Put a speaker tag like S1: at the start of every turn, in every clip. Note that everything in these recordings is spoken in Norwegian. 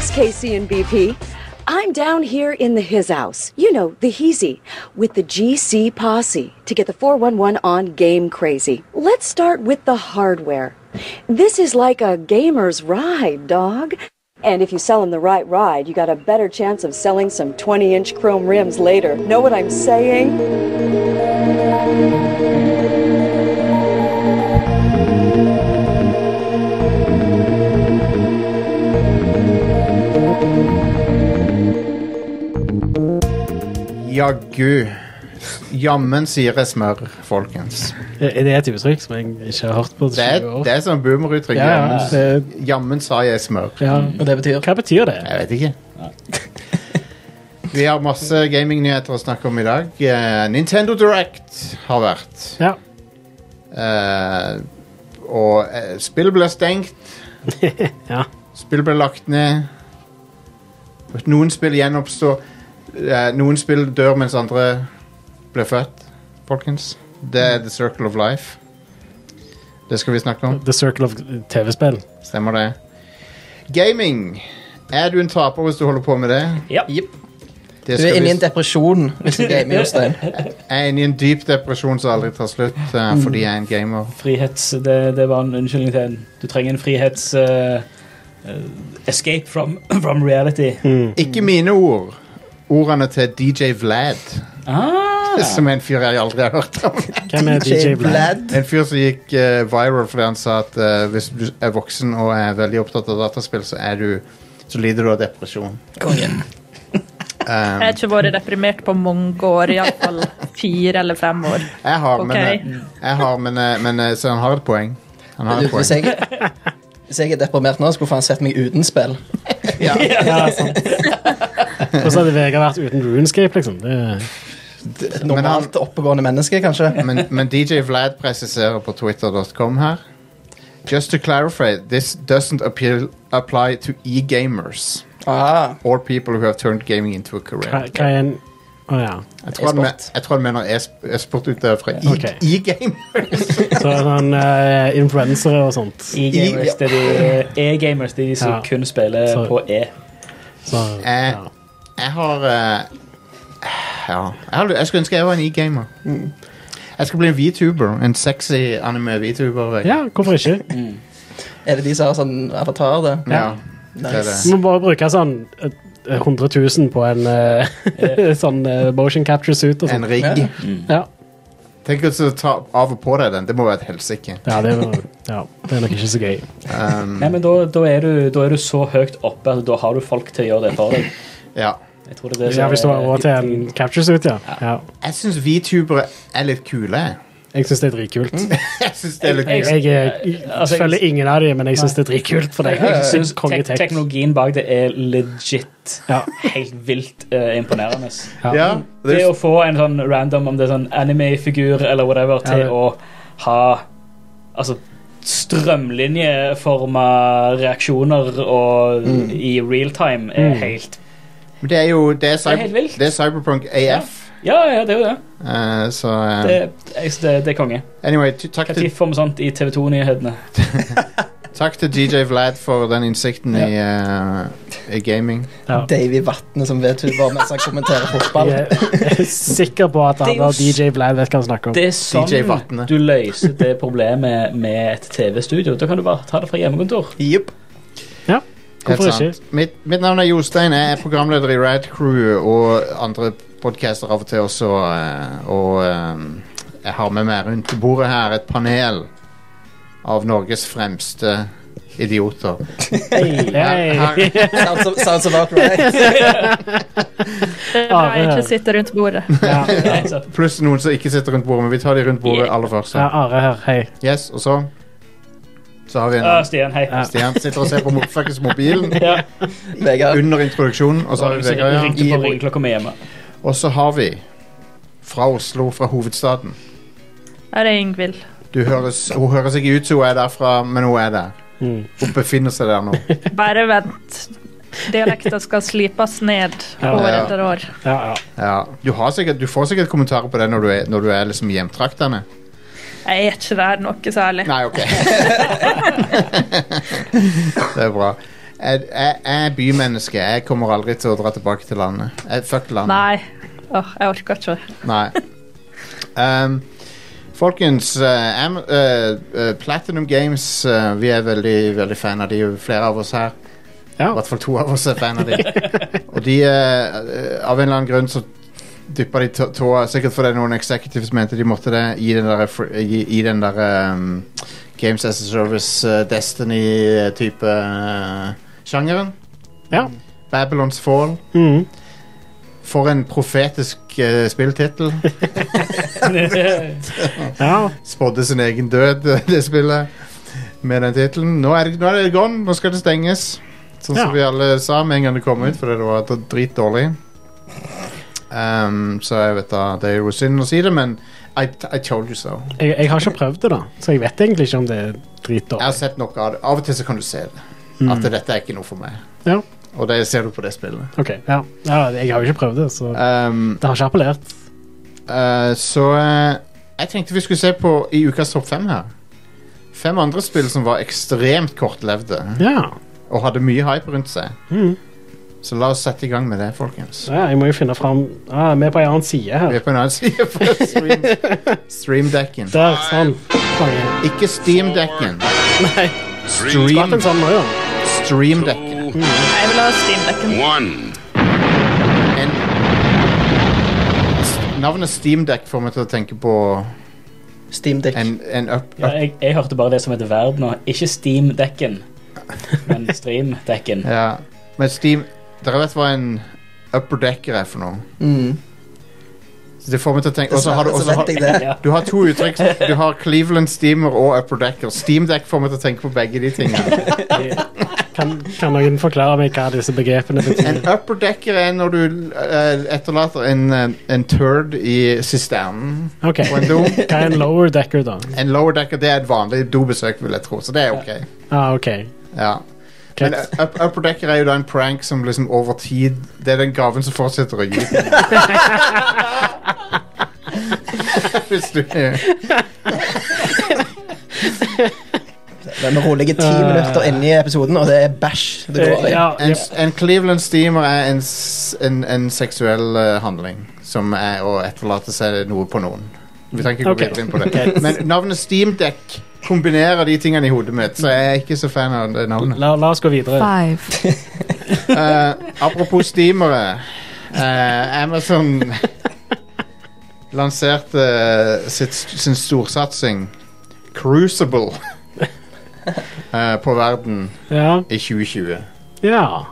S1: It's Casey and BP. I'm down here in the his house, you know, the heezy, with the GC posse to get the 411 on game crazy. Let's start with the hardware. This is like a gamer's ride, dog. And if you sell him the right ride, you got a better chance of selling some 20 inch chrome rims later. Know what I'm saying?
S2: Jaggu. Jammen sier jeg smør, folkens.
S3: Er det et uttrykk som jeg ikke har hørt på
S2: Det er,
S3: 20 år?
S2: det er sånn boomeruttrykk.
S3: ja, ja,
S2: Jammen,
S3: det,
S2: jammen sa jeg smør.
S3: ja.
S4: Mm.
S5: Og det betyr
S3: Hva betyr det?
S2: Jeg vet ikke. Vi har masse gamingnyheter å snakke om i dag. Eh, Nintendo Direct har vært.
S3: Ja.
S2: Eh, og eh, spill ble stengt.
S3: Ja.
S2: Spill ble lagt ned. Noen spill gjenoppstår. Eh, noen spill dør mens andre ble født, folkens. Det er the circle of life. Det skal vi snakke om.
S3: The Circle of TV-spill.
S2: Stemmer det. Gaming. Er du en taper hvis du holder på med det?
S5: Ja.
S2: Jipp. Det
S5: Du er
S2: skal
S5: inne
S2: vi
S5: i en depresjon hvis du gamer, Jostein.
S2: Jeg er inne i en dyp depresjon som aldri tar slutt, eh,
S5: Mm.
S2: fordi jeg er en gamer.
S4: Frihets... Det, det var en unnskyldning til en. Du trenger en frihets... eh, eh, escape from, from reality.
S2: Ikke mine ord. Ordene til DJ Vlad.
S4: Ah,
S2: Som er en fyr jeg aldri har hørt om.
S3: Hvem
S5: Altså,
S3: er DJ Blad?
S2: En fyr som gikk eh, viral fordi han sa at eh, hvis du er voksen og er veldig opptatt av dataspill, så, er du, så lider du av depresjon.
S5: Kongen.
S2: Um,
S6: Jeg har ikke vært deprimert på mange år, iallfall fire eller fem år.
S2: jeg har, men,
S6: Ok.
S2: eh, jeg har men, eh, men eh, Så han har et poeng. Han har
S5: Du,
S2: et
S5: Hvis
S2: poeng.
S5: jeg, hvis jeg er deprimert nå, skulle faen sett meg uten spill.
S2: Ja,
S3: Ja, sant. Og så hadde Vegard vært uten runescape, liksom. Det,
S5: Et
S2: Men han-
S5: normalt oppegående menneske, kanskje.
S2: men, men DJ Vlad presiserer på twitter.com her. Just to clarify, this doesn't appeal, apply to e-gamers
S5: Ah,
S2: or people who have turned gaming into a
S3: hva,
S2: career.
S3: hva er en Å ja.
S2: Jeg tror, han,
S5: E-sport.
S2: men- jeg tror han mener e-sp- e-sportutøvere fra e-
S3: Ok.
S2: e-gamers.
S3: Så er han eh, influensere og sånt.
S4: E-gamers, det er de E-gamers, det er de som
S3: Ja.
S4: kun spiller
S3: Sorry.
S4: på E.
S3: Så,
S2: Eh,
S3: ja.
S2: Jeg har eh, Ja. Jeg, har, jeg skulle ønske jeg var en e-gamer.
S5: Mm.
S2: Jeg skal bli en VTuber. En sexy anime-VTuber. jeg.
S3: ja, hvorfor ikke?
S5: er det de som har sånn avatar, det?
S2: Ja,
S3: Ja.
S2: det er
S5: Nice.
S2: det.
S3: Du må bare bruke sånn eh, 100 000 på en eh, sånn eh, motion capture suit og
S2: En
S3: sånn.
S2: rigg.
S5: Ja.
S3: Ja.
S2: Tenk å ta av og på deg den. Det må være et helsike.
S3: Ja, det er, ja, det er nok ikke så gøy.
S2: Um,
S4: Nei, men da, da, er du, da er du så høyt oppe at da har du folk til å gjøre det for deg.
S2: ja.
S4: Jeg tror det er det
S3: Ja, hvis du har råd til
S4: er-
S3: en capture suit, ja. ja.
S2: Jeg syns VTubere er litt kule. jeg.
S3: Jeg syns det er dritkult.
S4: Mm.
S2: Jeg synes det er litt
S4: Jeg-
S2: kult.
S3: Jeg, eh,
S4: Altså, jeg-
S3: følger ingen av dem, men jeg syns det er dritkult. For det
S4: Jeg
S3: jeg
S4: synes
S3: synes konge
S4: tek
S3: tech.
S4: teknologien bak det er legit
S3: Ja.
S4: helt vilt eh, imponerende.
S2: Ja,
S4: Det
S2: det
S4: å få en sånn random, om det er sånn anime-figur eller whatever, til
S3: Ja, det-
S4: å ha altså strømlinjeforma reaksjoner og
S2: Mm.
S4: i real time
S3: Mm.
S4: er helt
S2: er- det er jo Det er,
S4: er
S2: cyber,
S4: helt vilt.
S2: det er Cyberpunk AF.
S4: Ja, ja, det er jo det.
S2: Eh, så eh,
S4: Det, jeg, det, det er konge.
S2: Anyway, t- takk til
S4: Når får vi sånt i TV 2-nyhetene?
S2: Takk til DJ Vlad for den innsikten i, eh, i gaming.
S3: Ja.
S5: Davy Vatne som VTuber mens han kommenterer fotball.
S3: Jeg er sikker på at
S4: Det er
S3: han
S4: jo
S3: og
S4: s-
S3: DJ Vlad vet hva han snakker om.
S4: Det er sånn
S2: DJ Vatne.
S4: du løser det problemet med et TV-studio. Da kan du bare ta det fra hjemmekontor.
S5: Jepp.
S2: Helt
S3: Hvorfor
S2: sant.
S3: ikke?
S2: Mitt, mitt navn er Jostein. Jeg er programleder i Rad Crew og andre podcaster av og til også. eh, Og eh, jeg har med meg rundt bordet her et panel av Norges fremste idioter.
S3: Hey.
S2: Her, her,
S5: Sounds, sounds about right.
S6: Det er bra
S3: Ah, det
S6: jeg
S3: er-
S6: ikke sitter rundt bordet.
S3: Ja.
S4: Nei, så-
S2: pluss noen som ikke sitter rundt bordet, men vi tar de rundt bordet aller først.
S3: Ja,
S2: så.
S3: Are her, hei.
S2: Yes, og så Så har vi en
S4: Ja,
S2: annen.
S4: Stian, hei.
S3: Ja.
S2: Stian sitter og ser på mo- fuckings mobilen
S4: Ja.
S5: Vegard.
S2: under introduksjonen, og så har vi Vegard. ja.
S4: Ringte på ringeklokka mi hjemme.
S2: Og så har vi fra Oslo, fra hovedstaden.
S6: Her er Ingvild.
S2: Du høres, hun høres ikke ut som hun er derfra, men hun er der.
S3: Mm.
S2: Hun befinner seg der nå.
S6: Bare vent. Dialekten skal slipes ned
S3: Ja.
S6: år
S2: Ja.
S6: etter år.
S3: Ja, ja.
S2: Ja. Du, har sikkert, du får sikkert kommentarer på det når du er, når du er liksom i hjemtraktene.
S6: Jeg er ikke der noe særlig.
S2: Nei, ok. det er bra. Jeg, jeg, jeg er bymenneske. Jeg kommer aldri til å dra tilbake til landet. Jeg, fuck landet.
S6: Nei. Åh, jeg orker ikke.
S2: Nei. Ehm, folkens, eh, Am eh, eh, Platinum Games eh, Vi er veldig, veldig fan av de flere av oss her. I
S3: Ja.
S2: hvert fall to av oss er fan av de. Og de, eh, eh, av en eller annen grunn, så dyppa de tå- tåa Sikkert fordi noen executives mente de måtte det i den der, fr- i, i den der ehm, Games as a Service, eh, Destiny-type eh, sjangeren.
S3: Ja.
S2: Babylons Fall.
S3: Mhm.
S2: For en profetisk uh, spilltittel.
S3: ja.
S2: spådde sin egen død, det spillet, med den tittelen. Nå, er det- nå er det gone, nå skal det stenges. Sånn som
S3: Ja.
S2: vi alle sa med en gang det kom ut, fordi det var d- dritdårlig. Um, så jeg vet da, det er jo synd å si det, men I, I told you so.
S3: Jeg, jeg har ikke prøvd det, da, så jeg vet egentlig ikke om det er
S2: Jeg har
S3: dritdårlig.
S2: sett noe av det. Av og til så kan du se det. At dette er ikke noe for meg.
S3: Mm. Ja.
S2: Og det ser du på det spillet.
S3: Ok, ja. ja. Jeg har jo ikke prøvd det, så
S2: Um,
S3: det har ikke appellert.
S2: Eh, så eh, jeg tenkte vi skulle se på i ukas topp fem her. Fem andre spill som var ekstremt kortlevde
S3: Ja.
S2: og hadde mye hype rundt seg.
S3: Mhm.
S2: Så la oss sette i gang med det, folkens.
S3: ja. Jeg må jo finne fram ah, Vi er på en annen side
S2: Vi
S3: her.
S2: er på en annen side for stream, streamdekken.
S3: Der, sånn. Konge.
S2: Ikke steamdekken.
S3: Nei.
S2: Stream,
S3: Skvatt en sånn nå, ja.
S2: streamdekken.
S6: Jeg vil ha steamdecken.
S7: One.
S2: En S- Navnet Steamdeck får meg til å tenke på
S5: Steam Deck.
S2: en, en up,
S4: Ja, jeg, jeg hørte bare det som heter verden, og ikke Steam-dekken, men Stream-dekken.
S2: Ja. Men Steam Dere vet hva en upperdecker er for noe?
S5: Mm.
S2: Så det får meg til å tenke Og så har du
S5: Dessverre så
S2: også har-
S5: vet jeg det.
S4: Ja.
S2: Du har to uttrykk. Du har Cleveland Steamer og Upper Decker. Steam Deck får meg til å tenke på begge de tingene.
S3: Kan, kan noen forklare meg hva disse begrepene betyr?
S2: En upper decker er når du eh, etterlater en, eh, en turd i sisternen
S3: Ok,
S2: på en do.
S3: Hva er en lower decker, da?
S2: En lower decker det er et vanlig dobesøk, vil jeg tro, så det er ok.
S3: Ah, ok.
S2: Ja. Men eh,
S3: Greit.
S2: up, upper decker er jo da en prank som liksom over tid Det er den gaven som fortsetter å gi. Hvis du
S5: Men vi rolige ti
S2: Ah.
S5: minutter inn i episoden, og det er bæsj
S4: Eh,
S5: det går i.
S3: Eh, ja,
S2: En, en Cleveland Steamer er en, s- en, en seksuell eh, handling som er å etterlate seg noe på noen. Vi trenger ikke gå
S3: Ok.
S2: videre inn på det. Men navnet Steamdeck kombinerer de tingene i hodet mitt, så jeg er ikke så fan av det navnet.
S3: La, la oss gå videre.
S6: Five.
S2: Eh, apropos steamere. eh, Amazon lanserte eh, sitt, sin storsatsing Crucible eh, på verden
S3: Ja.
S2: i 2020.
S3: ja.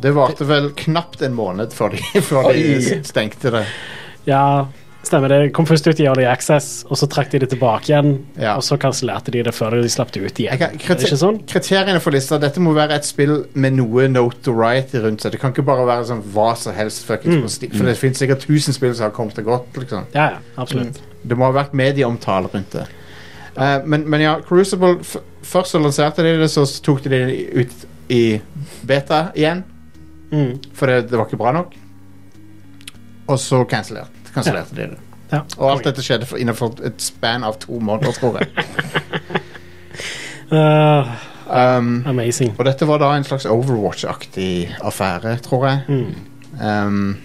S2: Det varte vel knapt en måned før de, før de stengte det.
S3: ja. Stemmer det. Kom først ut i Early Access, og så trakk de det tilbake igjen.
S2: Ja.
S3: Og så kansellerte de det før de slapp det ut
S2: Jeg
S3: igjen.
S2: kan-
S3: Er det ikke sånn?
S2: Kriteriene for lista Dette må være et spill med noe notoriety rundt seg. Det kan ikke bare være sånn hva som helst. fuckings
S3: Mm.
S2: på sti- For det finnes sikkert 1000 spill som har kommet og gått. Liksom.
S3: Ja, ja. Absolutt.
S2: Det må ha vært medieomtale rundt det. Eh, men, men ja, Crucible f Først så lanserte de det, så tok de det ut i beta igjen.
S3: Mm.
S2: For det, det var ikke bra nok. Og så kansellerte kansellerte de det.
S3: Ja.
S2: Og alt dette skjedde for, innenfor et span av to måneder, tror jeg.
S3: Uh,
S2: Um,
S3: amazing.
S2: Og dette var da en slags Overwatch-aktig affære, tror jeg.
S3: Mm.
S2: Ehm,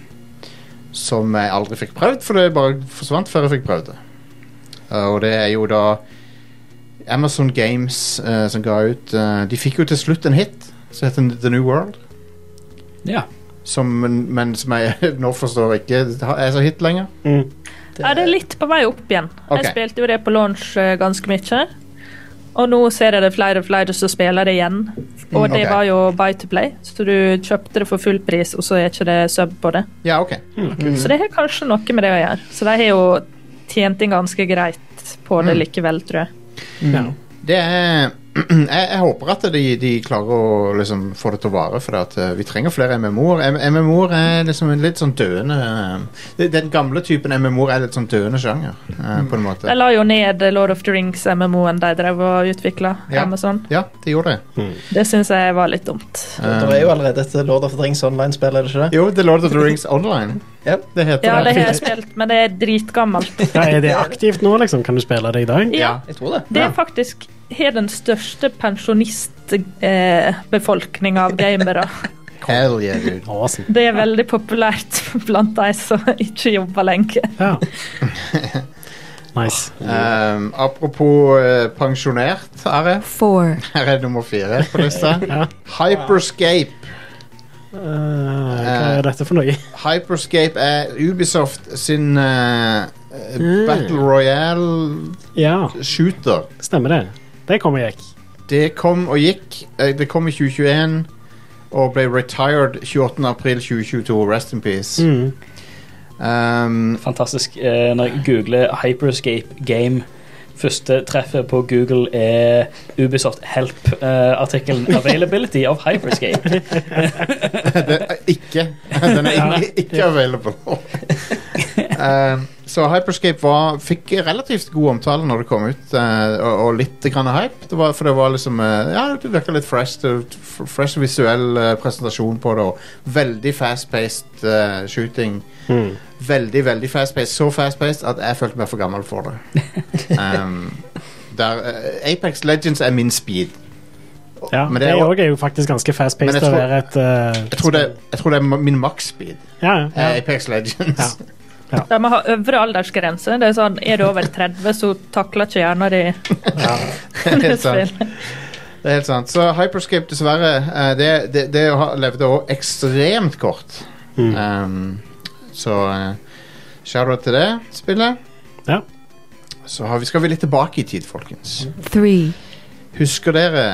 S2: som jeg aldri fikk prøvd, for det bare forsvant før jeg fikk prøvd det. Eh, og det er jo da Amazon Games eh, som ga ut eh, De fikk jo til slutt en hit som heter The New World.
S4: Ja.
S2: Som, men, men som jeg nå forstår ikke er så hit lenger.
S3: Mm.
S6: Ja, det er litt på vei opp igjen.
S2: Ok.
S6: Jeg spilte jo det på launch eh, ganske mye. Og nå ser jeg det flere og flere som spiller det igjen. Og
S2: Mm,
S6: det
S2: ok.
S6: var jo buy to play, så du kjøpte det for full pris, og så er ikke det sub på det.
S2: Ja, ok. Mm.
S6: Så det har kanskje noe med det å gjøre. Så de har jo tjent inn ganske greit på
S2: Mm.
S6: det likevel, tror jeg.
S3: Ja.
S2: Det er jeg, jeg håper at de, de klarer å liksom få det til å vare, for at, eh, vi trenger flere MMO-er. M- MMO-er er liksom en litt sånn døende eh, det- Den gamle typen MMO-er er litt sånn døende sjanger, eh, på en måte.
S6: De la jo ned Lord of the Rings-MMO-en de drev og utvikla.
S2: Ja.
S6: Amazon.
S2: Ja, de gjorde det.
S6: Det syns jeg var litt dumt.
S2: Eh,
S5: Det er jo allerede et Lord of the Rings online-spill, er det ikke det?
S2: jo, The Lord of the Rings Online.
S5: Ja.
S2: Det heter
S6: Ja, det
S2: det.
S6: har jeg spilt, men det er dritgammelt.
S3: Ja, er det aktivt nå, liksom? Kan du spille det i dag?
S6: Ja,
S5: Jeg tror det.
S6: det er faktisk har den største pensjonist blant eh, befolkninga av gamere.
S2: Hell yeah, dude.
S3: Awesome.
S6: Det er veldig populært blant de som ikke jobber lenge.
S3: Ja. Nice.
S2: Um, apropos eh, pensjonert, Are.
S7: Four.
S2: Her er nummer fire på lista.
S3: Ja.
S2: Hyperscape.
S3: Eh, hva
S2: Eh.
S3: er dette for noe?
S2: Hyperscape er Ubisoft sin eh, Battle Royale-shooter.
S3: Ja, stemmer det. Det kom og gikk.
S2: Det kom og gikk. Eh, Det kom i 2021 og ble retired 28.4.2022. Rest in peace.
S3: Mm.
S2: Um,
S4: Fantastisk. Eh, når jeg googler Hyperscape Game Første treffet på Google er Ubisoft Help-artikkelen 'Availability of Hyperscape'.
S2: den er ikke Den er ikke, ikke available. um, så Hyperscape var, fikk relativt god omtale når det kom ut, eh, og, og litt grann hype. Det var, for det var liksom eh, Ja, det virka litt fresh. Det, f- fresh visuell eh, presentasjon på det, og veldig fast-paced eh, shooting.
S3: Mm.
S2: veldig, veldig fast-paced. Så fast-paced at jeg følte meg for gammel for det. Um, der, eh, Apex Legends er min speed.
S3: Ja,
S2: Men det
S3: det
S2: er jo-
S3: òg er jo faktisk ganske
S2: Men jeg
S3: fast-paced å
S2: tror-
S3: være et eh,
S2: Jeg tror det, Eh. jeg tror det er ma- min maks-speed.
S3: Ja, ja.
S2: er Apex Legends.
S6: De har øvre aldersgrense. Det Er sånn, er du over 30, så takler ikke hjernen din
S2: det, er helt sant.
S6: spill.
S2: det er helt sant. Så Hyperscape, dessverre, eh, det, det, det har- levde også ekstremt kort.
S3: Mm.
S2: Um, så eh, shout-out til det spillet.
S3: Ja.
S2: Så har vi, skal vi litt tilbake i tid, folkens.
S7: Three.
S2: Husker dere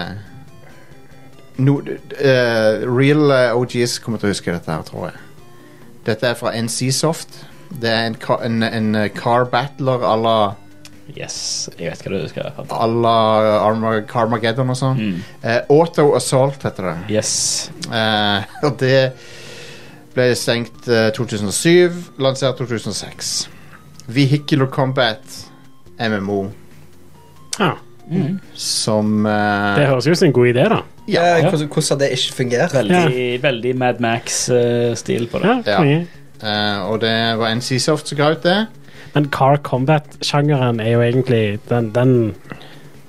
S2: no, d- d- eh, Real eh, OGs kommer til å huske dette her, tror jeg. Dette er fra NCSoft. Det er en, ka- en, en eh, car battler à la,
S4: Yes, jeg vet hva du skal ha.
S2: à la Arma- Carmageddon og sånn.
S4: Mm.
S2: Eh, Auto Assault heter det.
S4: Yes.
S2: Eh, og det ble stengt eh, 2007, lansert 2006. Vehicular Combat MMO
S3: ja.
S2: som eh,
S3: Det høres jo ut som en god idé, da.
S2: Ja.
S5: Ja, Eh, hvordan, hvordan har det ikke fungert?
S4: Veldig, veldig Mad Max-stil på det.
S3: Ja,
S2: Ja.
S3: konge.
S2: eh, Og det var NCSoft som ga ut det.
S3: Men Car Combat-sjangeren er jo egentlig Den, den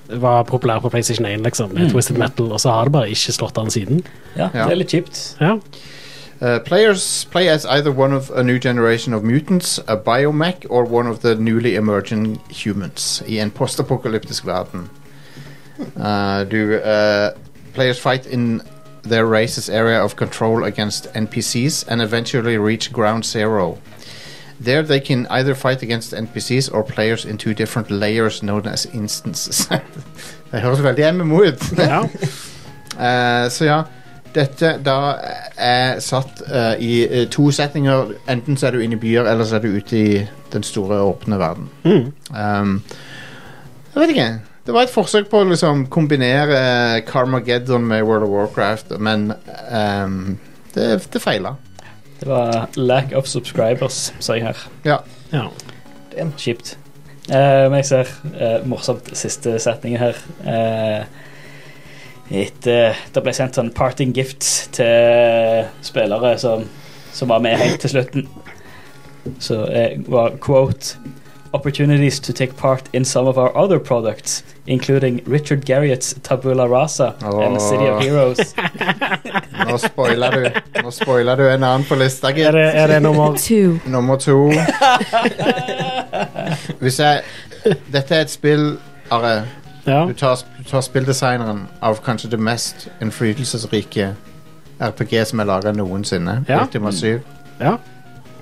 S3: var populær på PlayStation 1, liksom. Med Twisted Metal, og så har det bare ikke slått an siden.
S4: Ja,
S2: Ja.
S4: Det er litt kjipt.
S3: Ja.
S2: Uh, players play as either one of a new generation of mutants, a biomech, or one of the newly emerging humans i en postapokalyptisk verden. Uh, du, uh, players fight in their race's area of control against NPCs and eventually reach ground zero. There they can either fight against NPCs or players in two different layers known as instances. Det høres veldig MMO ut.
S3: ja.
S2: Eh, så ja, dette da er satt eh, i eh, to settinger. Enten så er du inne i byer, eller så er du ute i den store, åpne verden.
S3: Mm.
S2: Ehm, jeg vet ikke. Det var et forsøk på å liksom kombinere eh, Carmageddon med World of Warcraft, men ehm, det, det feila.
S4: Det var lack of subscribers, sa jeg her.
S2: Ja.
S3: ja.
S4: Det er kjipt. Eh, men jeg ser eh, morsomt siste setningen her. Eh, et, eh, det ble sendt sånn parting gifts til spillere som, som var med helt til slutten. Så eh, var quote Opportunities to take part in some of our other products, including Richard Garriott's Tabula Rasa and City of
S2: Åh.
S4: Heroes.
S2: Nå spoiler du Nå spoiler du en annen på lista,
S3: Er, det,
S2: gitt.
S3: er det nummer
S7: Two.
S2: Nummer to. Hvis jeg Dette er et spill, Are.
S3: Ja.
S2: Du tar, du tar spilldesigneren av kanskje det mest innflytelsesrike RPG som er laga noensinne.
S3: Ja.
S2: Ultima 7.
S3: ja.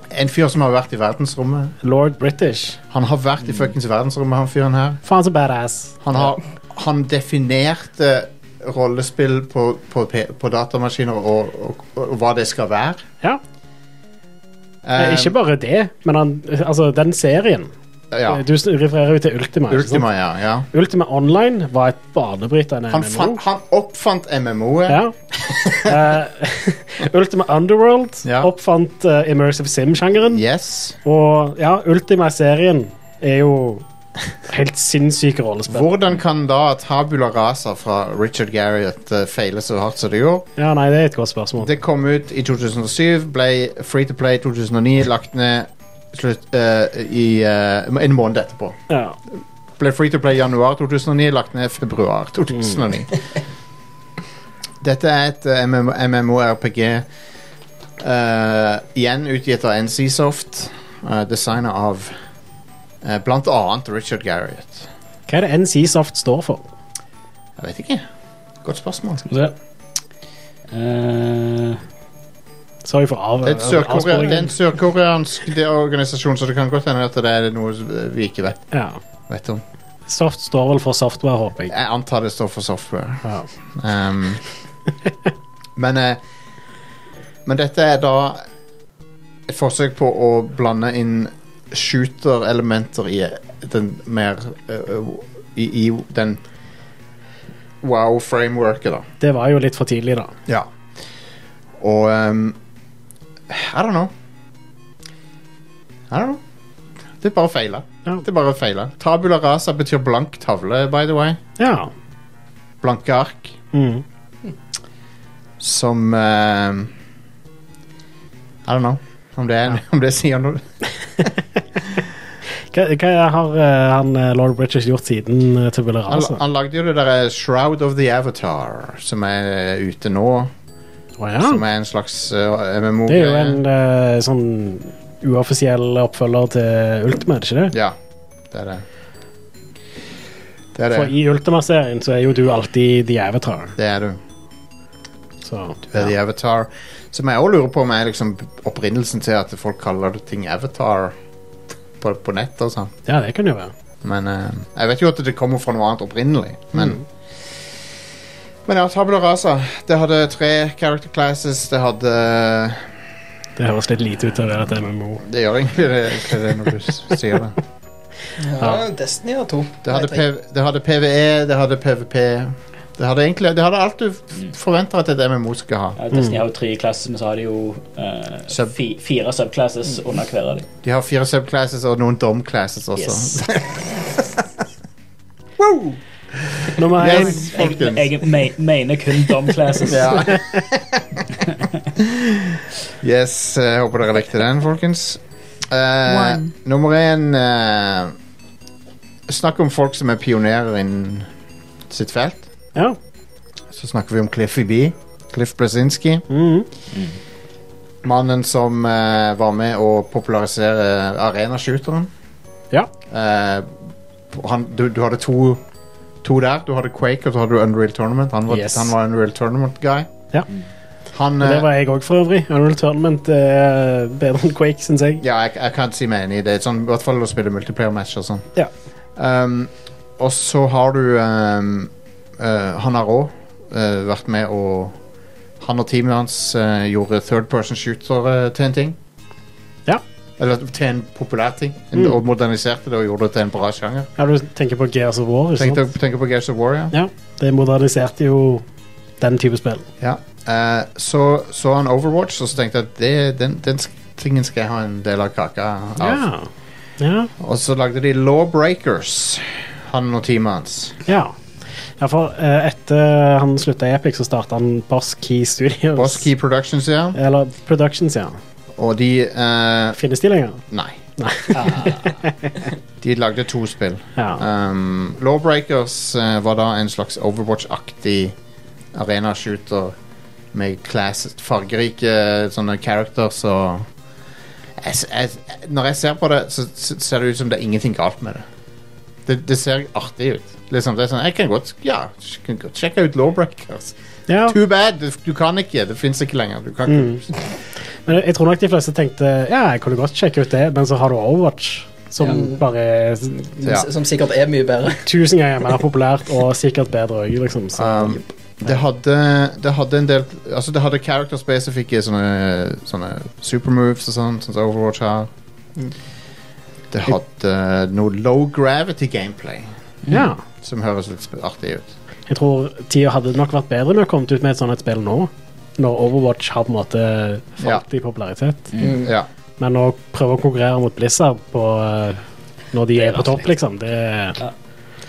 S2: En fyr som har vært i verdensrommet.
S3: Lord British.
S2: Han har
S3: Mm.
S2: vært i fuckings verdensrommet, han fyren her.
S3: Faen så badass.
S2: Han, har, han definerte rollespill på, på, P- på datamaskiner og, og, og hva det skal være.
S3: Ja.
S2: Eh,
S3: ikke bare det, men han, altså, den serien.
S2: ja.
S3: Du s- refererer jo til Ultima. ikke sant?
S2: Ultima, ja. ja.
S3: Ultima Online var et banebrytende
S2: Han,
S3: MMO.
S2: fant, han oppfant MMO-et.
S3: Ja. Eh, Ultima Underworld
S2: Ja.
S3: oppfant eh, Immersive Sim-sjangeren.
S2: Yes.
S3: Og ja, Ultima-serien er jo helt sinnssyke rollespill.
S2: Hvordan kan da Tabula Rasa fra Richard Garriott eh, feile så hardt som det gjorde?
S3: Ja, nei, det er et godt spørsmål.
S2: Det kom ut i 2007, ble Free to Play 2009, lagt ned slutt, eh, i eh, en måned etterpå.
S3: Ja.
S2: Ble Free to Play januar 2009, lagt ned februar 2009. Dette er et eh, MMO MMORPG eh, igjen utgitt av NCSoft, uh, designet av eh, blant annet Richard Garriott.
S3: Hva er det NCSoft står for?
S2: Jeg vet ikke. Godt spørsmål.
S4: Skal vi se. Eh,
S3: Sorry for av,
S2: Det er, et sørkore- det er en
S3: avsporingen.
S2: sørkoreansk det er organisasjon, så det kan godt hende at det er noe vi ikke vet,
S3: Ja.
S2: vet om.
S3: Soft står vel for software, håper jeg.
S2: Jeg antar det står for software.
S3: Ja.
S2: Ehm, men, eh, men dette er da et forsøk på å blande inn shooter-elementer i den mer eh, i, i den wow-frameworket, da.
S3: Det var jo litt for tidlig, da.
S2: Ja. Og ehm, I don't know. I don't know. Det bare feila.
S3: Ja.
S2: Det bare feila. Tabula rasa betyr blank tavle, by the way.
S3: ja.
S2: Blanke ark.
S3: Mm.
S2: Som eh, I don't know om det, er, om det sier noe.
S3: Hva, hva har eh, han eh, Lord Bridges gjort siden uh, Tabula
S2: Han,
S3: Rasa?
S2: han lagde jo det derre Shroud of the Avatar, som er eh, ute nå.
S3: Å ja.
S2: Som er en slags eh, MMO.
S3: Det er jo en eh, sånn uoffisiell oppfølger til Ultima, er det ikke det?
S2: Ja, det er det. Det er
S3: For
S2: det.
S3: i Ultima-serien så er jo du alltid The Avatar.
S2: Det er du.
S3: Så,
S2: Det er The
S3: ja.
S2: Avatar. Som jeg òg lurer på om er liksom opprinnelsen til at folk kaller ting Avatar på, på nettet og sånn.
S3: ja, det kan jo være.
S2: Men eh, jeg vet jo at det kommer fra noe annet opprinnelig. Men,
S3: Mm.
S2: men ja, Tabula Rasa. Det hadde tre character classes. Det hadde
S3: Det høres litt lite ut til å være et MMO.
S2: Det gjør egentlig det, egentlig det når du s- sier det.
S5: Ja, Destiny har to.
S2: Det hadde,
S5: Nei, tre.
S2: PV, det hadde PVE, det hadde PVP. Det hadde egentlig Det hadde alt du f- forventer at et MMO skal ha.
S4: ja, Destiny
S3: Mm.
S4: har jo tre klasser, men så har de jo eh,
S2: Sub-
S4: fi, fire subclasses under hver av dem.
S2: De har fire subclasses og noen dom-classes også.
S4: Yes.
S3: Nummer én
S2: Yes,
S4: Jeg,
S2: folkens.
S4: jeg me- mener kun dom-classes.
S2: Ja. yes, jeg håper dere likte den, folkens. Eh,
S6: One.
S2: nummer én eh, Snakk om folk som er pionerer innen sitt felt.
S3: Ja.
S2: Så snakker vi om Cliffy B. Cliff Blazinski.
S3: Mhm.
S2: Mannen som eh, var med å popularisere eh, arenashooteren.
S3: Ja.
S2: Eh, han, du, du hadde to, to der. Du hadde Quake og så hadde du Unreal Tournament. Han var,
S3: Yes.
S2: han var Unreal Tournament-guy.
S3: Ja.
S2: Han,
S3: Og det
S2: eh,
S3: var jeg òg, for øvrig. Unreal Tournament er bedre enn Quake, syns jeg.
S2: Ja, jeg, jeg kan si meg enig i det. Sånn, I hvert fall å spille multiplayer-match og sånn.
S3: Ja.
S2: Um, og så har du um, eh, Han har òg vært med og Han og teamet hans eh, gjorde third person shooter eh, til en ting.
S3: Ja.
S2: Eller til en populær ting. En-
S3: Mm.
S2: Og moderniserte det og gjorde det til en bra sjanger.
S3: Ja, du tenker på Gears of War, ikke
S2: Tenk
S3: sant?
S2: deg- tenk på Gears of War, ja.
S3: Ja, det moderniserte jo den type spill.
S2: ja. Eh, så så han Overwatch, og så tenkte jeg at det, den, den sk- tingen skal jeg ha en del av kaka av.
S3: Ja. Ja.
S2: Og så lagde de Lawbreakers, han og teamet hans.
S3: ja. ja for eh, etter han slutta i Epic, så starta han Boss Key Studios.
S2: Boss Key Productions, ja.
S3: Eller Productions, ja.
S2: Og de eh,
S3: Finnes de lenger?
S2: Nei. de lagde to spill.
S3: Ja.
S2: Um, Lawbreakers eh, var da en slags Overwatch-aktig arena-shooter med class, fargerike eh, sånne characters og jeg, s- jeg, s- Når jeg ser på det, så, så ser det ut som det er ingenting galt med det. Det, det ser artig ut. Liksom, det er sånn, jeg kan godt, ja, jeg kan godt sjekke ut Lawbreakers.
S3: ja.
S2: Too bad! Du, du kan ikke. Det fins ikke lenger. Du kan
S3: Mm.
S2: ikke.
S3: Men jeg tror nok de fleste tenkte ja, jeg kunne godt sjekke ut det, men så har du Overwatch. Som bare er s-
S2: Ja.
S5: Som sikkert er mye bedre.
S3: tusen ganger mer populært og sikkert bedre òg, liksom. Så,
S2: Um, det, hadde, det hadde en del Altså det hadde character-spesifikke sånne, sånne supermoves og sånn, sånn som Overwatch har.
S3: Mm.
S2: Det hadde noe low gravity gameplay
S3: ja.
S2: som høres litt sp- artig ut.
S3: Jeg tror tida hadde nok vært bedre med å komme ut med et sånt et spill nå. Når Overwatch har på en måte falt i popularitet.
S2: Ja.
S3: Men å prøve å konkurrere mot Blizzard på, eh, når de er på topp, liksom det er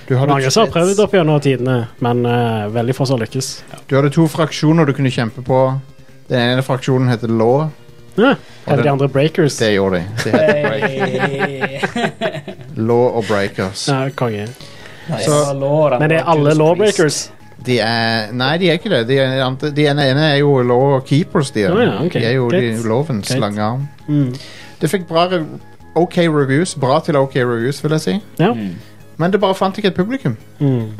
S2: Du,
S3: Mange
S2: hadde,
S3: som har prøvd opp gjennom tidene, men eh, veldig få som har lykkes.
S2: du hadde to fraksjoner du kunne kjempe på. Den ene fraksjonen heter Law.
S3: Ja.
S2: Og
S3: Eller
S2: den-
S3: de andre Breakers.
S2: Det gjorde de. de heter Break. Law og Breakers.
S3: Ja, konge.
S5: Nice.
S4: Så lå den
S3: Men er
S4: bak
S3: alle
S4: Judas Priest.
S3: lawbreakers?
S2: De er Nei, de er ikke det. De, er, ante- de ene ene er jo law keepers, de. er.
S3: Å ja, ok.
S2: De er jo de,
S3: Greit.
S2: lovens
S3: Greit.
S2: lange arm.
S3: Mm.
S2: Det fikk bra re OK reviews. Bra til OK reviews, vil jeg si.
S3: Ja.
S4: Mm.
S2: Men det bare fant ikke et publikum.
S3: Mm.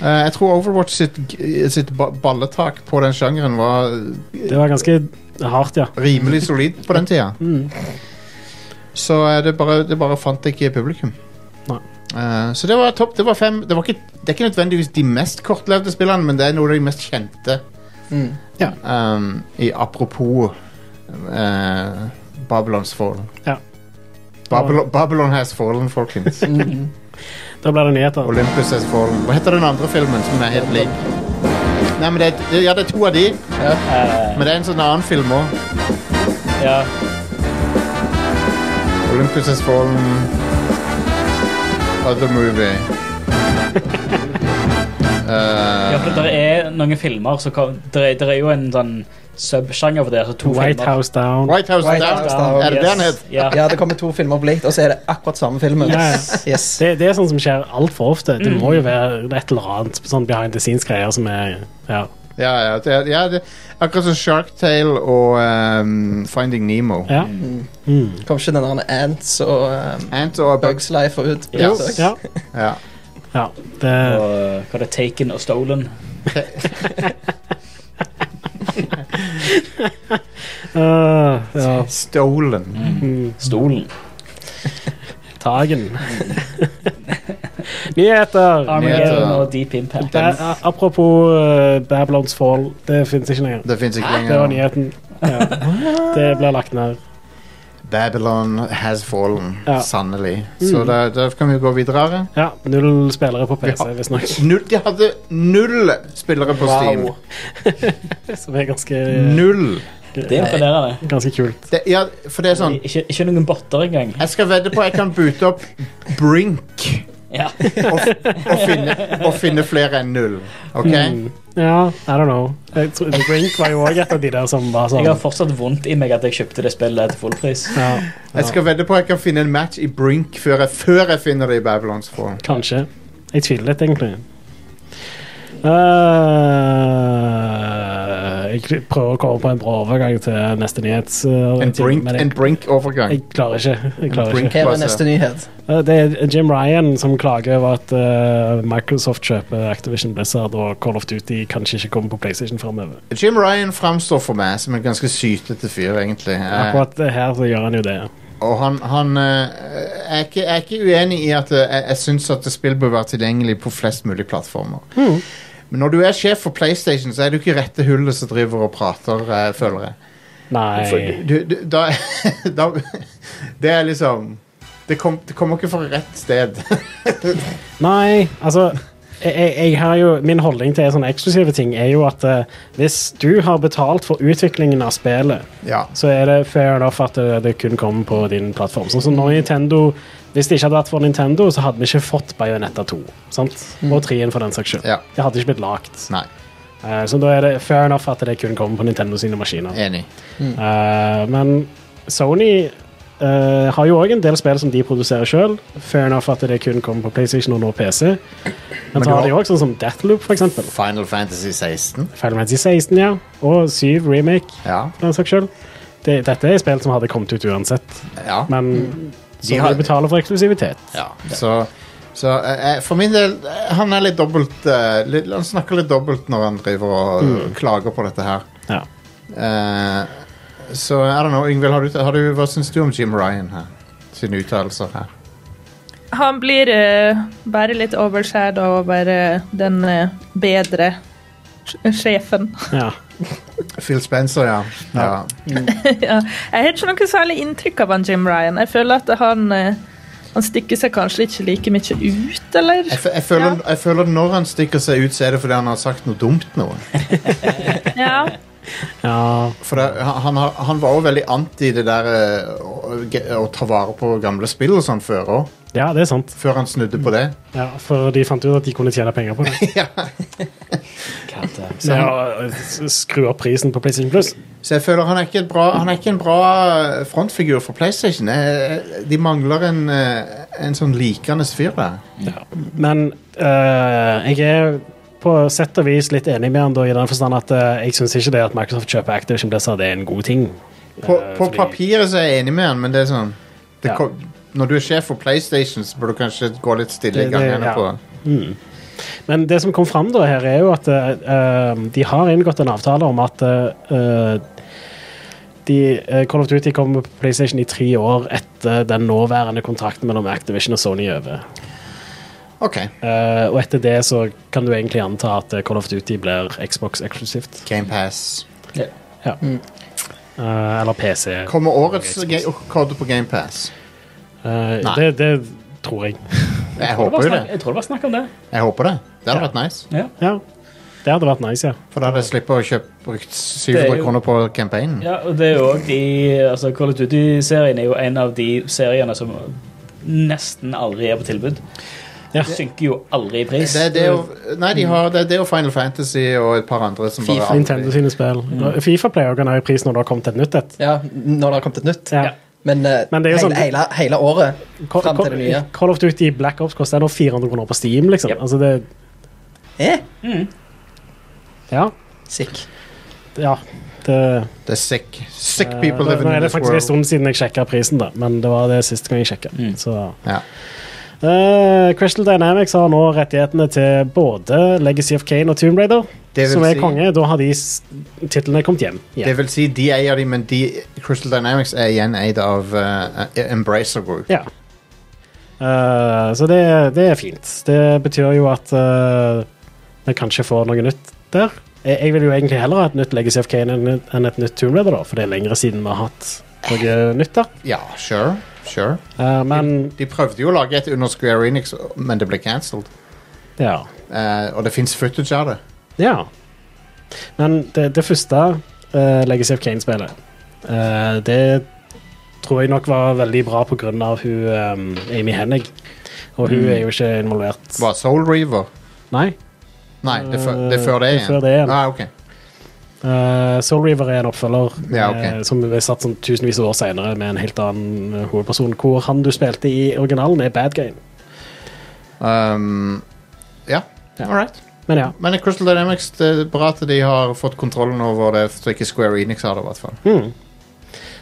S2: Eh, jeg tror Overwatch sitt, g- sitt ba balletak på den sjangeren var
S3: Det var ganske hardt, ja.
S2: rimelig solid på den tida.
S3: Mm.
S2: Så eh, det bare, det bare fant ikke publikum.
S3: Nei.
S2: Eh, så det var topp. Det var fem det, var ikke, det er ikke nødvendigvis de mest kortlevde spillene, men det er noen av de mest kjente.
S5: Mm.
S2: um, i apropos eh, Babylons fall.
S3: Ja.
S2: Babylon, Babylon has fallen, folkens.
S5: Mm.
S3: Da blir det nyheter.
S2: Olympus has fallen. Hva heter den andre filmen som er helt lik? Nei, men det er, det- ja, det er to av de,
S4: Eh,
S2: men det er en sånn annen film òg.
S4: ja.
S2: Olympus has fallen. Other movie. Eh,
S4: ja, for det er noen filmer som kom- Det er, det er jo en sånn subsjanger for det. Altså to
S3: White
S4: filmer.
S3: House Down.
S2: White House
S5: White
S2: Down.
S5: House Down,
S2: Er det det den
S4: yes.
S2: het?
S4: Ja.
S5: Ja, det kommer to filmer opp likt, og så er det akkurat samme filmen.
S3: Ja, ja.
S5: Yes.
S3: Det, det er sånn som skjer altfor ofte. Det må jo være et eller annet sånn behind the scenes-greier som er ja.
S2: Ja, ja, det, er- ja det, akkurat som Shark Tale og um, Finding Nemo.
S3: Ja. Mm.
S5: Kom ikke den der Ants og um,
S2: Ant og Bugs.
S5: Bugs Life ut?
S4: Ja.
S5: Yes.
S3: ja.
S2: Ja.
S3: ja. Det,
S4: Og eh, hva er det Taken og Stolen?
S3: Øh, ja.
S2: Stolen.
S3: Mm.
S4: Stolen.
S3: Tagen. Nyheter!
S4: Armageddon
S2: Nyheter.
S4: og Deep Impact.
S3: Ba apropos eh, Babylons Fall, det fins ikke lenger.
S2: Det fins ikke
S3: Det
S2: lenger.
S3: var nyheten. Ja. Det blir lagt ned.
S2: Babylon has fallen.
S3: Ja. Mm.
S2: Sannelig. Så da, da kan vi gå videre.
S3: Ja, null spillere på PC,
S2: Ja.
S3: visstnok.
S2: Null, de hadde null spillere på Steam.
S5: Wow.
S3: Som er ganske,
S2: Null.
S4: Det er imponerende.
S3: ganske kult.
S2: Det, ja, for det er sånn
S4: Ikke, ikke noen botter engang.
S2: Jeg skal vedde på at jeg kan boote opp Brink
S4: Ja.
S2: og, og, finne, og finne flere enn null. OK?
S3: Mm. Ja, I don't know. Jeg tror, The Brink var jo òg et av de der som var sånn.
S4: Jeg har fortsatt vondt i meg at jeg kjøpte det spillet til full pris.
S3: Ja,
S2: Jeg skal vedde på at jeg kan finne en match i Brink før jeg, før jeg finner det i Babylons Fall.
S3: kanskje. Jeg tviler litt, egentlig. Eh, jeg prøver å komme på en bra overgang til neste nyhet. eh,
S2: En
S3: til-
S2: Brink-
S3: men
S2: En
S3: jeg,
S2: Brink-overgang.
S3: jeg klarer ikke. Jeg klarer
S2: Brink.
S3: ikke.
S5: Her er neste nyhet.
S3: Eh, Det er Jim Ryan som klager over at eh, Microsoft kjøper Activision Blizzard og Call of Duty kanskje ikke kommer på PlayStation framover.
S2: Jim Ryan framstår for meg som en ganske sytete fyr, egentlig. Eh,
S3: Akkurat her så gjør han jo det.
S2: Og han, han eh, er, ikke, er ikke uenig i at eh, jeg, jeg syns at spill bør være tilgjengelig på flest mulig plattformer. Men når du er sjef for PlayStation, så er du ikke rette hullet som driver og prater, eh, føler jeg. For,
S3: Nei.
S2: du, du, da, da Det er liksom det, kom, det kommer ikke fra rett sted.
S3: Nei, altså jeg, jeg, jeg har jo, Min holdning til sånne eksklusive ting er jo at eh, hvis du har betalt for utviklingen av spillet,
S2: ja.
S3: så er det fair enough at det, det kun kommer på din plattform. Sånn som når Nintendo Hvis det ikke hadde vært for Nintendo, så hadde vi ikke fått Bayonetta 2. Sant? Og 3-en for den saks skyld.
S2: Mm. Ja.
S3: Det hadde ikke blitt lagt.
S2: Nei.
S3: Eh, Så da er det fair enough at det kun kommer på Nintendo sine maskiner.
S2: Enig.
S3: Eh, men Sony eh, har jo òg en del spill som de produserer sjøl. Fair enough at det kun kommer på PlayStation og nå PC. Men
S2: du
S3: så har
S2: har-
S3: de òg sånn som Deathloop, for eksempel.
S2: Final Fantasy 16.
S3: Final Fantasy 16, ja. Og 7 Remake,
S2: Ja.
S3: for den saks skyld. Det, dette er spill som hadde kommet ut uansett,
S2: ja.
S3: men som Mm. de,
S2: har-
S3: betaler for eksklusivitet.
S2: Ja, så, så eh, eh, for min del eh, Han er litt dobbelt eh, litt, Han snakker litt dobbelt når han driver og klager på dette her.
S3: Ja.
S2: Eh, så I don't know, Yngvild, har du, har du, hva syns du om Jim Ryan her? Sine uttalelser her.
S6: Han blir eh, bare litt overshadow over eh, den eh, bedre sj- sjefen.
S3: ja.
S2: Phil Spencer, ja. ja.
S6: ja. Jeg har ikke noe særlig inntrykk av han Jim Ryan. Jeg føler at han, eh, han stikker seg kanskje ikke like mye ut, eller?
S2: Jeg, f- jeg, føler, jeg føler når han stikker seg ut, så er det fordi han har sagt noe dumt noe.
S6: Ja.
S3: ja.
S2: For det, han, han har- han var jo veldig anti det der eh, å, å ta vare på gamle spill og sånn før òg.
S3: Ja, det er sant.
S2: Før han snudde på det.
S3: Ja, for de fant ut at de kunne tjene penger på det. Med å eh, s- skru opp prisen på PlayStation Plus.
S2: Så jeg føler han er ikke, et bra, han er ikke en bra frontfigur for PlayStation. Jeg- jeg- De mangler en, eh, en sånn likende fyr der.
S3: Men øh, jeg er på sett og vis litt enig med han da, i den forstand at eh, jeg syns ikke det at Microsoft kjøper Activision Blizzard er en god ting.
S2: På,
S3: Eh,
S2: på
S3: fordi-
S2: papiret så er jeg enig med han, men det er sånn det
S3: Ja.
S2: kom, Når du er sjef for PlayStation, så bør du kanskje gå litt stille i
S3: Det- det-
S2: gangene
S3: ja.
S2: på
S3: Mm. Men det som kom fram da her, er jo at eh, eh, de har inngått en avtale om at eh, eh, de, eh, Call of Duty kommer på PlayStation i tre år etter den nåværende kontrakten mellom Activision og Sony er over.
S2: OK,
S3: Eh, og etter det så kan du egentlig anta at eh, Call of Duty blir Xbox eksklusivt.
S2: GamePass.
S3: Eh, eller PC.
S2: Kommer årets ga- kode på GamePass?
S3: Eh,
S2: Nei.
S3: det, det tror jeg.
S2: Jeg
S4: tror det var
S2: håper jo det.
S4: snakk- Jeg tror det var snakk om det.
S2: Jeg håper det. Det hadde
S3: Ja.
S2: vært nice.
S3: Ja. Det hadde vært nice, ja.
S2: For da hadde jeg sluppet å kjøpe brukt
S4: Det er
S2: 700
S4: jo-
S2: kroner på campaignen.
S4: Ja, og det er jo også de altså Call of Duty-serien er jo en av de seriene som nesten aldri er på tilbud.
S3: Ja.
S4: Den synker jo aldri i pris.
S2: Det, er det og, nei,
S4: Mm.
S2: de har, det, er det og Final Fantasy og et par andre som bare aldri-
S3: Nintendo sine spill. Fifa pleier å gå ned i pris når det har kommet et nytt et.
S5: Ja, når det har kommet et nytt.
S3: Ja.
S4: Ja.
S5: Men, eh,
S3: Men det er jo
S5: hele,
S3: sånn-
S5: hele, hele året
S3: Call,
S5: Frem til det nye.
S3: Call- Call of Duty Black Ops koster nå 400 kroner på Steam, liksom.
S4: Yep.
S3: Altså det,
S5: eh,
S3: ja,
S5: Sick.
S3: ja. Det,
S2: Det er sick. Sick people
S3: eh,
S2: living
S3: nå er
S2: in
S3: det
S2: this
S3: faktisk en
S2: world.
S3: stund siden jeg sjekka prisen, da, men det var det siste gang jeg sjekka.
S4: Mm.
S3: Så
S2: Ja.
S3: Eh, Crystal Dynamics har nå rettighetene til både Legacy of Kane og Tomb Raider,
S2: Det vil
S3: som er
S2: si-
S3: konge. Da har de s- titlene kommet hjem.
S2: Det
S3: igjen.
S2: vil si, de eier de, men de, Crystal Dynamics er igjen eid av eh, Embracer Group.
S3: Ja. Eh, så det, det er fint. Det betyr jo at eh, vi kanskje får noe nytt der. Jeg, jeg vil jo egentlig heller ha et nytt Legacy of Kane enn et- enn et nytt Tomb Raider, da, for det er lengre siden vi har hatt noe nytt der.
S2: Ja, sure. sure.
S3: Eh, men
S2: De prøvde jo å lage et under Square Enix, men det ble cancelled.
S3: ja.
S2: Eh, og det fins footage av det.
S3: Ja. Men det, det første eh, Legacy of Kane-spillet, eh, det tror jeg nok var veldig bra på grunn av hun eh, Amy Hennig. Og hun er jo ikke involvert.
S2: Var Soul Reaver?
S3: Nei.
S2: Nei, det er, før, det er før det
S3: Eh, Det er
S2: igjen.
S3: før det igjen.
S2: Ah, ok.
S3: Eh, Soul Reaver er en oppfølger
S2: Ja, ok.
S3: eh, som er satt sånn tusenvis av år senere med en helt annen eh, hovedperson, hvor han du spilte i originalen, er bad guy.
S2: Um, ja.
S3: Ja.
S2: All right.
S3: Men ja.
S2: Men Crystal Dynamics, det er bra at de har fått kontrollen over det, så ikke Square Enix har det, i hvert fall.
S3: Mm.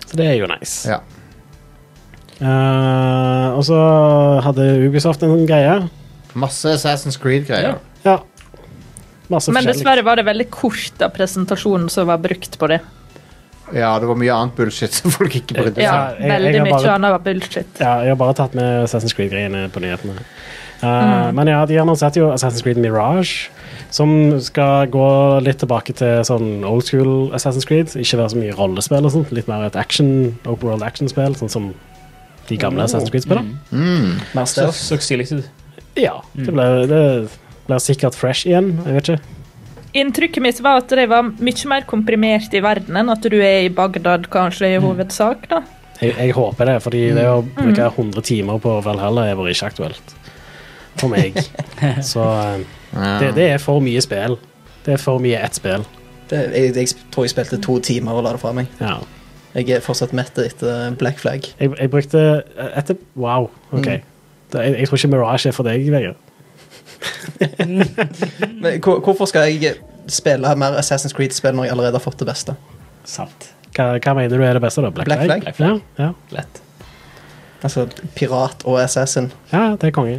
S3: Så det er jo nice.
S2: Hmm. Ja.
S3: Eh, og så hadde Ubisoft en greie.
S2: Masse Assassin's Creed-greier.
S3: Ja. Masse
S6: Men
S3: forskjellig.
S6: dessverre var det veldig kort av presentasjonen som var brukt på det.
S2: Ja. det var mye annet bullshit som folk ikke brydde
S6: Ja,
S2: seg om.
S3: jeg- jeg
S6: veldig
S3: har
S6: mye
S3: bare-
S6: annet var bullshit.
S3: Ja, jeg har bare tatt med Assassin's Creed-greiene på nyhetene. Eh, Men ja, de annonserte jo Assassin's Creed Mirage, som skal gå litt tilbake til sånn old school Assassin's Creed. Ikke være så mye rollespill og sånt, litt mer et action, open world action-spill, sånn som de gamle Assassin's
S4: Mm.
S3: Creed-spillene.
S2: Mm.
S4: Mer stealth. Så, så stilig ut.
S3: Ja, det blir, det blir sikkert fresh igjen, jeg vet ikke.
S6: Inntrykket mitt var at de var mye mer komprimert i verden enn at du er i Bagdad, kanskje, i
S3: Mm.
S6: hovedsak. da.
S3: Jeg, jeg håper det, fordi det å bruke 100 timer på Valhalla er bare ikke aktuelt. For meg. Så eh,
S2: Ja.
S3: det, det er for mye spill. Det er for mye ett spill.
S5: Det, jeg, jeg tror jeg spilte to timer og la det fra meg.
S3: Ja.
S5: Jeg er fortsatt mett etter Black Flag.
S3: Jeg, jeg brukte eh, etter, Wow, ok. Da- Jeg, jeg tror ikke Mirage er for deg, Vegard.
S5: Men hvor, hvorfor skal jeg spille mer Assassin's Creed-spill når jeg allerede har fått det beste?
S4: Sant.
S3: Hva, hva mener du er det beste, da? Black,
S5: Black
S3: Flag?
S5: Flag.
S4: Black Flag.
S3: Ja, ja.
S4: Lett.
S5: Altså pirat og assassin.
S3: ja, det er konge.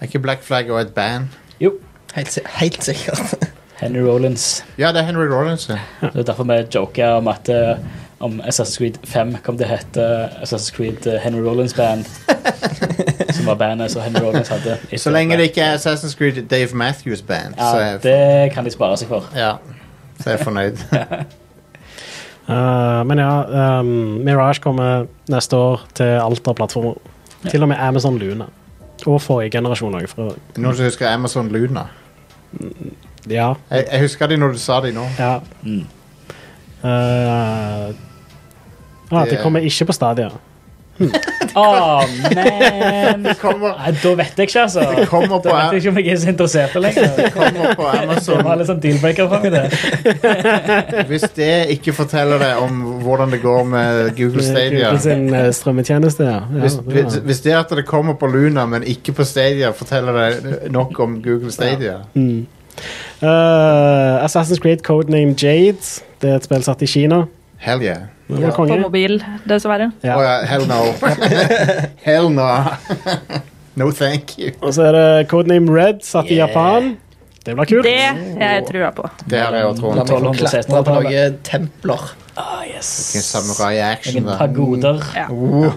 S2: Er ikke Black Flag og et band?
S5: Helt, si- helt sikkert.
S4: Henry Rollins.
S2: Ja, det er Henry Rollins. ja.
S4: Det er derfor vi joker om at eh, om Assassin's Creed 5 kom til å hete Assassin's Creed eh, Henry Rollins Band. som var bandet som Henry Rollins hadde.
S2: Så lenge det ikke er Assassin's Creed Dave Matthews Band, så er
S4: ja,
S2: jeg, for-
S4: Det kan de spare seg for.
S2: ja, så er jeg fornøyd.
S3: Eh, men ja, ehm, Mirage kommer neste år til alt av plattformer. Til og med Amazon Luna. Og forrige generasjon òg. For,
S2: Noen som husker Amazon Luna?
S3: ja,
S2: Jeg, jeg husker de når du sa de nå.
S3: ja.
S4: Mm.
S3: Eh, ah, det
S2: Det-
S3: kommer ikke på Stadia.
S4: Å, men
S2: Det kommer,
S4: Nei, Da vet jeg ikke, altså.
S2: det kommer,
S4: Da
S2: på,
S4: vet jeg ikke om jeg er så interessert lenger.
S2: kommer på
S4: Det var
S2: Amazon
S4: litt sånn dealbreaker for meg, det.
S2: Hvis det ikke forteller deg om hvordan det går med Google Stadia
S3: Google sin eh, strømmetjeneste, ja. ja,
S2: hvis,
S3: det
S2: hvis
S3: var-
S2: hvis det at det kommer på Luna, men ikke på Stadia, forteller deg nok om Google Stadia
S3: Mm. Eh, Assassin's Creed Codename Jade. Det er et spill satt i Kina.
S2: Hell yeah.
S3: Det var
S6: På
S3: konge.
S6: mobil, dessverre.
S3: Ja.
S2: Å ja, hell no. hell no. no thank you.
S3: Og så er det Codename Red, satt i
S4: Yeah.
S3: Japan. Det blir kult.
S6: Det har jeg trua på.
S2: Det har jeg jo
S4: La
S2: troen
S4: meg-
S2: på.
S5: La meg få klatre på noen templer.
S4: Ah, yes.
S2: Ikke Samurai-action,
S4: Noen
S2: da.
S4: pagoder.
S6: Ja.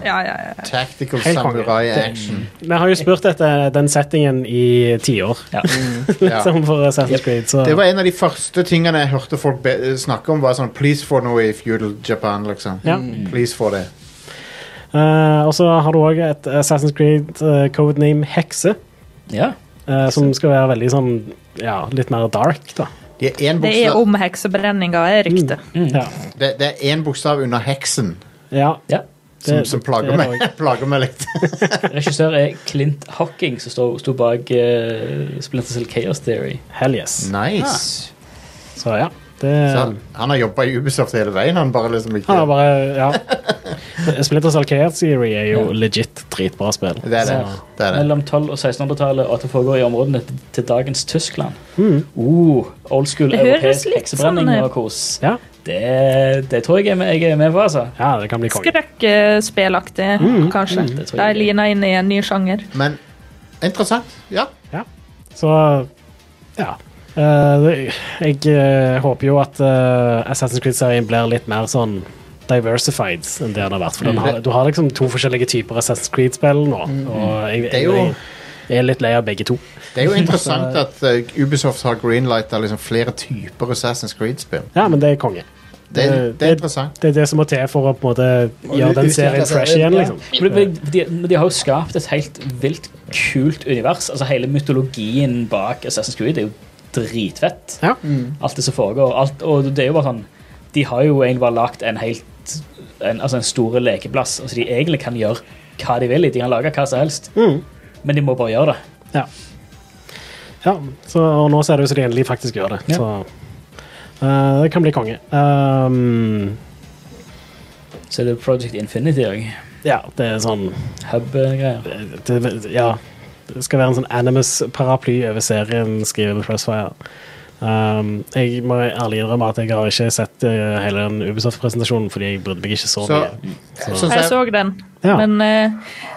S6: Ja, ja, ja.
S2: Tactical
S3: Helt konge.
S2: samurai-action.
S3: Vi har jo spurt etter den settingen i tiår,
S4: Ja.
S2: Ja.
S3: liksom, for Assassin's Creed. Så
S2: Det var en av de første tingene jeg hørte folk be snakke om. var sånn, Please få noe i feudal Japan, liksom.
S3: Ja.
S2: Please få det.
S3: Eh, og så har du òg et Assassin's Creed eh, codename Hekse,
S4: ja.
S3: eh, som skal være veldig sånn Ja, litt mer dark, da.
S2: Det er én
S6: Det er
S2: bokstav,
S6: om heksebrenninga, er riktig.
S3: Ja.
S2: det, det er en bokstav under heksen
S3: ja.
S4: ja.
S2: som,
S3: Det-
S2: som plager,
S3: det er
S2: meg, plager meg litt.
S4: Regissør er Clint Hocking, som sto, sto bak uh, Splinter Cell Chaos Theory.
S3: Hell yes.
S2: Nice.
S3: Så ja. Det,
S2: Så han, han har jobba i Ubisoft hele veien. Han bare liksom ikke
S3: han har bare Ja. Splinter Cell Chaos Theory er jo
S4: Ja.
S3: legit dritbra spill.
S2: Det er det.
S4: Så-
S2: det, er det.
S4: Mellom 1200- og 1600-tallet og at det foregår i områdene til, til dagens Tyskland.
S5: Mm.
S4: Uh, old school
S6: Det høres
S4: europeisk
S6: litt
S4: heksebrenning
S6: sånn ut.
S4: og kos.
S3: Ja.
S4: Det, det tror jeg jeg er med, jeg er med på, altså.
S3: ja, det kan bli konge.
S6: Skrekkspillaktig, kanskje.
S4: det tror
S6: De
S4: jeg.
S6: lina inn i en ny sjanger.
S2: Men interessant. Ja.
S3: Så ja. Eh, det- jeg eh, håper jo at eh, Assassin's Creed-serien blir litt mer sånn diversified enn det den har vært. For den har, du har liksom to forskjellige typer Assassin's Creed-spill nå, og jeg,
S2: Det er
S3: jeg,
S2: jo-
S3: er litt lei av begge to.
S2: Det er jo interessant at eh, Ubisoft har greenlighta liksom flere typer Assassin's Creed-spill.
S3: Ja, men det er konge.
S2: Det, er-
S3: Det-
S2: det er interessant.
S3: Det er det som må til for å på en måte gjøre den
S5: utvikle
S3: serien
S5: serien,
S3: fresh igjen,
S5: ja.
S3: liksom.
S4: Men De, de, men de har jo skapt et helt vilt kult univers. Altså Hele mytologien bak Assassin's Creed er jo dritfett.
S3: Ja.
S4: Alt det som foregår. Alt, og det er jo bare sånn De har jo egentlig bare lagt en helt en, Altså en stor lekeplass. Altså De egentlig kan gjøre hva de vil. i. De kan lage hva som helst,
S3: Mm.
S4: men de må bare gjøre det.
S3: Ja. ja så, og nå ser det ut som de endelig faktisk gjør det.
S4: Ja.
S3: Så eh, det kan bli konge. Um,
S4: Så er det Project Infinity òg.
S3: ja, det er sånn
S4: Hub-greier.
S3: det, det- ja, det skal være en sånn Animus-paraply over serien, skriver The Pressfire. Um, jeg må ærlig innrømme at jeg har ikke sett eh, hele den Ubisoft-presentasjonen, fordi jeg brydde meg ikke så,
S2: Så,
S3: mye.
S2: så,
S6: Jeg
S2: så
S6: så den,
S3: Ja.
S6: men eh,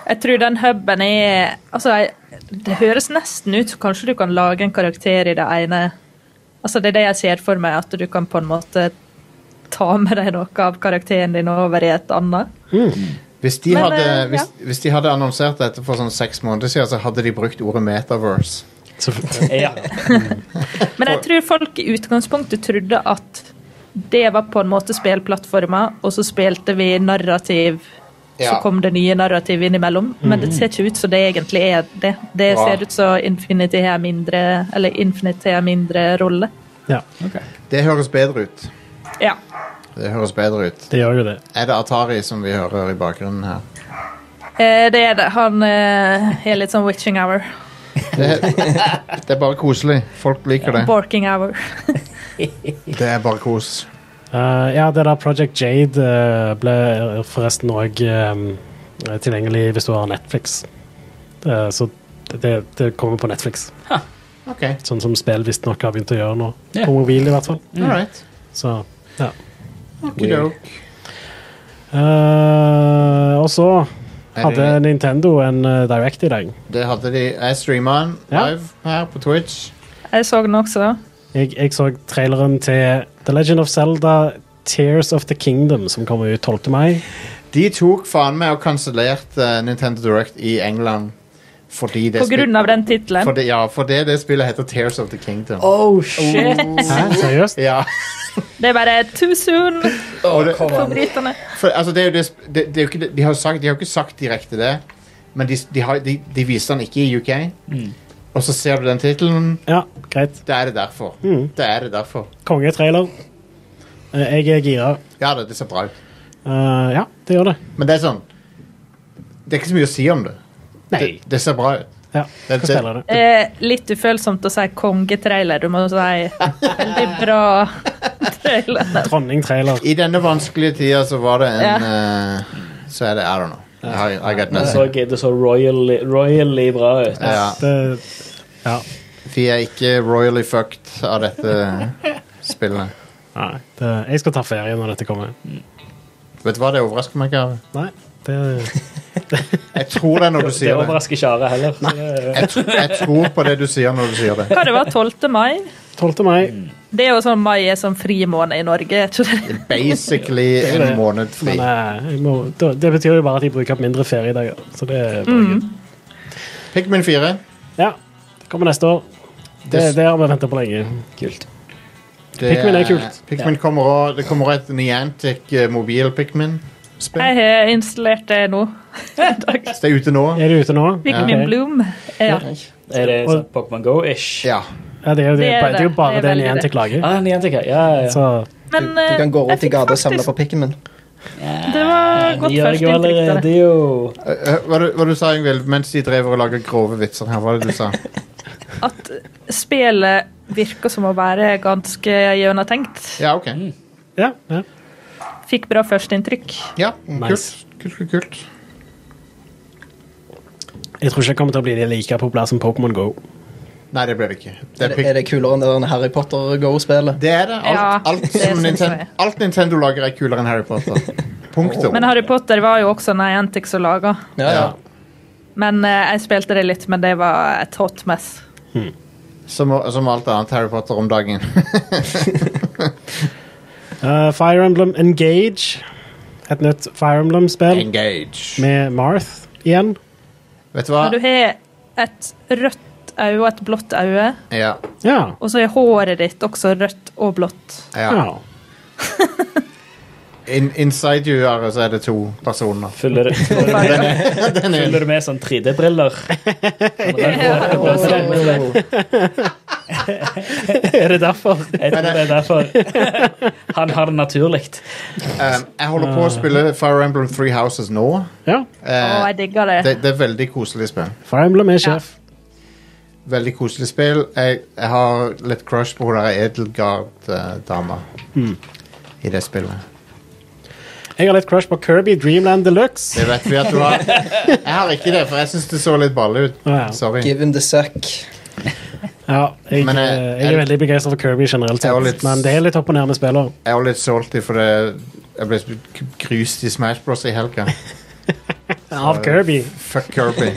S6: jeg tror den huben er Altså, jeg, det høres nesten ut som kanskje du kan lage en karakter i det ene Altså, det er det jeg ser for meg, at du kan på en måte ta med deg noe av karakteren din over i et annet.
S2: hvis, de
S6: Men,
S2: hadde,
S6: eh,
S2: hvis, hvis de hadde annonsert dette for sånn seks måneder siden, så hadde de brukt ordet metaverse.
S3: Så,
S4: Ja.
S6: Men jeg tror folk i utgangspunktet trodde at det var på en måte spillplattforma, og så spilte vi narrativ. Så
S2: Ja. Mhm.
S6: kom det nye narrativ innimellom, men det ser ikke ut som det egentlig er det. Det
S2: Bra.
S6: ser ut som Infinity har mindre, eller Infinity har mindre rolle.
S3: ja,
S2: Det høres bedre ut.
S6: Ja.
S2: Det høres bedre ut.
S3: det gjør jo det.
S2: Er det Atari som vi hører i bakgrunnen her?
S6: Eh, det er det. Han eh, er litt sånn witching hour.
S2: Det, det er bare koselig. Folk liker det.
S6: Borking hour.
S2: Det er bare kos.
S3: Eh, ja, det der Project Jade eh, ble forresten òg tilgjengelig hvis du har Netflix. Eh, så det, det kommer på Netflix,
S2: Ok,
S3: sånn som spill visstnok har begynt å gjøre nå.
S4: Ja.
S3: På mobil, i hvert fall.
S2: all right.
S3: Så, ja.
S2: Okidok.
S3: Eh, og så hadde
S2: Er det-
S3: Nintendo en eh, Direct i dag.
S2: Det hadde de. Jeg streama den
S3: Ja.
S2: live her på Twitch.
S6: Jeg så den også.
S3: Jeg, jeg så traileren til The Legend of Zelda Tears of the Kingdom, som kommer ut 12. mai.
S2: De tok faen meg og kansellerte eh, Nintendo Direct i England fordi det
S6: På grunn av den tittelen.
S2: Fordi, ja, fordi det spillet heter Tears of the Kingdom.
S4: Oh, shit!
S3: Hæ, seriøst?
S2: Ja,
S6: Det er bare too soon
S2: og det,
S6: for britene.
S2: for, altså, det er jo det, sp- det, det er jo ikke, det- de, har jo sagt, de har jo ikke sagt direkte det, men de, de, har, de, de viser den ikke i UK. Og så ser du den tittelen.
S3: Ja, greit.
S2: Da er det derfor. Da er det derfor.
S3: Kongetrailer. Eh, jeg er gira.
S2: Ja, det, det ser bra ut.
S3: Eh, ja, det gjør det.
S2: Men det er sånn Det er ikke så mye å si om det. Det,
S3: Nei.
S2: det ser bra ut.
S3: Ja,
S2: Det-
S3: hva spiller det?
S6: Eh, litt ufølsomt å si kongetrailer. Du må si veldig bra trailer.
S3: Dronning-trailer.
S2: I denne vanskelige tida så var det en
S6: Ja.
S2: eh, Så er det I don't know. I, I got
S4: Det så,
S2: nothing.
S4: det så royally, royally bra ut.
S2: Ja.
S3: Det, ja.
S2: Vi er ikke royally fucked av dette spillet.
S3: Nei, det, jeg skal ta ferie når dette kommer.
S2: Vet du hva, det overrasker meg ikke. Are.
S3: Nei, det
S2: Jeg tror det når du
S4: Det
S2: sier det.
S4: overrasker ikke Are heller. Så det,
S2: Jeg, tr jeg tror på det du sier når du sier det.
S6: Hva det var 12. mai?
S3: 12. mai.
S2: Mm.
S6: Det er jo sånn mai er som fri måned i Norge. Jeg tror det.
S2: Basically
S3: er
S2: en
S3: det.
S2: måned fri.
S3: Men eh, jeg må, det, det betyr jo bare at jeg bruker opp mindre feriedager. Så det er
S6: Mm.
S3: bare good.
S2: Pikmin 4.
S3: Ja. Det kommer neste år. Det,
S2: Det-
S3: det har vi venta på lenge.
S4: kult.
S2: Det
S3: Pikmin er kult.
S2: Pikmin kommer også, det kommer også et Niantic eh, mobil-Pikmin-spill.
S6: Jeg har installert det nå.
S2: Så det er ute nå.
S3: Er det ute nå?
S6: Pikmin
S3: Ok.
S6: Bloom. Ja.
S4: Er det sånn Pokémon Go-ish?
S2: Ja.
S3: Ja, det er jo, det,
S6: Det er
S3: det, er jo
S6: det.
S3: bare
S6: Det er
S3: det,
S6: veldig
S3: Niantic lager.
S4: Ah, Niantic, ja. ja, ja.
S3: Så
S6: Men eh,
S5: Du kan gå rundt i gata og samle på
S6: på
S5: pikken min.
S6: Det var
S4: De
S6: godt
S4: gjør det jo
S6: førsteinntrykk. det der.
S4: allerede, jo.
S2: Eh, eh, Hva du, hva du sa Ingvild mens de drev og laga grove vitser her? Hva var det du sa?
S6: At spillet virker som å være ganske gjennomtenkt.
S2: Ja, OK.
S3: ja. ja.
S6: Fikk bra førsteinntrykk.
S2: Ja,
S3: Nice.
S2: kult. Kult, kult, kult.
S3: Jeg tror ikke det kommer til å bli det like populært som Pokémon Go.
S2: Nei, det ble det ikke. Det
S5: Er
S2: er,
S5: det,
S2: pik
S5: er det kulere enn det der Harry Potter Go-spillet?
S2: det, er det. Alt,
S6: Ja,
S2: alt,
S6: det
S2: som
S6: synes
S2: Ninten-
S6: jeg.
S2: alt Nintendo lager, er kulere enn Harry Potter. Punktum.
S6: Men Harry Potter var jo også Niantic som laga.
S5: Ja, ja.
S6: Men eh, jeg spilte det litt, men det var et hot mess.
S2: Som, som alt annet Harry Potter om dagen.
S3: Eh, Fire Emblem Engage. Et nytt Fire Emblem-spill
S2: Engage.
S3: med Marth igjen.
S2: Vet du hva?
S6: Når du har et rødt øye og et blått øye,
S2: Ja.
S3: Ja.
S6: og så er håret ditt også rødt og blått.
S2: ja.
S3: ja.
S2: In, inside you, Are, så er det to personer.
S4: Følger du, følger
S2: Den er, den er
S4: du med sånn 3D-briller?
S5: Oh.
S3: Er det derfor?
S4: Jeg tror det er derfor han har det naturlig.
S2: Um, jeg holder på å spille Fire Emblem Three Houses nå.
S3: Ja.
S6: Å,
S2: Eh,
S6: jeg digger det.
S2: det, det er veldig koselig spill.
S3: Fire Emblem er sjef.
S2: Veldig koselig spill. Jeg, jeg har litt crush på hun der Edelgard-dama i det spillet.
S3: Jeg har litt crush på Kirby Dreamland Deluxe.
S2: Det vet vi at du har. Jeg har ikke det, for jeg syns det så litt balle ut.
S3: Ja.
S2: Sorry.
S5: Give him the suck.
S3: Ja, jeg,
S2: Men, eh,
S3: eh, jeg er
S2: er-
S3: veldig begeistra for Kirby generelt,
S2: Jeg
S3: sett,
S2: var litt-
S3: men det er litt opp og ned med spiller.
S2: Jeg var litt salty for det. Jeg ble grust i Smash Bros. i helga.
S3: Av Kirby.
S2: Fuck Kirby.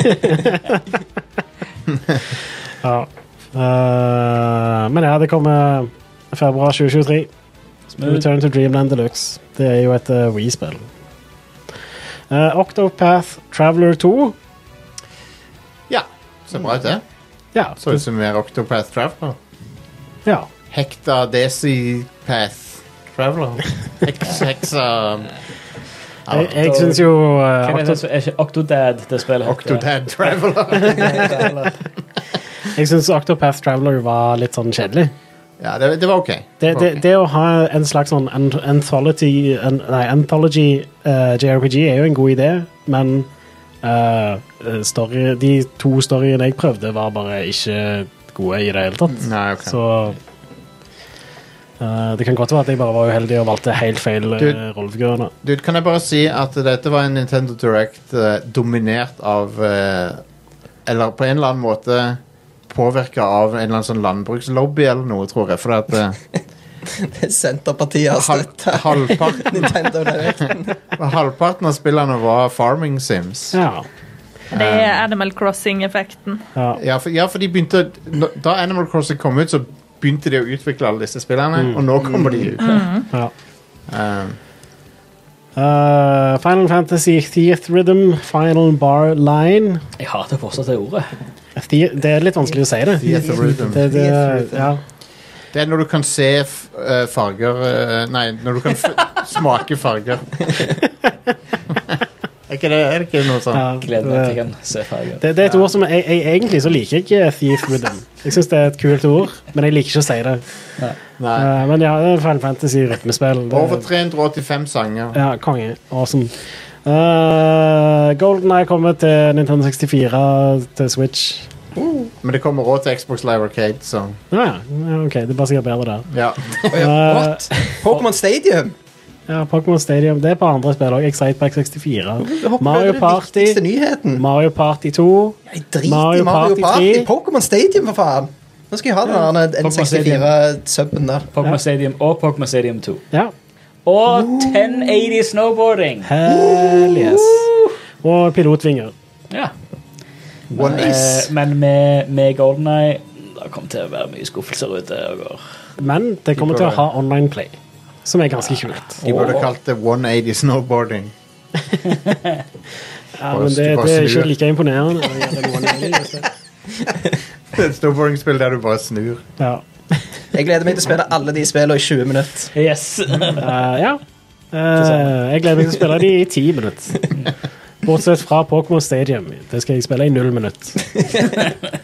S3: Ja. Eh, men ja, det kommer februar 2023.
S4: Mm.
S3: Return to Dreamland Deluxe. Det er jo et uh, Wii-spill. Eh, Octopath Traveler 2.
S2: Ja. Så bra ut, det.
S3: Ja.
S2: Så ut som mer Octopath Traveler.
S3: ja.
S2: Hekta Desipath Traveler. um, Heks, heksa Ja,
S3: Jeg, jeg syns jo eh,
S4: Hvem er det
S3: Octo-
S4: som- er ikke Octodad det spillet heter?
S2: Octodad Traveler.
S3: jeg synes Octopath Traveler var litt sånn kjedelig.
S2: Ja, det, det var ok.
S3: Det,
S2: var
S3: det,
S2: ok.
S3: det å ha en slags sånn an- anthology, an, nei, anthology eh, JRPG er jo en god idé, men eh, story, de to storyene jeg prøvde, var bare ikke gode i det hele tatt.
S2: Nei, ok.
S3: Så eh, det kan godt være at jeg bare var uheldig og valgte helt feil uh,
S2: Du-
S3: rollefigurer. nå.
S2: Dude, kan jeg bare si at dette var en Nintendo Direct eh, dominert av eh, Eller på en eller annen måte påvirka av en eller annen sånn landbrukslobby eller noe, tror jeg. For at eh,
S5: Senterpartiet har
S2: halv,
S5: støtta
S2: halvparten,
S5: Nintendo Direct.
S2: halvparten av spillene var Farming Sims.
S3: Ja.
S6: Det er Animal Crossing-effekten.
S3: ja.
S2: Ja, for, ja, for de begynte nå- Da Animal Crossing kom ut, så begynte de å utvikle alle disse spillene, og nå kommer de ut.
S3: ja.
S2: Eh,
S3: Eh, Final Fantasy Theath Rhythm, Final Bar Line.
S4: Jeg hater fortsatt det ordet.
S3: The det er litt vanskelig å si det.
S2: Theath Rhythm.
S3: Det, det,
S5: Theath Rhythm.
S3: ja.
S2: Det er når du kan se f eh, farger eh, Nei, når du kan f smake farger. er, ikke det, er det ikke noe sånt?
S3: Ja,
S4: Gleder meg til
S3: det-
S4: jeg kan se farger.
S3: Det, det er et ord som jeg, jeg, Egentlig så liker jeg ikke Thief Rhythm. Jeg syns det er et kult ord, men jeg liker ikke å si det.
S2: Nei.
S3: Eh, men ja, det er Final Fantasy-rytmespill. Det-
S2: Over 385 sanger.
S3: Ja, konge. Awesome. Uh, Golden er kommet til Nintendo 64, til Switch.
S2: Men det kommer òg til Xbox Live Arcade, så
S3: Ja, ja, OK. Det er bare sikkert bedre der.
S2: ja.
S5: Oh, ja. What? Pokémon Stadium?
S3: Ja, Pokémon Stadium det er på andre spill òg. Exciteback 64.
S5: Hopper
S3: Mario
S5: over Den
S3: Party.
S5: viktigste nyheten.
S3: Mario Party 2.
S5: Jeg driter
S3: Mario
S5: i Mario
S3: Party
S5: Party.
S3: tre.
S5: Pokémon Stadium, for faen. Nå skal jeg ha den der N64-suben der.
S4: Pokemon Stadium og Pokemon Stadium 2.
S3: Ja.
S4: Og 1080 snowboarding!
S3: Hell yes. Og pilotvinger.
S4: Ja.
S2: One
S4: Eh, men med, med Golden Eye det kommer til å være mye skuffelser ute og går.
S3: Men det kommer til å ha online play, som er ganske kult.
S2: De burde kalt det 180 snowboarding.
S3: Ja, men det, det er ikke like imponerende. å gjøre noe annet.
S2: Det er et snowboardingspill der du bare snur.
S3: Ja.
S5: Jeg gleder meg til å spille alle de spillene i 20 minutter.
S4: Yes.
S2: Mm-hmm.
S3: Eh, ja. Eh, jeg gleder meg til å spille de i ti minutter. Bortsett fra Pokémon Stadium. Det skal jeg spille i null minutt.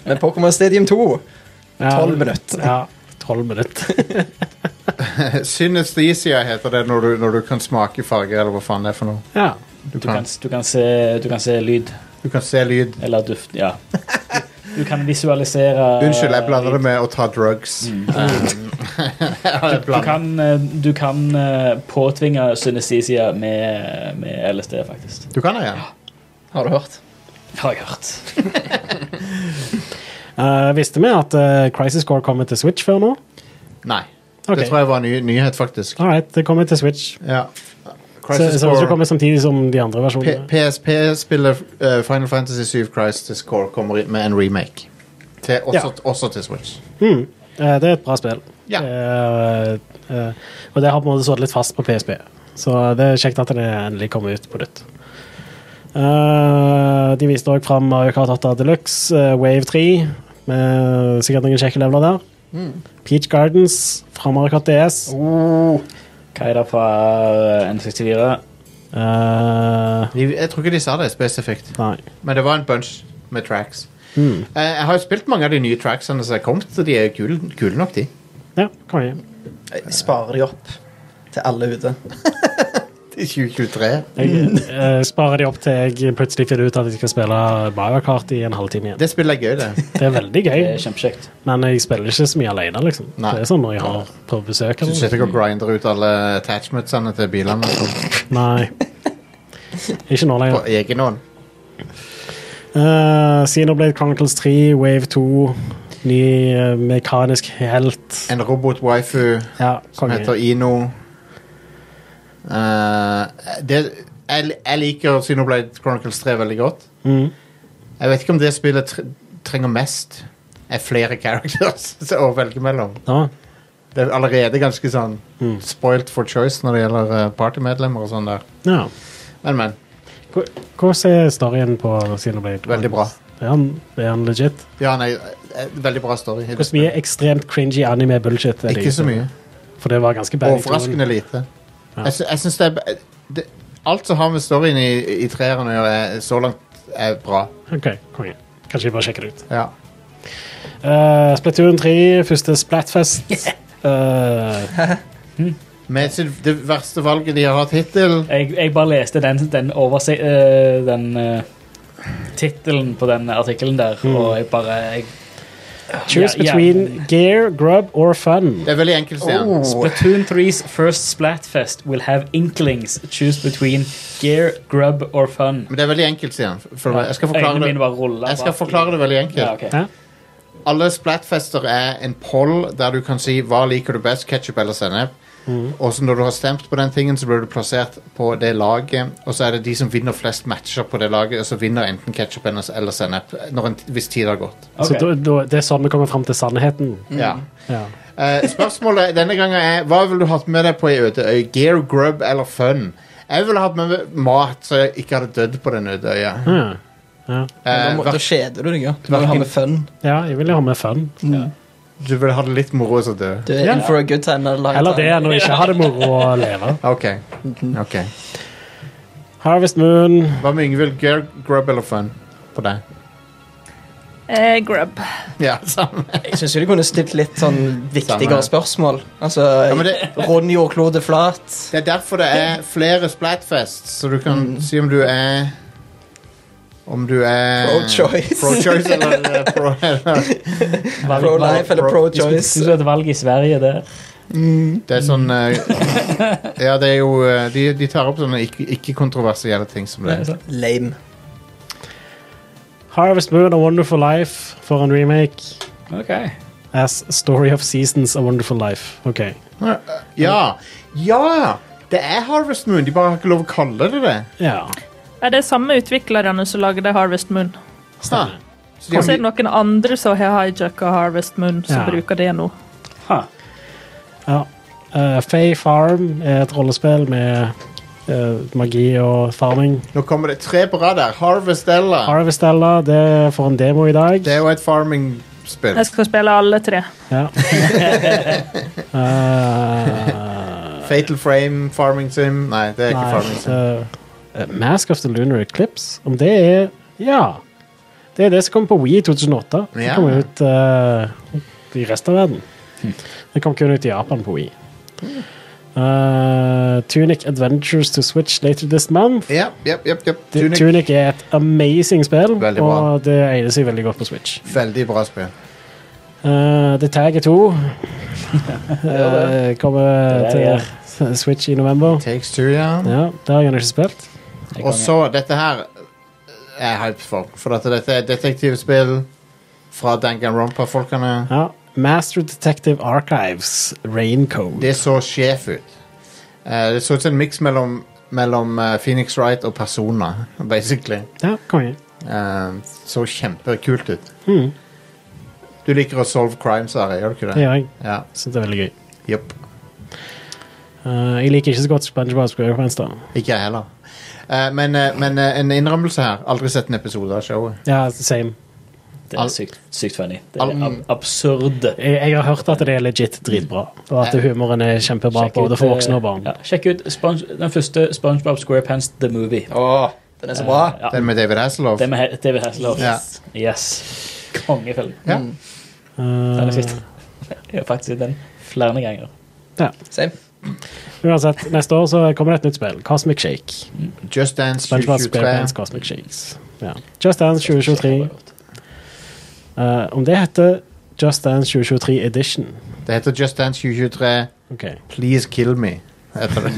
S5: Men Pokémon Stadium 2
S3: Ja.
S5: 12 minutter.
S3: Ja, 12 minutter.
S2: Synesthesia heter det når du, når du kan smake farger, eller hva faen det er for noe.
S3: Ja.
S2: Du
S4: Du kan,
S2: kan,
S4: du, kan se, du kan se lyd
S2: du kan se lyd.
S4: eller duft. Ja. Du kan visualisere
S2: Unnskyld, jeg blander det med å ta drugs.
S3: Mm.
S4: Du kan, eh, du kan eh, påtvinge synestesia med, med LSD, faktisk.
S2: Du kan det, ja.
S5: Har du hørt?
S4: Har jeg hørt.
S3: Eh, visste vi at eh, Crisis Core kommer til Switch før nå?
S2: Nei.
S3: Ok.
S2: Det tror jeg var en ny, nyhet, faktisk.
S3: Alright, det kommer til Switch.
S2: Ja.
S3: Så,
S2: Crisis
S3: så, så
S2: Core.
S3: kommer samtidig som de andre
S2: P-
S3: versjonene.
S2: PSP-spillet eh, Final Fantasy 7 Crisis Core kommer i- med en remake. Til, også, også til Switch.
S3: Mm. Eh, det er et bra spill.
S2: Ja.
S3: Eh, eh, og det har på en måte stått litt fast på PSP, så det er kjekt at det endelig kommer ut på nytt. Eh, de viste òg fram Mario Kart 8 Deluxe, eh, Wave 3, med sikkert noen kjekke leveler der. Peach Gardens fra Mario Kart DS.
S4: Hva er det fra eh, N64?
S3: Eh,
S2: De- Jeg tror ikke de sa det spesifikt,
S3: nei.
S2: men det var en bunch med tracks.
S3: Mm.
S2: Eh, jeg har jo spilt mange av de nye tracksene som er kommet, så de er jo kule, kule nok, de.
S3: Ja, konge.
S5: Jeg sparer de opp til alle ute.
S2: I 2023.
S3: Jeg eh, sparer de opp til jeg plutselig finner ut at jeg skal spille Mario Kart i en halvtime igjen.
S2: Det spillet er gøy, det.
S3: Det er veldig gøy,
S4: Det er kjempekjekt.
S3: men jeg spiller ikke så mye alene, liksom.
S2: Nei.
S3: Det er sånn når jeg har på besøk.
S2: Du
S3: Eller. noe.
S2: sitter ikke og grinder ut alle attachmentsene til bilene. og-
S3: Nei. Ikke nå
S2: På
S3: lenger.
S2: egen hånd.
S3: Uh, Xenoblade Chronicles 3, Wave 2, ny eh, mekanisk helt.
S2: En robot-waifu
S3: Ja,
S2: som heter
S3: konge.
S2: Ino. Eh, det, jeg, jeg liker Xenoblade Chronicles 3 veldig godt.
S3: Mm.
S2: Jeg vet ikke om det spillet tre trenger mest. Er flere characters å velge mellom.
S3: Ja.
S2: Det er allerede ganske sånn
S3: Mm.
S2: spoilt for choice når det gjelder eh, partymedlemmer og sånn der.
S3: ja.
S2: Men, men.
S3: Hvor- Hvordan er storyen på Xenoblade?
S2: Veldig bra.
S3: Er han, er han legit?
S2: Ja, nei, eh, veldig bra story.
S3: Hvor mye ekstremt cringy anime-bullshit er det? liksom?
S2: Ikke så mye.
S3: For det var ganske bad. i tonen.
S2: Overraskende lite.
S3: Ja.
S2: Jeg, sy jeg syns det er b- det, Alt som har med storyen i, i treeren å gjøre, er- så langt er bra.
S3: Ok, konge. Kanskje jeg bare sjekker det ut.
S2: Ja.
S3: Eh, Splatoon 3, første Splatfest. Eh,
S2: Med sitt, det verste valget de har hatt hittil
S4: Jeg, jeg bare leste den, den, overse, eh, den eh, tittelen på den artikkelen der,
S2: Mm.
S4: og jeg bare jeg,
S3: choose
S4: Ja, ja.
S3: between gear, grub or fun.
S2: Det er veldig enkelt, sier han.
S5: Oh.
S4: Splatoon 3's first Splatfest will have inklings. Choose between gear, grub or fun.
S2: Men det er veldig enkelt, sier han. For meg. Jeg skal
S4: Øynene mine
S2: forklare det,
S4: bare ruller.
S2: jeg skal forklare det veldig enkelt.
S4: Ja, ok.
S3: Ja.
S2: Alle splatfester er en poll der du kan si hva liker du best, ketchup eller sennep.
S3: Mm.
S2: Og så når du har stemt på den tingen, så blir du plassert på det laget. Og så er det de som vinner flest matcher på det laget, og så vinner enten ketchup eller sennep når en hvis tid har gått.
S3: Så
S4: Ok.
S3: da, da, det er sånn vi kommer fram til sannheten.
S2: Ja.
S4: Mm.
S3: Ja.
S2: Eh, spørsmålet denne gangen er hva vil du ha med deg på ei øde øy? Gear, grub eller fun? Jeg ville hatt med meg mat så jeg ikke hadde dødd på den øde øya.
S3: Ja.
S4: Mm.
S3: Ja.
S5: Da
S2: Eh,
S5: må- da
S2: hver-
S5: kjeder du deg jo. Du må jo ha med fun.
S3: ja, jeg vil jo ha med fun.
S2: du ville ha det litt moro og så dø.
S5: Du er in for a good time. Eller,
S3: Eller det enn å ikke ha det moro å leve.
S2: OK. ok
S3: Harvest Moon.
S2: Hva med Yngvild? Gear, grub eller fun på deg?
S6: Eh, grub.
S2: Ja, samme.
S5: Jeg syns de kunne stilt litt sånn viktigere
S2: Samme.
S5: spørsmål. Altså,
S2: men det-
S5: Rund jordklode flat.
S2: Det er derfor det er flere Splatfests, så du kan si om du er Om du er
S5: Pro-choice.
S2: Pro-choice eller eh, pro, eller.
S4: Valg-
S5: Pro
S4: valg-
S5: life eller
S2: pro-
S5: pro
S4: Hvis
S5: choice.
S4: du hadde valg i Sverige der
S2: Det er sånn eh, Ja, det er jo eh, De, de tar opp sånne ikke- ikke-kontroversielle ting som det. er.
S5: Lame.
S3: Harvest Moon og Wonderful Life for en remake.
S4: Ok.
S3: as Story of Seasons, A Wonderful Life. Ok.
S2: Ja! Ja! Det er Harvest Moon, de bare har ikke lov å kalle det det.
S3: Ja.
S6: Er det samme utviklerne som lagde Harvest Moon?
S2: Ha.
S3: Stemmer.
S2: Så de
S6: Og så
S2: har,
S6: er det noen andre som har hijacka Harvest Moon, som
S3: Ja.
S6: bruker det nå.
S4: Ha.
S3: Ja. Eh, Fae Farm er et rollespill med eh, magi og farming.
S2: nå kommer det tre på rad der. Harvestella.
S3: Harvestella det får en demo i dag.
S2: Det er jo et farming-spill.
S6: Jeg skal spille alle tre.
S3: Ja. Eh,
S2: Fatal Frame, Farming Sim Nei, det er ikke
S3: nei,
S2: Farming Sim.
S3: så- eh, Mask of the Lunar Eclipse. Om det er Ja. Det er det som kom på Wii i 2008. Det
S2: Ja.
S3: kom ut eh, i resten av verden. Det kom kun ut i Japan på Wii. Eh, Tunic Adventures to Switch later this month.
S2: Ja, jepp, jepp, jepp.
S3: Det- Tunic.
S2: Tunic.
S3: er et amazing spill,
S2: Veldig bra.
S3: og det egner seg veldig godt på Switch.
S2: Veldig bra spill.
S3: Eh, The Tag er to. Eh, kommer
S4: Det er
S3: til
S4: det
S3: Switch i november.
S2: Takes two, ja.
S3: Ja, Det har jeg ennå ikke spilt.
S4: Jeg
S2: Og
S4: kan-
S2: så, dette her er jeg hyped for. For at dette er detektivspill fra Danganronpa-folkene.
S3: Ja. Master Detective Archives, Raincode.
S2: Det så sjef ut. Eh, det så ut som en miks mellom, mellom eh, Phoenix Wright og Persona, basically.
S3: Ja, konge.
S2: Eh, så kjempekult ut.
S3: Mm,
S2: Du liker å solve crimes, Ari, gjør du ikke
S3: det
S2: det?
S3: gjør jeg.
S2: Ja.
S3: Syns det er veldig gøy.
S2: Jepp.
S3: Eh, jeg liker ikke så godt SpongeBob SquarePants. da
S2: Ikke jeg heller. Eh, men eh, men eh, en innrømmelse her. Aldri sett en episode av showet.
S3: Ja, same.
S4: Det er sykt, sykt funny. Det er
S2: Al-
S4: ab absurd.
S3: Jeg, jeg har hørt at det er legit dritbra, og at humoren er kjempebra
S4: Sjekk
S3: både
S4: ut,
S3: for
S4: eh,
S3: voksne og barn.
S4: Ja, sjekk ut Sponge, den første SpongeBob SquarePants The Movie.
S5: Åh, den er så bra.
S4: Ja,
S2: Den med David Hasselhoff.
S4: det med He- David Hasselhoff.
S2: Ja.
S4: Yes. Kongefilm.
S2: Ja.
S5: Mm.
S4: Den
S3: Eh,
S4: er sykt. Jeg har faktisk sett den flere ganger.
S3: ja.
S5: Same.
S3: Uansett, neste år så kommer det et nytt spill. Cosmic Shake.
S2: Just Dance
S3: SpongeBob
S2: 2023.
S3: SquarePants Cosmic Shakes. Ja. Just Dance 2023. Eh, om det heter Just Dance 2023 Edition
S2: Det heter Just Dance 2023.
S3: Ok.
S2: Please kill me. Heter det.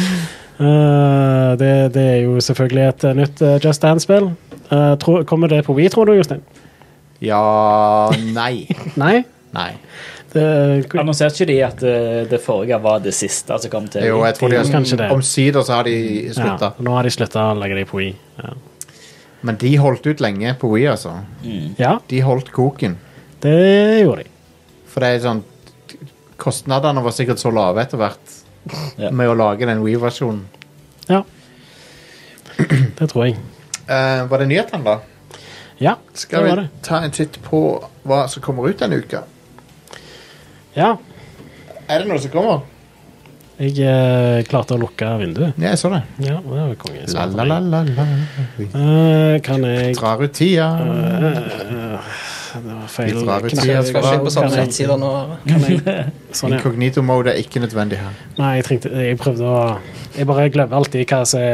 S3: Eh, det, det er jo selvfølgelig et eh, nytt eh, Just Dance-spill. Eh, tror- kommer det på Wii, tror du, Jostein?
S2: Ja Nei.
S3: Nei?
S2: Nei.
S3: Det,
S4: Annonserte ikke de at eh, det forrige var det siste som kom til?
S2: Jo, jeg tror de
S3: Kanskje det. Mm.
S2: har Omsider så har de
S3: ja,
S2: slutta.
S3: nå har de slutta å legge det på Wii. Ja.
S2: Men de holdt ut lenge på We, altså.
S3: ja,
S2: De holdt koken.
S3: det gjorde de.
S2: For det er sånn Kostnadene var sikkert så lave etter hvert
S4: Ja.
S2: med å lage den We-versjonen.
S3: Ja. Det tror jeg.
S2: Eh, var det nyhetene, da?
S3: Ja,
S2: Skal vi
S3: det var det.
S2: ta en titt på hva som kommer ut denne uka?
S3: Ja.
S2: Er det noe som kommer?
S3: Jeg eh, klarte å lukke vinduet.
S2: Ja, jeg så det.
S3: Ja, det var konge.
S2: La, la, la, la, la. Eh, Vi
S3: Eh, kan jeg eh,
S2: drar ut tida.
S3: Det var
S2: Vi
S3: feil
S2: drar ut
S3: knapp.
S2: tida.
S5: Jeg skal ikke inn på samme
S3: Kan jeg-
S5: nettside nå.
S3: Sånn, ja.
S2: Incognito mode er ikke nødvendig her.
S3: Nei, jeg trengte Jeg prøvde å Jeg bare glemmer alltid hva som er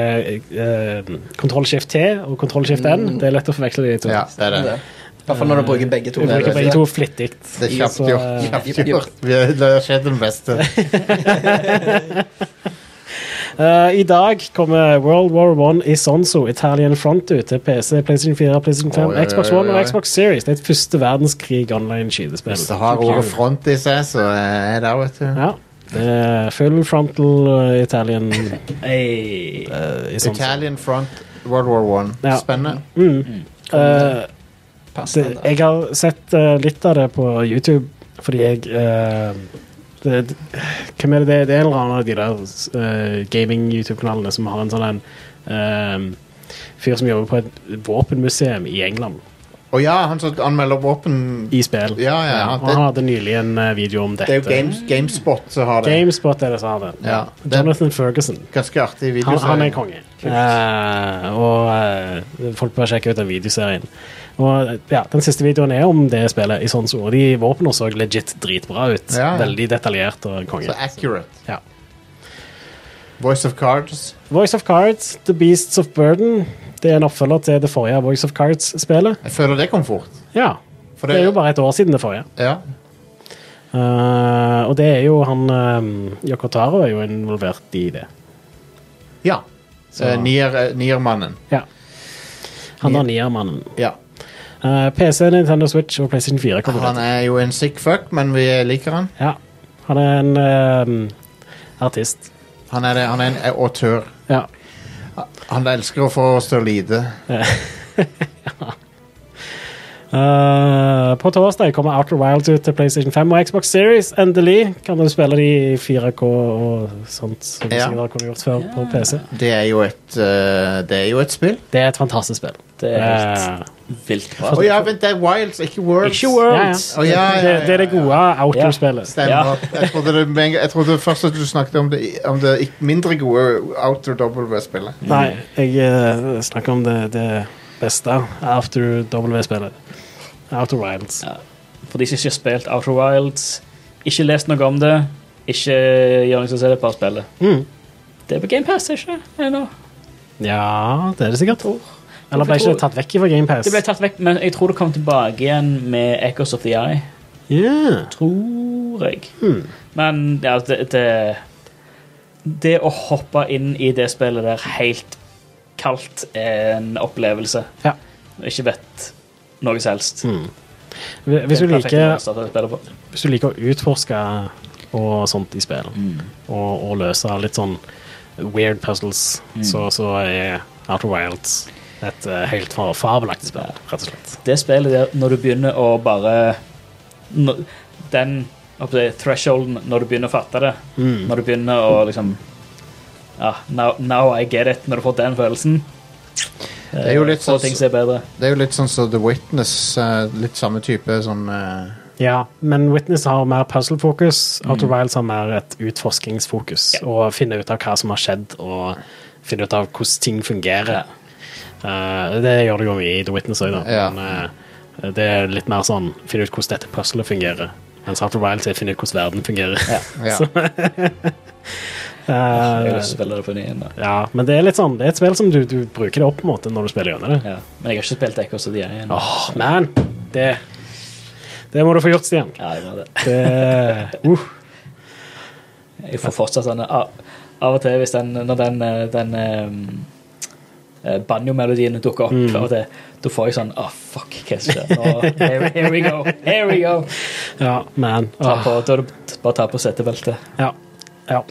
S3: kontroll-skift-T og kontroll-skift-N. Det er lett å forveksle de to.
S2: Mm. Sånn. Ja, det er det.
S5: Det. I hvert fall når du bruker begge to.
S3: Vi bruker
S5: Det-
S3: begge to flittig.
S2: Det er kjapt
S3: Så,
S2: gjort.
S3: eh,
S2: Kjapt
S5: Jipp, jipp.
S2: gjort. Vi har- Det har skjedd den beste.
S3: Eh, I dag kommer World War One i Sonso, Italian Front, ut til PC, PlayStation 4, PlayStation 5,
S2: Oi, oi,
S3: Xbox One
S2: oi, oi.
S3: og Xbox Series. Det er et første verdenskrig online
S2: Hvis det
S3: skytespill.
S2: har ordet front i seg, så er jeg der, vet du.
S3: Ja. Det er full frontal eh, Italian
S4: Hey.
S3: eh, i Sonso.
S2: Italian front, World War One.
S3: Ja.
S2: Spennende.
S3: Eh,
S5: Pass
S3: det,
S5: den der.
S3: jeg har sett eh, litt av det på YouTube, fordi jeg eh, det, det- Hvem er det det er? Det er en eller annen av de der eh, gaming-YouTube-kanalene som har en sånn en eh, fyr som jobber på et våpenmuseum i England,
S2: Å ja, han som anmelder våpen
S3: i spill.
S2: Ja, ja, ja.
S3: og han hadde nylig en eh, video om
S2: Det
S3: dette.
S2: er jo games, GameSpot som har det.
S3: GameSpot er det som har det.
S2: Ja, det er en
S3: Jonathan Ferguson.
S2: ganske artig video.
S3: Han, han er konge. Eh, og eh, folk bør sjekke ut den videoserien. Og eh, ja, Den siste videoen er om det spillet. i sånn så, og De våpnene så legit dritbra ut.
S2: Ja, ja.
S3: Veldig detaljert og konge.
S2: Så accurate.
S3: Ja.
S2: Voice of Cards.
S3: Voice of Cards, The Beasts of Burden. Det er en oppfølger til det forrige Voice of Cards-spelet.
S2: Jeg føler det kom fort.
S3: Ja,
S2: For
S3: Det er jo bare et år siden det forrige.
S2: Ja.
S3: Eh, og det er jo han eh, Yokotaro er jo involvert i det.
S2: ja.
S3: Så-
S2: Eh, Nier- eh, Nier-mannen.
S3: Ja. Han er niermannen.
S2: ja.
S3: Eh, PC, Nintendo Switch og PlayStation 4 kommer
S2: Han
S3: ut.
S2: er jo en sick fuck, men vi liker han.
S3: Ja, han er en eh, artist.
S2: Han er, det, han er en au- autør.
S3: Ja.
S2: Han elsker å få oss til å lide.
S3: Eh, på torsdag kommer Outer Wilds ut til PlayStation 5 og Xbox Series. Endelig kan du spille de i 4K og sånt som du
S2: Ja.
S3: sikkert har kunnet gjort før på PC.
S2: Det er jo et, eh, det er jo et spill.
S3: Det er et fantastisk spill.
S4: Det er helt
S3: Eh,
S4: vilt
S2: Å
S4: bra.
S2: ja, vent, det er Wilds, ikke Worlds.
S4: Ikke
S3: ja, ja.
S4: Worlds.
S2: Å, ja, ja,
S3: Det, det er det gode Outer-spillet.
S2: Stemmer. Jeg, trodde det, med en gang- jeg trodde først at du snakket om det, om det ikke- mindre gode Outer W-spillet.
S3: Nei, jeg eh, snakker om det, det beste Outer W-spillet. Outer Wilds.
S4: Ja. For de som ikke har spilt Outer Wilds, ikke lest noe om det, ikke gjør noe som ser det, bare spillet.
S3: Mm.
S4: Det er på GamePass, ikke Ennå.
S3: Ja, det er det sikkert. Eller ble
S4: Hvorfor
S3: ikke
S4: tror-
S3: det tatt vekk fra GamePass?
S4: Det ble tatt vekk, men jeg tror det kom tilbake igjen med Echoes of the Eye.
S3: Yeah.
S4: Tror jeg.
S3: Mm.
S4: Men ja, det, det Det å hoppe inn i det spillet der helt kaldt er en opplevelse.
S3: Ja.
S4: Ikke vet noe som helst.
S3: Mm. Hvis du
S4: Det er perfekt
S3: liker
S4: å starte spillet på.
S3: hvis du liker å utforske og sånt i spill, og, og løse litt sånn weird puzzles, så, så er Outer Wilds et eh, helt fa- fabelaktig spill, rett og slett.
S4: det spillet der, når du begynner å bare når, Den hva skal jeg si, thresholden når du begynner å fatte det,
S2: Mm.
S4: når du begynner å liksom ja, now, now I get it, når du får den følelsen.
S2: Det er jo litt sånn-
S4: sånn ting som er bedre.
S2: Det er jo litt sånn som The Witness. eh, litt samme type som eh,
S3: Ja, men Witness har mer puzzle-fokus,
S2: Mm.
S3: Outer Wilds har mer et utforskingsfokus, og finne ut av hva som har skjedd, og finne ut av hvordan ting fungerer. Eh, det gjør det jo mye i The Witness òg, da.
S2: Ja.
S3: Men eh, det er litt mer sånn finne ut hvordan dette puzzlet fungerer. Mens Outer Wilds er finne ut hvordan verden fungerer.
S2: ja.
S4: Jeg
S3: Eh,
S4: vil spille det på ny igjen, da.
S3: Ja, men det er litt sånn Det er et spill som du, du bruker det opp på en måte når du spiller gjennom det.
S4: Ja. Men jeg har ikke spilt Echo, så de er igjen.
S3: Åh, man! Det Det må du få gjort, Stian.
S4: Ja, jeg, må det.
S3: Det uh,
S4: jeg får fortsatt den av, av og til hvis den, når den, eh, den eh, eh, banjomelodien dukker opp,
S2: Mm.
S4: av og til, da får jeg sånn Å, fuck, hva skjer nå? Here, here we go. Here we go.
S3: Ja, man.
S4: Ta
S3: Åh,
S4: på, da er det t- bare ta på setebeltet.
S3: ja. ja.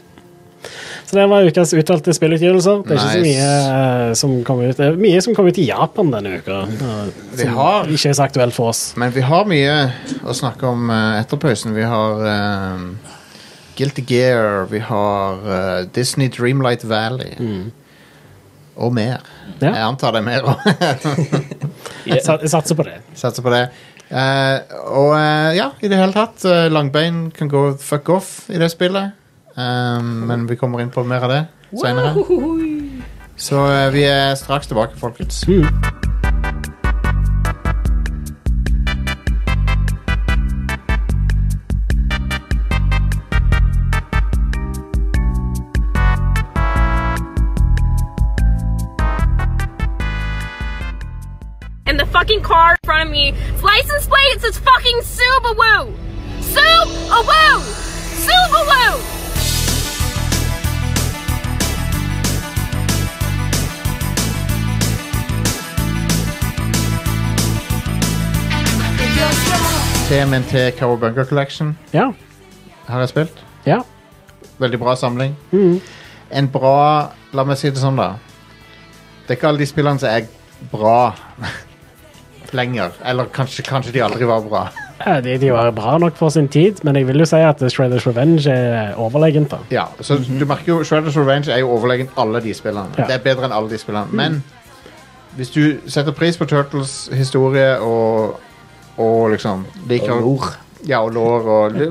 S3: Så det var ukas utvalgte spillutgivelser. Det er ikke så
S2: Nice.
S3: mye eh, som kommer ut Det er mye som kommer ut i Japan denne uka. eh,
S2: Vi
S3: som
S2: har-
S3: ikke er så aktuelt for oss.
S2: Men vi har mye å snakke om eh, etter pausen. Vi har eh, Guilty Gear, vi har eh, Disney Dreamlight Valley og mer.
S3: Ja.
S2: Jeg antar det er mer òg.
S3: Jeg sa- jeg satser på det.
S2: Satser på det. Eh, og eh, ja, i det hele tatt. eh, langbein kan gå fuck off i det spillet. Um, men vi kommer inn på mer av det seinere. Så eh, vi er straks tilbake, folkens.
S3: Mm.
S7: and the fucking car in front of me. Its license plate it says fucking Subaru. Subaru. Subaru.
S2: TMNT Cowabunga Collection
S3: Ja.
S2: har jeg spilt.
S3: Ja.
S2: Veldig bra samling. En bra La meg si det sånn, da. Det er ikke alle de spillene som er bra lenger. Eller kanskje, kanskje de aldri var bra.
S3: Ja, Eh, De, de var bra nok for sin tid, men jeg vil jo si at Shredders Revenge er overlegent. da.
S2: Ja, så
S5: Mhm.
S2: du merker jo Shredders Revenge er jo overlegen alle de spillene.
S3: Ja.
S2: Det er bedre enn alle de spillene.
S5: Mm.
S2: Men hvis du setter pris på Turtles historie og, og liksom liker,
S5: Og lore.
S2: Ja, og lår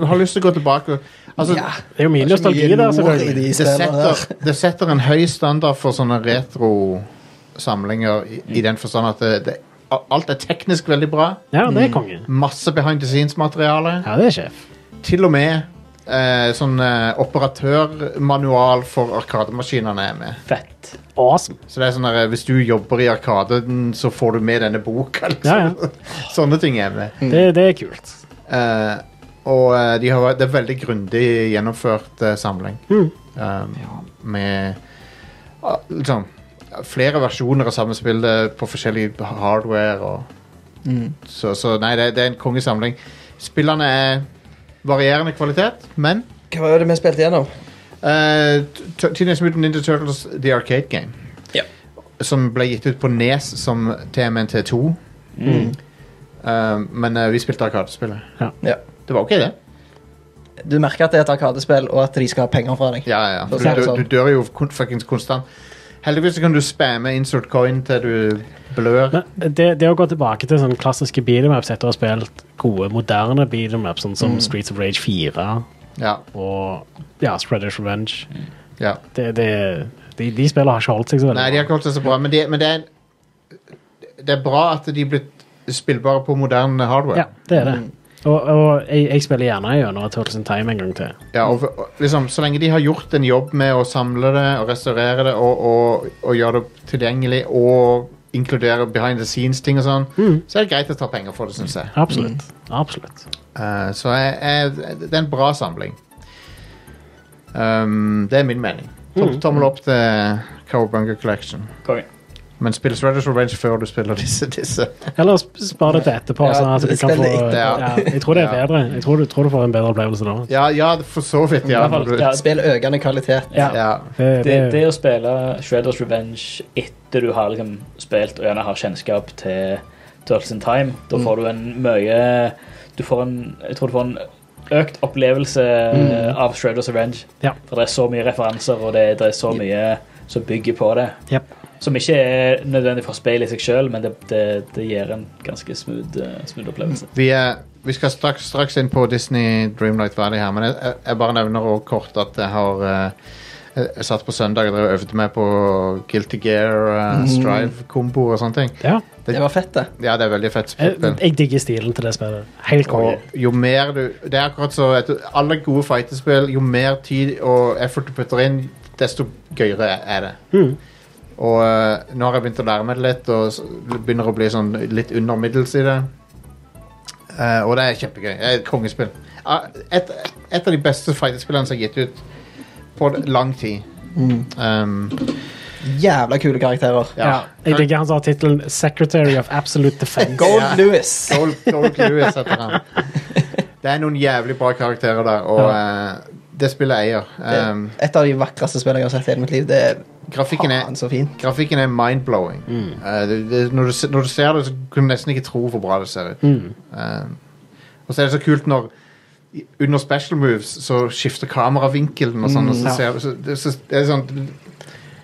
S2: og har lyst til å gå tilbake og Altså,
S5: Ja.
S3: Det er jo mye
S5: Det er så mye
S3: nostalgi der,
S5: lore i
S3: selvfølgelig.
S5: de
S2: det
S5: spillene der.
S2: setter, det setter en høy standard for sånne retro-samlinger i, i den forstand at det, det, alt er teknisk veldig bra.
S3: Ja, det er konge.
S2: Masse behind the scenes-materiale.
S3: Ja, det er sjef.
S2: Til og med eh, sånn eh, operatørmanual for arkademaskinene er med.
S4: Fett.
S3: Awesome.
S2: Så det er sånn der, Hvis du jobber i Arkaden, så får du med denne boka.
S3: Ja,
S2: Liksom.
S3: ja.
S2: Sånne ting er med.
S3: Det, det er kult.
S2: Eh, og eh, de har, det er veldig grundig gjennomført eh, samling. Um, med ah, liksom, flere versjoner av samme spill eh, på forskjellig hardware. Og, Så, så nei, det, det er en kongesamling. Spillene er varierende kvalitet, men
S5: Hva var det vi spilte igjennom?
S2: eh, T- Teenage Mutant Ninja Turtles The Arcade Game,
S5: Ja.
S2: som ble gitt ut på Nes som TMNT2. Eh, men eh, vi spilte Arkadespillet.
S5: Ja.
S2: Det var ok, det.
S5: Du merker at det er et arkadespill, og at de skal ha penger fra deg.
S2: Ja, ja, ja.
S5: For å
S2: Du,
S5: si det
S2: du,
S5: sånn.
S2: du dør jo kon- fuckings konstant. Heldigvis så kan du spamme insert coin til du blør.
S3: Men det, det å gå tilbake til sånne klassiske beatemaps etter å ha spilt gode, moderne beatemaps, sånn
S2: Mm.
S3: som Streets of Rage 4
S2: Ja,
S3: og ja, Spreaders Revenge
S2: ja.
S3: det, det, de, de spillene har ikke holdt seg så veldig
S2: Nei, de har ikke holdt seg så bra, men, det- men det, er, det er bra at de er blitt spillbare på moderne hardware.
S3: Ja, det er det.
S2: Mm.
S3: Og, og jeg, jeg spiller gjerne gjennom Turtles in Time en gang til.
S2: Ja, og, og liksom, så lenge de har gjort en jobb med å samle det og restaurere det og, og, og gjøre det tilgjengelig og inkludere behind the scenes-ting og sånn,
S4: Mm.
S2: så er det greit å ta penger for det, syns jeg.
S3: Absolutt.
S2: Mm.
S3: Absolutt.
S2: Eh, så jeg, jeg, det er en bra samling. Um, det er min mening.
S4: Mm.
S2: Tom, tommel opp til Cowbunga Collection.
S4: Konge.
S2: Men spill Shredders Revenge før du spiller disse. disse.
S3: Eller sp- spar det til etterpå.
S5: Ja,
S3: sånn at du
S5: spill
S3: kan
S5: det
S3: få,
S5: etter,
S2: ja.
S3: ja, jeg tror det er
S2: Ja.
S3: bedre. Jeg tror du, tror du får en bedre opplevelse da.
S2: Ja, ja, for så vidt, ja.
S4: I hvert fall,
S2: ja.
S4: ja.
S5: Spill økende kvalitet.
S4: Ja.
S2: ja.
S3: Det,
S4: Det,
S3: det,
S4: det å spille Shredders Revenge etter du har liksom spilt og gjerne har kjennskap til Turtles in Time, da får du en mye Du får en Jeg tror du får en økt opplevelse av Shredders Revenge.
S3: Ja.
S4: For det er så mye referanser, og det, det er så mye som bygger på det.
S3: Jep.
S4: Som ikke er nødvendig for speil i seg sjøl, men det, det, det gir en ganske smooth, eh, smooth opplevelse.
S2: Vi, er, vi skal straks, straks inn på Disney Dreamlight Valley her, men jeg, jeg- jeg bare nevner også kort at jeg har eh, jeg jeg satt på søndag og drev og øvde meg på Guilty Gear, eh, Strive-kombo og sånne ting.
S3: ja.
S5: Det var fett, det.
S2: Ja, det er veldig fett
S3: Jeg,
S2: spill.
S3: jeg digger stilen til det spillet. Helt konge.
S2: Og jo mer du Det er akkurat så at alle gode fightespill, jo mer tid og effort du putter inn, desto gøyere er det. Og eh, nå har jeg begynt å lære meg det litt, og s- begynner å bli sånn litt under middels i det. Eh, og det er kjempegøy. Det er et kongespill. Ah, Et, et av de beste fightespillene som er gitt ut på lang tid. Um,
S5: Jævla kule karakterer.
S2: ja.
S3: Jeg digger han som har tittelen 'Secretary of Absolute Defense'.
S5: Gold
S2: Ja.
S5: Lewis.
S2: Gold, Gold Lewis heter han. Det er noen jævlig bra karakterer der, og eh, det spillet eier. Um,
S5: Et av de vakreste spillene jeg har sett i hele mitt liv. Det er
S2: grafikken,
S5: faen
S2: er,
S5: så fin.
S2: grafikken er mind-blowing.
S3: Mm.
S2: Eh, det, det, når, du, se- når du ser det, så kan du nesten ikke tro hvor bra det ser ut.
S3: Mm.
S2: Eh, og så er det så kult når i- under special moves så skifter kameravinkelen og sånn. og så
S3: Mm, ja.
S2: ser, så, det, så, det er sånn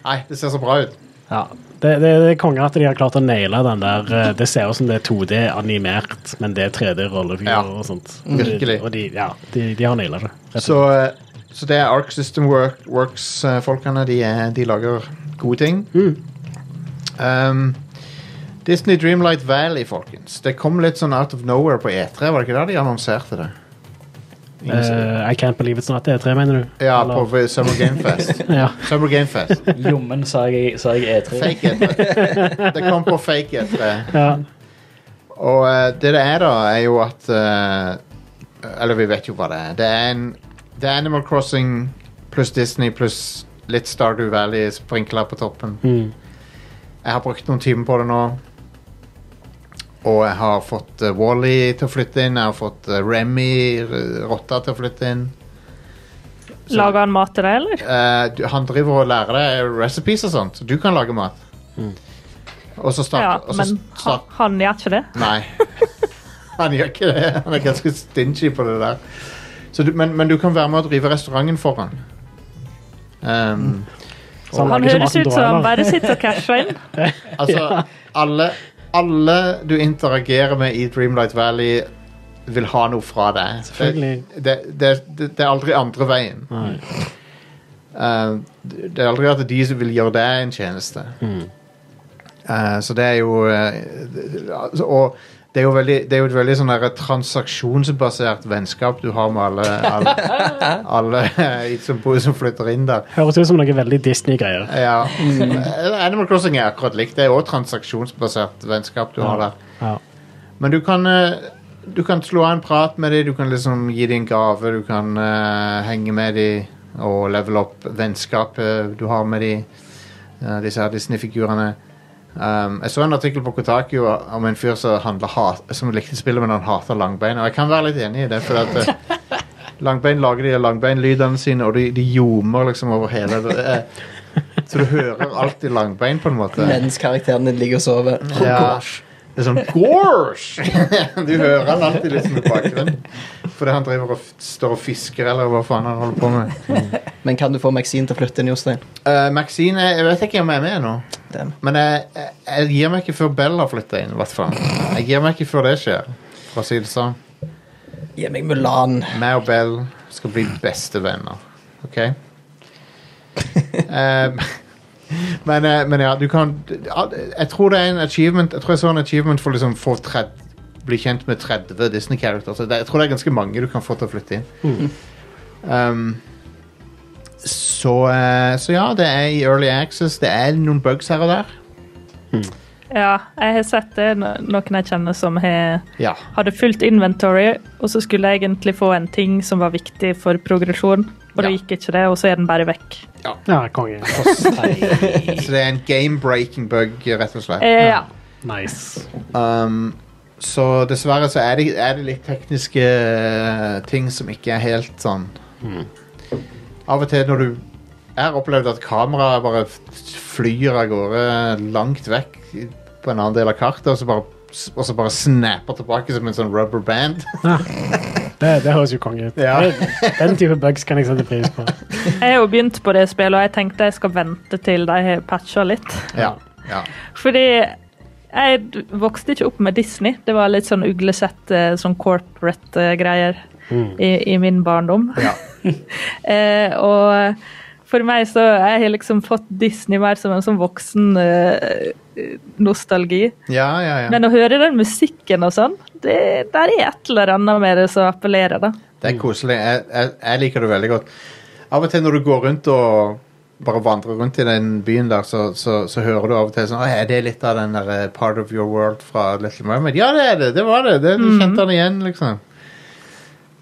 S2: Nei, det ser så bra ut.
S3: Ja. Det, det, det er konge at de har klart å naile den der eh, Det ser ut som det er 2D-animert, men det er 3D-rollefigurer
S2: Ja. Mm.
S3: og sånt.
S2: Virkelig.
S3: Og de, ja, de, de har naila det. rett og slett.
S2: Så, eh, så det er Arc System Work, Works-folkene. de, er- de lager gode ting.
S3: Mm.
S2: Um, Disney Dreamlight Valley, folkens. Det kom litt sånn out of nowhere på E3. Var det ikke der de annonserte det? Ingen ser-
S3: Eh, I Can't Believe It's Not E3, mener du?
S2: ja,
S3: Eller-
S2: på Summer Game Fest.
S3: ja.
S2: Summer Game Fest.
S4: Jommen sa jeg, E sa jeg E3.
S2: Fake E3. Det kom på fake E3.
S3: Ja.
S2: Og eh, det det er da, er jo at eh, Eller vi vet jo hva det er. Det er, en, det er Animal Crossing pluss Disney pluss litt Stardew Valley sprinkla på toppen.
S3: Mm.
S2: Jeg har brukt noen timer på det nå. Og jeg har fått uh, Wally til å flytte inn. Jeg har fått eh, Remy, r- rotta, til å flytte inn.
S6: Lager han mat til deg, eller?
S2: Eh, du, han driver og lærer deg recipes og sånt. så Du kan lage mat. Og så
S6: Ja,
S2: start, og altså, så
S6: men han,
S2: start,
S6: han gjør ikke det.
S2: Nei. Han gjør ikke det. Han er ganske stingy på det der. Så du, men, men du kan være med å drive restauranten for han. Um,
S3: Så
S6: Han
S3: lager ikke
S6: høres
S3: maten du
S6: ut som
S3: har,
S6: han
S3: eller?
S6: bare sitter og casher inn.
S2: altså, alle, alle du interagerer med i Dreamlight Valley, vil ha noe fra deg.
S3: Selvfølgelig.
S2: Det, det, det, det er aldri andre veien.
S3: Nei.
S2: Um, det det er aldri at det er de som vil gjøre deg en tjeneste.
S3: Mm.
S2: Eh, så det er jo eh, det- altså, Og det er jo, veldig, det er jo et veldig sånn der transaksjonsbasert vennskap du har med alle, alle, alle eh, som, bor, som flytter inn der.
S3: Høres ut som noe veldig Disney-greier.
S2: Ja.
S3: Mm.
S2: Eh, Animal Crossing er akkurat likt. Det er òg transaksjonsbasert vennskap du har der.
S3: Ja.
S2: Men du kan eh, Du kan slå av en prat med dem, du kan liksom gi dem en gave, du kan eh, henge med dem og level opp vennskapet du har med dem, disse her eh, Disney-figurene. Um, jeg så en artikkel på Kotaku om en fyr som, handler hat, som likte spillet, men han hater langbein. Og jeg kan være litt enig i det, for at eh, langbein lager de langbeinlydene sine, og de, de ljomer liksom over hele det. eh, så du hører alltid langbein, på en måte.
S5: Mens karakteren din ligger og sover.
S2: Ja. Det er sånn Gorsh! Du hører han alltid liksom i bakgrunnen. Fordi han driver og f står og fisker, eller hva faen han holder på med.
S5: Men kan du få Maxine til å flytte inn, Jostein?
S2: Eh, Maxine jeg vet ikke om jeg er med nå.
S5: Damn.
S2: Men jeg, jeg, jeg gir meg ikke før Bell har flytta inn. i hvert fall. Jeg gir meg ikke før det skjer. For å si det sånn.
S5: Gi meg Mulan.
S2: Meg og Bell skal bli bestevenner. OK? Eh, men, eh, men ja, du kan ja, Jeg tror det er en achievement Jeg tror jeg så en achievement for liksom få 30 bli kjent med 30 Disney-characters. Så det- Jeg tror det er ganske mange du kan få til å flytte inn. Um, så, eh, så ja, det er i Early Access. Det er noen bugs her og der.
S6: Ja, jeg har sett det. no- Noen jeg kjenner som har
S2: Ja.
S6: hadde fullt inventory, og så skulle jeg egentlig få en ting som var viktig for progresjon, og det
S2: Ja.
S6: gikk ikke det, og så er den bare vekk.
S3: Ja, konge.
S2: Så det er en game-breaking bug, rett og slett.
S6: Eh, ja.
S3: Nice.
S2: Um, så dessverre så er det, er det litt tekniske eh, ting som ikke er helt sånn Av og til når du Jeg har opplevd at kameraet bare f- flyr av gårde langt vekk i- på en annen del av kartet, og så bare, og så bare snapper tilbake som en sånn rubber band.
S3: Det, det høres jo konge ut.
S2: Ja.
S3: Det- Den type bugs kan jeg sette pris på.
S6: Jeg har jo begynt på det spillet, og jeg tenkte jeg skal vente til de har patcha litt.
S2: ja, ja.
S6: Fordi jeg d- vokste ikke opp med Disney. Det var litt sånn uglesett, eh, sånn corporate eh, greier i, i min barndom.
S2: Mm. Ja.
S6: eh, og for meg så jeg har liksom fått Disney mer som en sånn voksen eh, nostalgi.
S2: Ja, ja, ja.
S6: Men å høre den musikken og sånn, det, der er et eller annet med det som appellerer, da.
S2: Det er koselig. Jeg, jeg, jeg liker det veldig godt. Av og til når du går rundt og bare vandrer rundt i den byen der, så, så, så hører du av og til sånn «Å, Er det litt av den der eh, Part of Your World fra Little Mermaid? Ja, det er det! Det var det! det du kjente den igjen, liksom.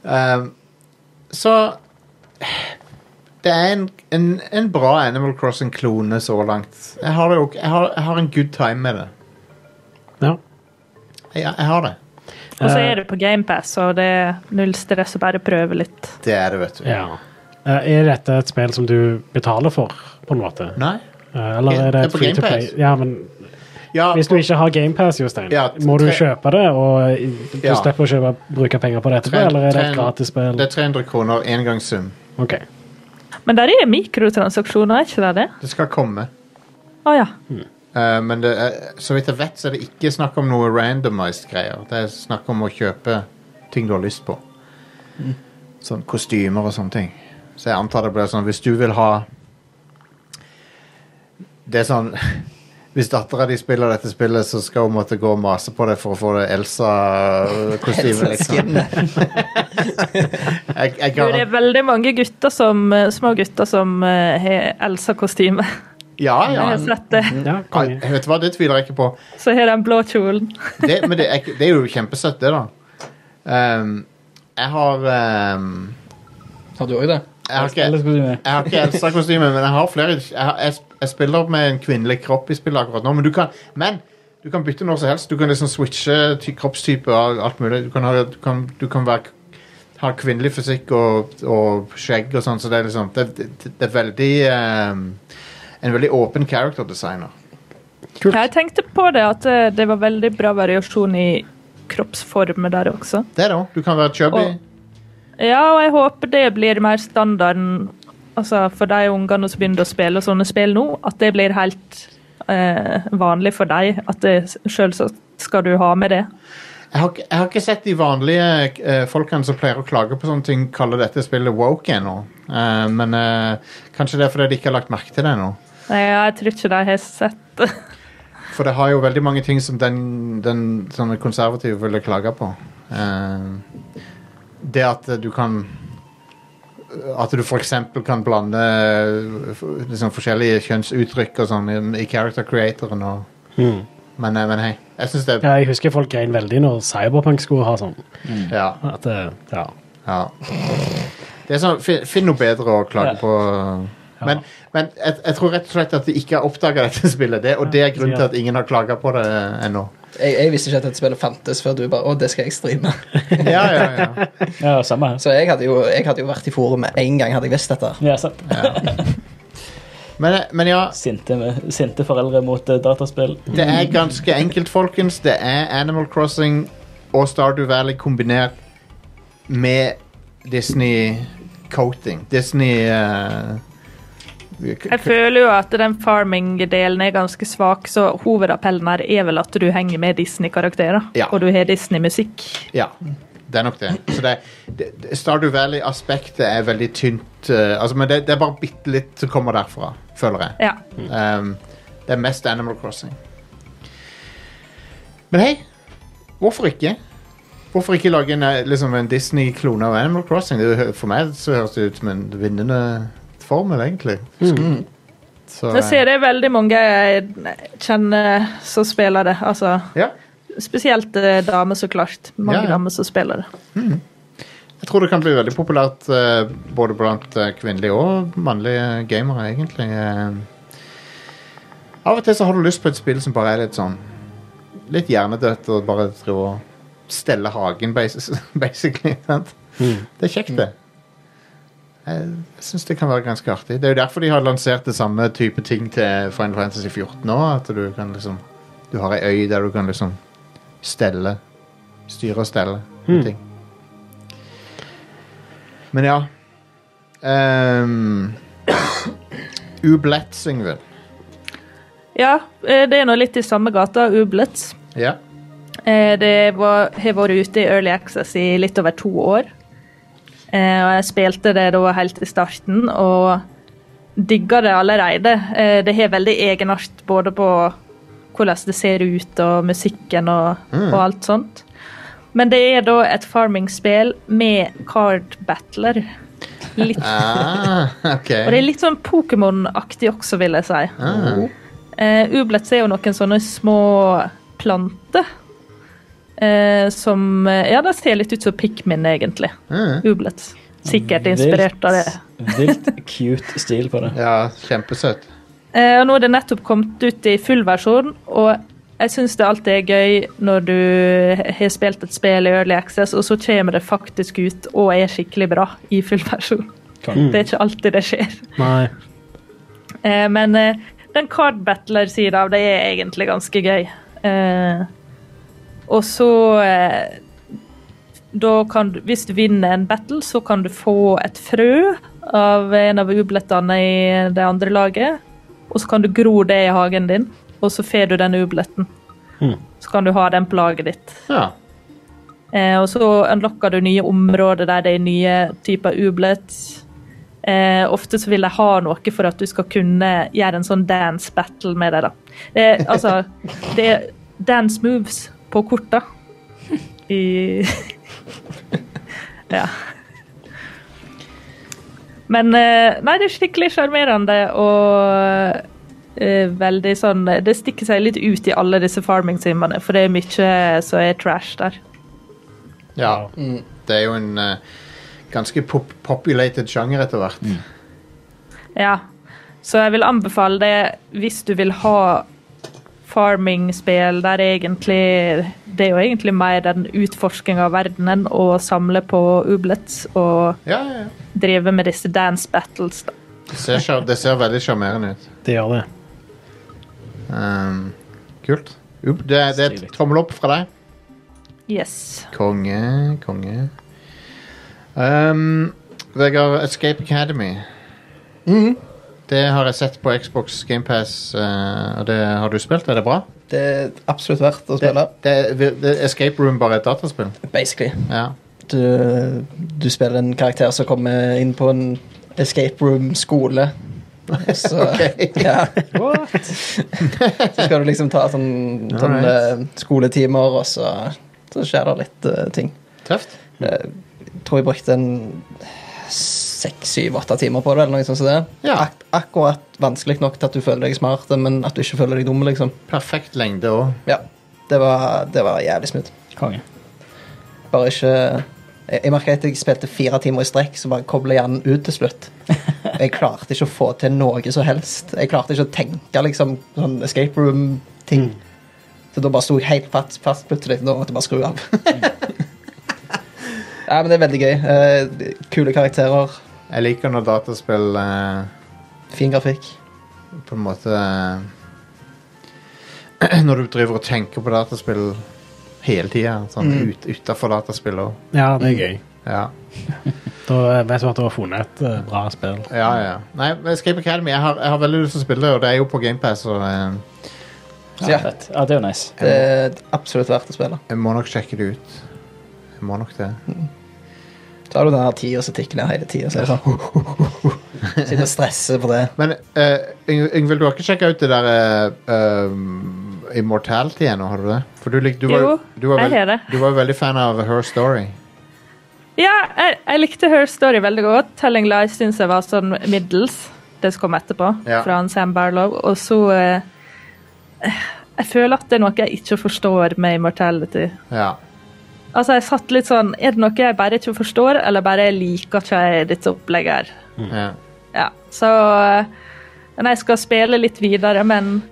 S2: Ehm, så Det er en, en, en bra Animal Crossing-klone så langt. Jeg har, det jo, jeg, har, jeg har en good time med det.
S3: Ja.
S2: Jeg, jeg har det.
S6: Og så er det på GamePass, og det er null stress å bare prøve litt.
S2: Det er det, vet du.
S3: ja. Eh, Er dette et spill som du betaler for, på en måte?
S2: Nei?
S3: Eh, Eller er
S2: Det
S3: det
S2: er
S3: et
S2: på
S3: free to
S2: Game
S3: play?
S2: Pass.
S3: Ja, men
S2: Ja,
S3: Hvis du ikke har GamePass, Jostein,
S2: Ja,
S3: må du
S2: tre-
S3: kjøpe det, og du
S2: Ja.
S3: slipper å kjøpe, bruke penger på det etterpå,
S2: Tre-
S3: eller er det
S2: tre-
S3: et gratis spill?
S2: det er 300 kroner engangssum.
S3: Ok.
S6: Men der er mikrotransaksjoner, er ikke det det?
S2: Det skal komme.
S6: Å ja.
S2: Eh, men det er, så vidt jeg vet, så er det ikke snakk om noe randomized greier. Det er snakk om å kjøpe ting du har lyst på.
S3: Mm.
S2: Sånn kostymer og sånne ting. Så jeg antar det blir sånn Hvis du vil ha Det er sånn Hvis dattera di spiller dette spillet, så skal hun måtte gå og mase på deg for å få det Elsa-kostymet. Liksom. Jeg, jeg
S6: Jo, det
S2: garan-
S6: er veldig mange gutter som, eh, små gutter som eh, har Elsa-kostyme.
S2: ja, Ah,
S6: Jeg
S2: ja. Mhm.
S6: har sett det.
S3: Ja,
S2: Ai,
S3: konge.
S2: Vet du hva, det tviler jeg ikke på.
S6: Så har den blå kjolen.
S2: det, men det er, ikke- det er jo kjempesøtt, det, da. Ehm, jeg har ehm,
S5: Har du òg det?
S2: Jeg har ikke,
S4: Eller skal du med?
S2: jeg har ikke Elsa-kostyme, men jeg har flere. Jeg, har, jeg, sp- jeg spiller med en kvinnelig kropp i spillet akkurat nå, men du kan, men, du kan bytte når som helst. Du kan liksom switche ty- kroppstype og alt mulig. Du kan, ha, du kan, du kan være, ha kvinnelig fysikk og, og skjegg og sånn, så det er liksom Det, det, det er veldig ehm, En veldig åpen character designer.
S6: Jeg tenkte på det at eh, det var veldig bra variasjon i kroppsformer der også.
S2: Det, da. Du kan være chubby.
S6: Og- Ja, og jeg håper det blir mer standarden altså for de ungene som begynner å spille sånne spill nå, at det blir helt eh, vanlig for dem. At det selvsagt skal du ha med det.
S2: Jeg har, ikke- jeg har ikke sett de vanlige eh, folkene som pleier å klage på sånne ting, kalle dette spillet woke ennå. Eh, men eh, kanskje det er fordi de ikke har lagt merke til det ennå.
S6: Nei, Jeg tror ikke de har sett det.
S2: For det har jo veldig mange ting som den, den sånne konservative ville klage på. Eh, det at eh, du kan At du f.eks. kan blande eh, f- liksom, forskjellige kjønnsuttrykk og sånn i, i character creatoren og
S3: Mm.
S2: men, eh, men hei. Jeg syns det
S3: Ja, jeg husker folk grein veldig når Cyberpunk skulle ha sånn.
S2: Ja.
S3: At, eh, ja.
S2: ja. Det er sånn, finn, finn noe bedre å klage
S4: Ja.
S2: på. Men, men jeg, jeg tror rett og slett at de ikke har oppdaga dette spillet. Det, og det er grunnen til at ingen har klaga på det ennå.
S5: Jeg, jeg visste ikke at dette spillet fantes før du bare Å, det skal jeg streame.
S2: Ja, ja, ja.
S4: Ja, samme her.
S5: Så jeg hadde jo, jeg hadde jo vært i forumet én gang, hadde jeg visst dette.
S4: Ja, sant.
S2: Men, men ja,
S4: Sinte, sinte foreldre mot eh, dataspill.
S2: det er ganske enkelt, folkens. Det er Animal Crossing og Stardew Valley kombinert med Disney coating. Disney eh,
S6: Jeg føler jo at den farming-delen er ganske svak, så hovedappellen her er vel at du henger med Disney-karakterer,
S2: Ja.
S6: og du har Disney-musikk.
S2: Ja, det er nok det. Så det, det det- Stardew Valley-aspektet er veldig tynt. eh, altså, men det, det er bare bitte litt som kommer derfra, føler jeg.
S6: Ja.
S2: Um, det er mest Animal Crossing. Men hei, hvorfor ikke? Hvorfor ikke lage en, eh, liksom en Disney-klone av Animal Crossing? Det, hø- for meg så høres det ut som en vinnende formel, egentlig. Så,
S6: Jeg ser
S2: eh,
S6: det er veldig mange jeg kjenner som spiller det. Altså,
S2: Ja,
S6: spesielt eh, damer, så klart. Mange
S2: Ja, ja.
S6: damer som spiller det.
S2: jeg tror det kan bli veldig populært eh, både blant eh, kvinnelige og mannlige gamere, egentlig. Eh, av og til så har du lyst på et spill som bare er litt sånn Litt hjernedødt og bare drive og stelle hagen, basis- basically. Sant? Det er kjekt, det. Jeg syns det kan være ganske artig. Det er jo derfor de har lansert det samme type ting til Final Fantasy 14 nå. At du kan liksom Du har ei øy der du kan liksom stelle Styre og stelle med ting. Men ja um, Ublett synger vi.
S6: Ja, eh, det er nå litt i samme gata, Ublet.
S2: Ja.
S6: Eh, Det var, har vært ute i Early Access i litt over to år. Eh, Og jeg spilte det da helt i starten, og digga det allerede. Eh, Det har veldig egenart både på hvordan det ser ut, og musikken og, og alt sånt. Men det er da et farming-spill med card battler. Litt,
S2: Ah, ok.
S6: og det er litt sånn Pokémon-aktig også, vil jeg si.
S2: Ah,
S6: Eh, Ublets er jo noen sånne små planter. Eh, som eh, Ja, de ser litt ut som Pikmin, egentlig.
S2: mm.
S6: Ublets. Sikkert inspirert av det.
S4: Vilt cute stil på det.
S2: Ja, kjempesøtt.
S6: Eh, og nå er det nettopp kommet ut i full versjon, og jeg syns det alltid er gøy når du har spilt et spill i Early Access, og så kommer det faktisk ut og er skikkelig bra i full versjon.
S4: Konge.
S6: Det er ikke alltid det skjer.
S3: Nei.
S6: Eh, men eh, den card battler-sida av det er egentlig ganske gøy. Eh, og så eh, da kan du, Hvis du vinner en battle, så kan du få et frø av en av ublettene i det andre laget. Og så kan du gro det i hagen din, og så får du den ubletten. Så kan du ha den på laget ditt.
S2: Ja.
S6: Eh, og så unlocker du nye områder der det er nye typer ublet. Eh, ofte så vil de ha noe for at du skal kunne gjøre en sånn dance battle med dem. da. Eh, altså, det er dance moves på korta. I Ja. Men eh, nei, det er skikkelig sjarmerende og eh, veldig sånn Det stikker seg litt ut i alle disse farming-simene, for det er mye som er trash der.
S2: ja. Mm. Det er jo en eh, ganske pop populated sjanger etter hvert.
S6: Ja, så jeg vil anbefale det hvis du vil ha farming-spill der egentlig Det er jo egentlig mer den utforsking av verdenen og samle på ublets og
S2: Ja, ja, ja.
S6: drive med disse dance battles. da.
S2: Det ser, sjar- det ser veldig sjarmerende ut.
S3: Det gjør det.
S2: Um, kult. Up, det, er- det er et tommel opp fra deg.
S6: Yes.
S2: Konge, konge. Um, Vegard, Escape Academy. Mhm. Det har jeg sett på Xbox GamePass, uh, og det har du spilt. Er det bra?
S5: Det er absolutt verdt å
S2: Det,
S5: spille.
S2: det, det, Escape Room bare er et dataspill.
S5: Basically.
S2: Ja.
S5: Du, eh, du spiller en karakter som kommer inn på en escape room-skole. Så, ja. så skal du liksom ta sånn, sånn
S2: Alright.
S5: eh, skoletimer, og så, så skjer det litt eh, ting. Eh,
S2: Tøft.
S5: Jeg tror jeg brukte en seks, syv, åtte timer på det. eller noe sånt som det.
S2: Ja.
S5: Ak akkurat vanskelig nok til at du føler deg smart, men at du ikke føler deg dum. liksom.
S2: Perfekt lengde òg.
S5: Ja, Det var, det var jævlig smooth.
S4: Konge.
S5: Bare ikke Jeg, jeg merka at jeg spilte fire timer i strekk, så bare kobla hjernen ut til slutt. Jeg klarte ikke å få til noe som helst. Jeg klarte ikke å tenke liksom sånn escape
S4: Mm.
S5: room-ting. Så da bare sto jeg helt fast, fast plutselig. Da måtte jeg bare skru av.
S4: Mm.
S5: Nei, men det er veldig gøy. Eh, kule karakterer,
S2: Jeg liker når dataspill eh,
S5: fin grafikk.
S2: på en måte eh, Når du driver og tenker på dataspill hele tida, sånn ut, utafor dataspill òg.
S3: Ja,
S2: Mm.
S3: det er gøy.
S2: Ja.
S3: Da vet du at du har funnet et eh, bra spill.
S2: ja, ja. Nei, men Escape Academy, jeg har, jeg har veldig lyst til å spille det, og det er jo på GamePass, så eh,
S5: Så ja,
S4: Fett. ja, det er jo nice.
S5: det er absolutt verdt å spille.
S2: jeg må nok sjekke det ut. Jeg må nok det.
S5: Så har du den her tida som tikker ned hele tida, så er det sånn Sitter og stresser på det.
S2: Men eh, Yng- Yngvild, du har ikke sjekka ut det der eh, um, Immortality ennå, har du det? For du, lik, du, var,
S6: Jo,
S2: du, var
S6: jeg har
S2: veld,
S6: det.
S2: du var jo veldig fan av Her Story.
S6: Ja, jeg, jeg likte Her Story veldig godt. 'Telling Lies' syns jeg var sånn middels, det som kom etterpå,
S2: Ja.
S6: fra han Sam Barlow. Og så eh, Jeg føler at det er noe jeg ikke forstår med Immortality.
S2: Ja.
S6: Altså, jeg satt litt sånn Er det noe jeg bare ikke forstår, eller bare liker ikke jeg dette opplegget her?
S2: ja.
S6: Ja, så Men jeg skal spille litt videre, men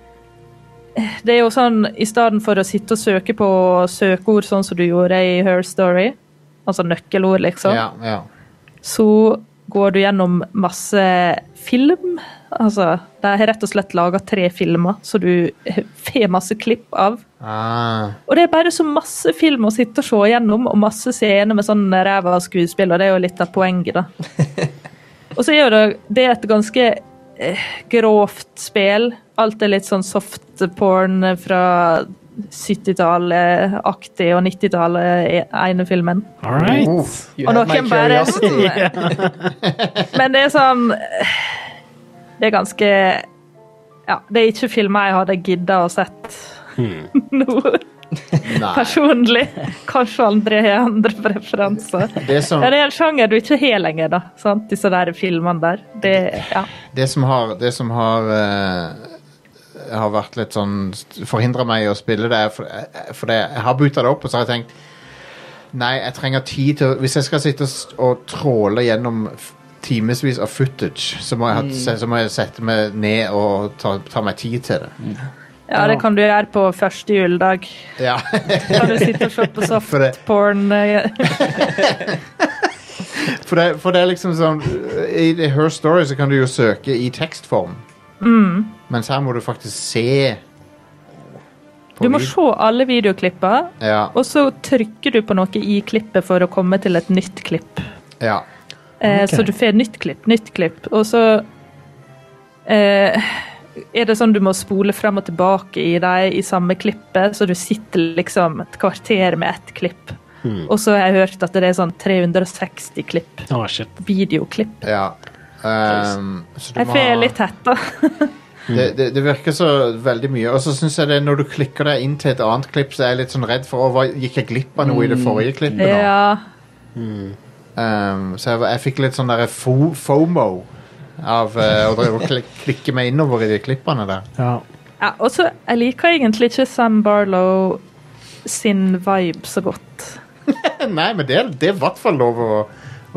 S6: det er jo sånn I stedet for å sitte og søke på søkeord sånn som du gjorde i Her Story, altså nøkkelord, liksom,
S2: Ja, ja.
S6: så går du gjennom masse film. Altså, de har rett og slett laga tre filmer, så du får masse klipp av.
S2: Ah,
S6: Og det er bare så masse film å sitte og se gjennom, og masse scener med sånn ræva skuespill, og det er jo litt av poenget, da. og så er jo det, det er et ganske eh, grovt spill. Alt er litt sånn softporn fra 70-tallet-aktig og 90-tallet i ene filmen.
S3: All right.
S5: Uff, you
S6: Og
S5: had my
S6: noen bare
S5: curiosity.
S6: Men det er sånn Det er ganske Ja, det er ikke filmer jeg hadde gidda å sett Hmm. nå,
S2: nei.
S6: personlig. Kanskje andre har andre preferanser.
S2: Det som,
S6: Ja, det er en sjanger du ikke har lenger, da. Sant? Disse der filmene der. Det, ja.
S2: det som har, det som har eh, har vært litt sånn Forhindra meg i å spille det, er for, eh, for det, jeg har buta det opp, og så har jeg tenkt Nei, jeg trenger tid til å Hvis jeg skal sitte og, s- og tråle gjennom f- timevis av footage, så må jeg, ha,
S6: Mm.
S2: se- så må jeg sette meg ned og ta, ta meg tid til det.
S6: ja, det kan du gjøre på første juledag.
S2: Ja.
S6: Kan du sitte og se på
S2: For det-
S6: softporn. eh,
S2: For det, for det er liksom sånn I det Her Story så kan du jo søke i tekstform.
S6: Mm.
S2: Mens her må du faktisk se på
S6: Du må
S2: lyd.
S6: se alle videoklippene,
S2: Ja,
S6: og så trykker du på noe i klippet for å komme til et nytt klipp.
S2: ja.
S6: Eh, Så du får nytt klipp, nytt klipp, og så eh, er det sånn du må spole frem og tilbake i deg i samme klippet, så du sitter liksom et kvarter med ett klipp. Og så har jeg hørt at det er sånn 360 klipp,
S3: Å, shit.
S6: videoklipp.
S2: ja. Ehm, så du
S6: Jeg
S2: må
S6: får
S2: ha-
S6: litt hetta.
S2: det, det, det virker så veldig mye. Og så syns jeg det når du klikker deg inn til et annet klipp, så er jeg litt sånn redd for «Å, hva, Gikk jeg glipp av noe i det forrige klippet? nå?»
S6: Ja,
S2: Ehm, så jeg, var- jeg fikk litt sånn derre fo fomo av eh, å drive og klik, klikke meg innover i de klippene der.
S3: Ja.
S6: ja og så jeg liker egentlig ikke Sam Barlow sin vibe så godt.
S2: Nei, men det, det er i hvert fall lov å,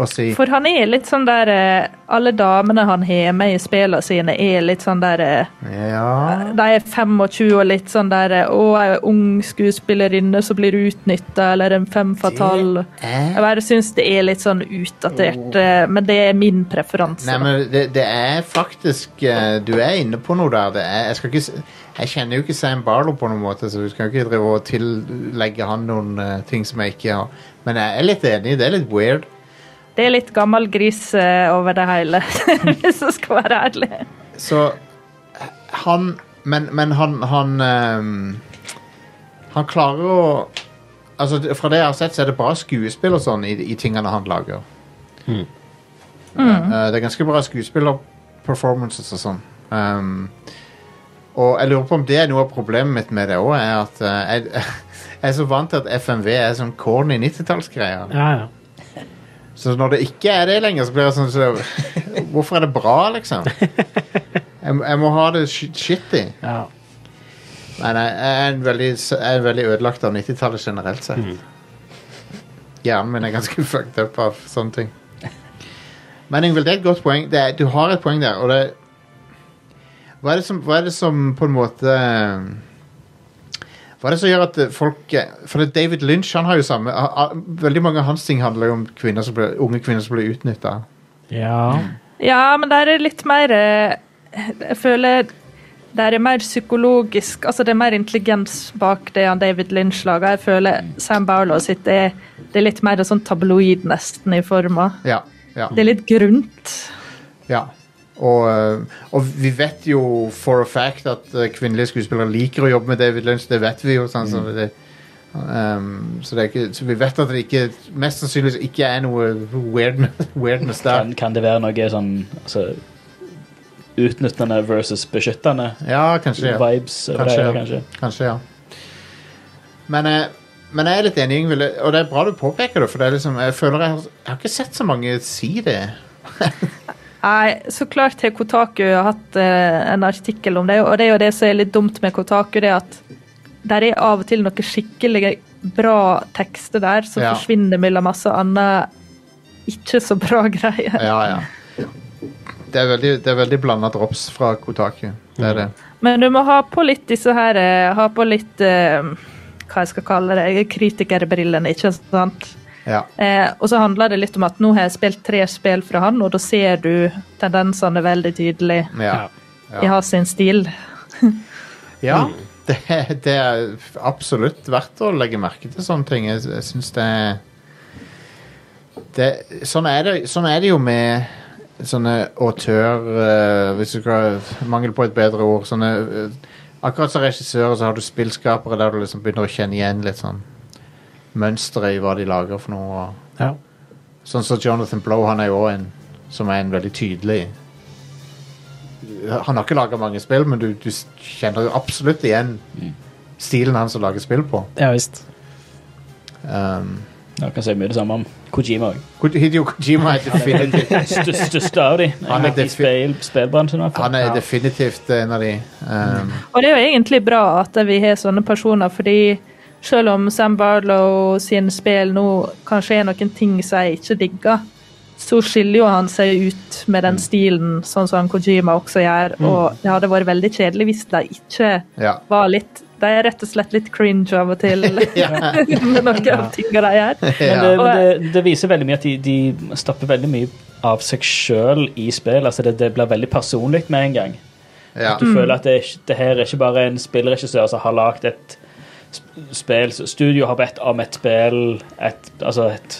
S2: å si.
S6: For han er litt sånn der eh, Alle damene han har med i spillene sine, er litt sånn der eh,
S2: Ja
S6: De er 25 og litt sånn der eh, Å, ei ung skuespillerinne som blir utnytta, eller en fem fatal Jeg bare syns det er litt sånn utdatert, eh, men det er min preferanse.
S2: Nei, men det, det er faktisk eh, Du er inne på noe der. Det er, jeg, skal ikke, s- jeg kjenner jo ikke Sam Barlow på noen måte, så du skal jo ikke drive og tillegge han noen eh, ting som jeg ikke har. Men jeg er litt enig, det er litt weird.
S6: Det er litt gammel gris eh, over det hele, hvis jeg skal være ærlig.
S2: Så eh, han Men, men han han, ehm, han klarer å Altså, det- Fra det jeg har sett, så er det bra skuespill og sånn i, i tingene han lager. Eh, det er ganske bra skuespillerperformances og sånn. Ehm, og jeg lurer på om det er noe av problemet mitt med det òg, er at eh, jeg, jeg er så vant til at FMV er sånn corny 90-tallsgreier.
S3: Ja, ja.
S2: Så når det ikke er det lenger, så blir jeg sånn så, Hvorfor er det bra, liksom? Jeg, jeg må ha det sh- shitty.
S3: ja.
S2: Men jeg jeg er en veldig, s- jeg er veldig ødelagt av 90-tallet generelt sett. Hjernen min er ganske fucked up av sånne ting. Men Ingvild, det er et godt poeng. Det er, du har et poeng der, og det hva er det, som, hva er det som på en måte Hva er det som gjør at eh, folk eh, For det er David Lynch han har jo samme ha- ha- Veldig mange av hans ting handler jo om kvinner som ble, unge kvinner som blir utnytta.
S3: Ja.
S6: Ja, men der er litt mer eh, Jeg føler der er mer psykologisk Altså, det er mer intelligens bak det han David Lynch lager. Jeg føler Sam Barlow sitt er, det er litt mer sånn tabloid, nesten, i forma.
S2: Ja, ja,
S6: Det er litt grunt.
S2: ja. Og, eh, og vi vet jo for a fact at eh, kvinnelige skuespillere liker å jobbe med David Lynch. Det vet vi jo. Sånn, så, det, ehm, så, det er ikke, så vi vet at det ikke mest sannsynligvis ikke er noe weirdness, weirdness der.
S4: Kan, kan det være noe sånn altså, utnyttende versus beskyttende
S2: Ja, kanskje. Ja.
S4: vibes? over det,
S2: Kanskje, ja.
S4: kanskje.
S2: Kanskje, ja. Men, eh, men jeg er litt enig, Ingvild, og det er bra du påpeker det. For det er liksom, jeg føler jeg har, jeg har ikke sett så mange si det.
S6: Nei, så klart har Kotaku hatt eh, en artikkel om det, og det er jo det som er litt dumt med Kotaku, det er at der er av og til noen skikkelig bra tekster der som
S2: Ja.
S6: forsvinner mellom masse annet ikke så bra greier.
S2: Ja, ja. Det er veldig, det er veldig blanda drops fra Kotaku. Det er det.
S6: Men du må ha på litt disse her eh, Ha på litt eh, hva jeg skal kalle det, kritikerbrillene, ikke sant?
S2: Ja.
S6: Eh, og så handler det litt om at nå har jeg spilt tre spill fra han, og da ser du tendensene veldig tydelig
S2: ja.
S3: Ja.
S2: Ja.
S6: i hans sin stil.
S2: ja. Det, det er absolutt verdt å legge merke til sånne ting. Jeg, jeg syns det, det sånn, er det, sånn er det jo med sånne autør eh, Hvis du skal Mangel på et bedre ord. Sånne, eh, akkurat som regissører, så har du spillskapere der du liksom begynner å kjenne igjen litt sånn mønsteret i hva de lager for noe. Og,
S3: ja.
S2: Sånn som Jonathan Blow, han er jo også en som er en veldig tydelig Han har ikke laga mange spill, men du, du kjenner jo absolutt igjen stilen han som lager spill på.
S3: ja visst.
S2: Um,
S4: Jeg kan si mye det samme om Kojima òg.
S2: Ko- Hideo Kojima er definitivt
S4: Største av de
S2: Han er
S4: i
S2: defi-
S4: spill, spillbransjen. i hvert fall.
S2: Han er definitivt en av de. Um,
S6: Og det er jo egentlig bra at vi har sånne personer, fordi selv om Sam Barlow sine spill nå kanskje er noen ting som jeg ikke digger, så skiller jo han seg ut med den stilen, sånn som Kojima også gjør. Og det hadde vært veldig kjedelig hvis de ikke
S2: ja.
S6: var litt De er rett og slett litt cringe av og til med noen av tingene de gjør.
S4: Men
S2: ja.
S4: det, men det, det viser veldig mye at de, de stapper veldig mye av seg sjøl i spill. Altså det, det blir veldig personlig med en gang.
S2: ja.
S4: Du føler at det, er ikke- det her er ikke bare en spillregissør som har lagd et sp- spill Studio har bedt om et spill et, Altså et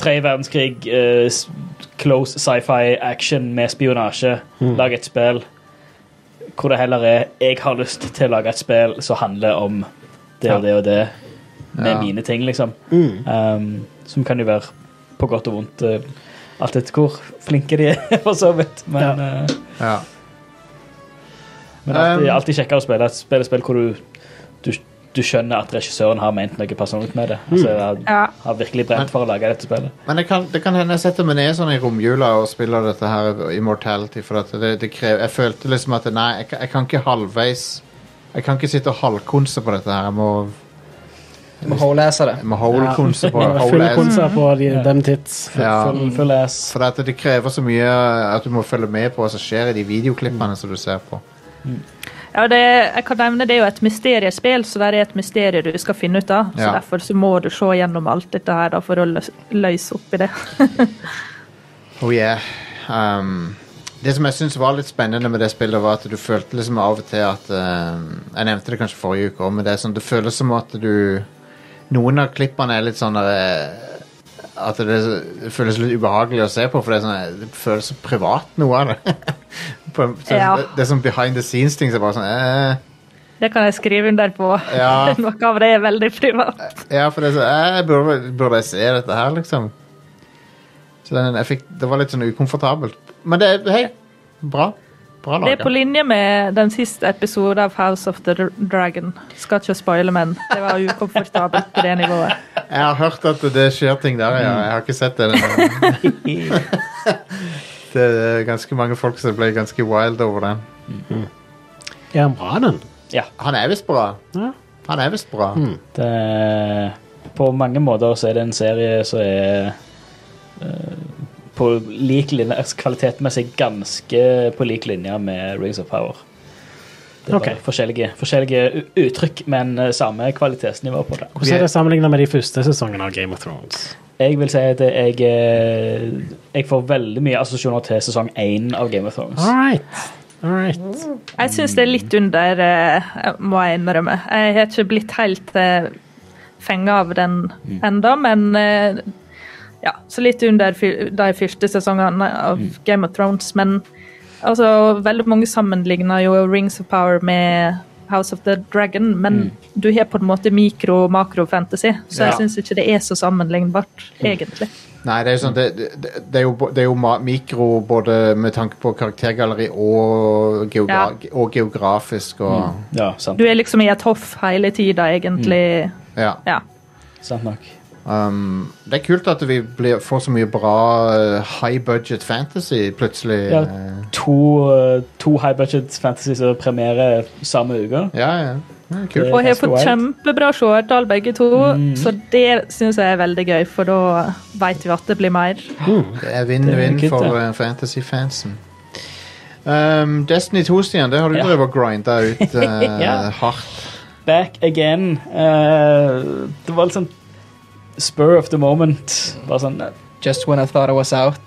S4: tre verdenskrig, eh, s- close sci-fi action med spionasje. Lag et spill hvor det heller er Jeg har lyst til å lage et spill som handler om det og det og det, med
S2: Ja.
S4: mine ting, liksom. Um, som kan jo være på godt og vondt. eh, alt etter hvor flinke de er, for så vidt. Men
S3: Ja.
S4: eh,
S2: ja.
S4: men alltid,
S2: Um,
S4: alltid kjekkere å spille et spill, spill hvor du, du, du skjønner at regissøren har ment noe personlig med det. Altså, har,
S6: Ja.
S4: har virkelig brent for å lage dette spillet.
S2: Men det kan, det kan hende jeg setter meg ned sånn i romjula og spiller dette her Immortality. For at det, det krever, jeg følte liksom at nei, jeg, kan- jeg kan ikke halvveis Jeg kan ikke sitte og halvkonse på dette her. Jeg må,
S5: Du må håleser det.
S2: jeg må holekonse på
S3: Full
S2: hole-ass.
S3: konser på de, dem tits.
S2: Ja,
S4: Full, full ass.
S2: for at det krever så mye at du må følge med på hva som skjer i de videoklippene som du ser på.
S6: Ja, det, jeg kan nevne det er jo et mysteriespill, så det er et mysterium du skal finne ut av. Så
S2: Ja.
S6: Derfor så må du se gjennom alt dette her da, for å løs- løse opp i det.
S2: Oh yeah. Um, det som jeg syns var litt spennende med det spillet, var at du følte liksom av og til at um, Jeg nevnte det kanskje forrige uke òg, men det er sånn, det føles som at du Noen av klippene er litt sånn eh, At det, det føles litt ubehagelig å se på, for det, er sånn, det føles så privat, noe av det. på, en- så,
S6: Ja.
S2: det, det er sånn behind the scenes-ting som så bare sånn eh,
S6: Det kan jeg skrive under på.
S2: Ja.
S6: Noe av det er veldig privat.
S2: Ja, for det er så, eh, burde, burde jeg se dette her, liksom? Så den, jeg fikk, det var litt sånn ukomfortabelt. Men det er hei, bra. Bra
S6: Det er på
S2: laga.
S6: linje med den siste episoden av House of the Dr- Dragon. Skal ikke spoile, men det var ukomfortabelt på det nivået.
S2: Jeg har hørt at det skjer ting der, ja. Jeg har ikke sett det. men- det er ganske mange folk som ble ganske wild over den.
S3: Er han bra, den?
S4: Ja. Hmm.
S2: Han er visst bra.
S3: Ja.
S2: Han er visst bra.
S4: Det, på mange måter så er det en serie som er eh, på lik linje, altså kvalitetmessig ganske på lik linje med Rings of Power. Det er
S3: Ok.
S4: bare forskjellige, forskjellige u- uttrykk, men eh, samme kvalitetsnivå på det.
S3: Hvordan er det sammenlignet med de første sesongene av Game of Thrones?
S4: Jeg vil si at jeg, eh, jeg får veldig mye assosiasjoner til sesong én av Game of Thrones.
S3: All right. All right.
S6: Jeg syns det er litt under, eh, må jeg innrømme. Jeg har ikke blitt helt eh, fenga av den enda, men eh, ja, så litt under fyr- de første sesongene av Game of Thrones. Men altså, veldig mange sammenligner jo Rings of Power med House of the Dragon, men du har på en måte mikro- og makro-fantasy, så
S2: Ja.
S6: jeg syns ikke det er så sammenlignbart, egentlig.
S2: Nei, det er, jo sånn, det, det, det er jo, bo- det er jo ma- mikro både med tanke på karaktergalleri og, geogra og geografisk og
S4: Ja, sant,
S6: Du er liksom i et hoff hele tida, egentlig.
S2: Ja.
S6: Ja.
S4: sant nok.
S2: Um, det er kult at vi blir, får så mye bra eh, high budget fantasy plutselig.
S4: Ja.
S2: eh,
S4: To, eh, to high budget fantasy som premierer samme uke.
S2: ja, ja. ja kult.
S4: Det-
S6: Og har
S4: ganske
S6: fått
S4: wild.
S6: kjempebra seertall, begge to.
S3: Mm.
S6: Så det syns jeg er veldig gøy, for da vet vi at det blir mer.
S2: Det er
S4: Det
S2: vinn-vinn
S4: er kult,
S2: for
S4: det.
S2: eh, fantasy-fansen. Um, Destiny 2, Stian, det har du
S4: Ja.
S2: drevet og grinda ut eh,
S4: Ja.
S2: hardt.
S4: Back again. Eh, det var liksom spur of the moment. Bare sånn, eh,
S5: Just when I thought I was out.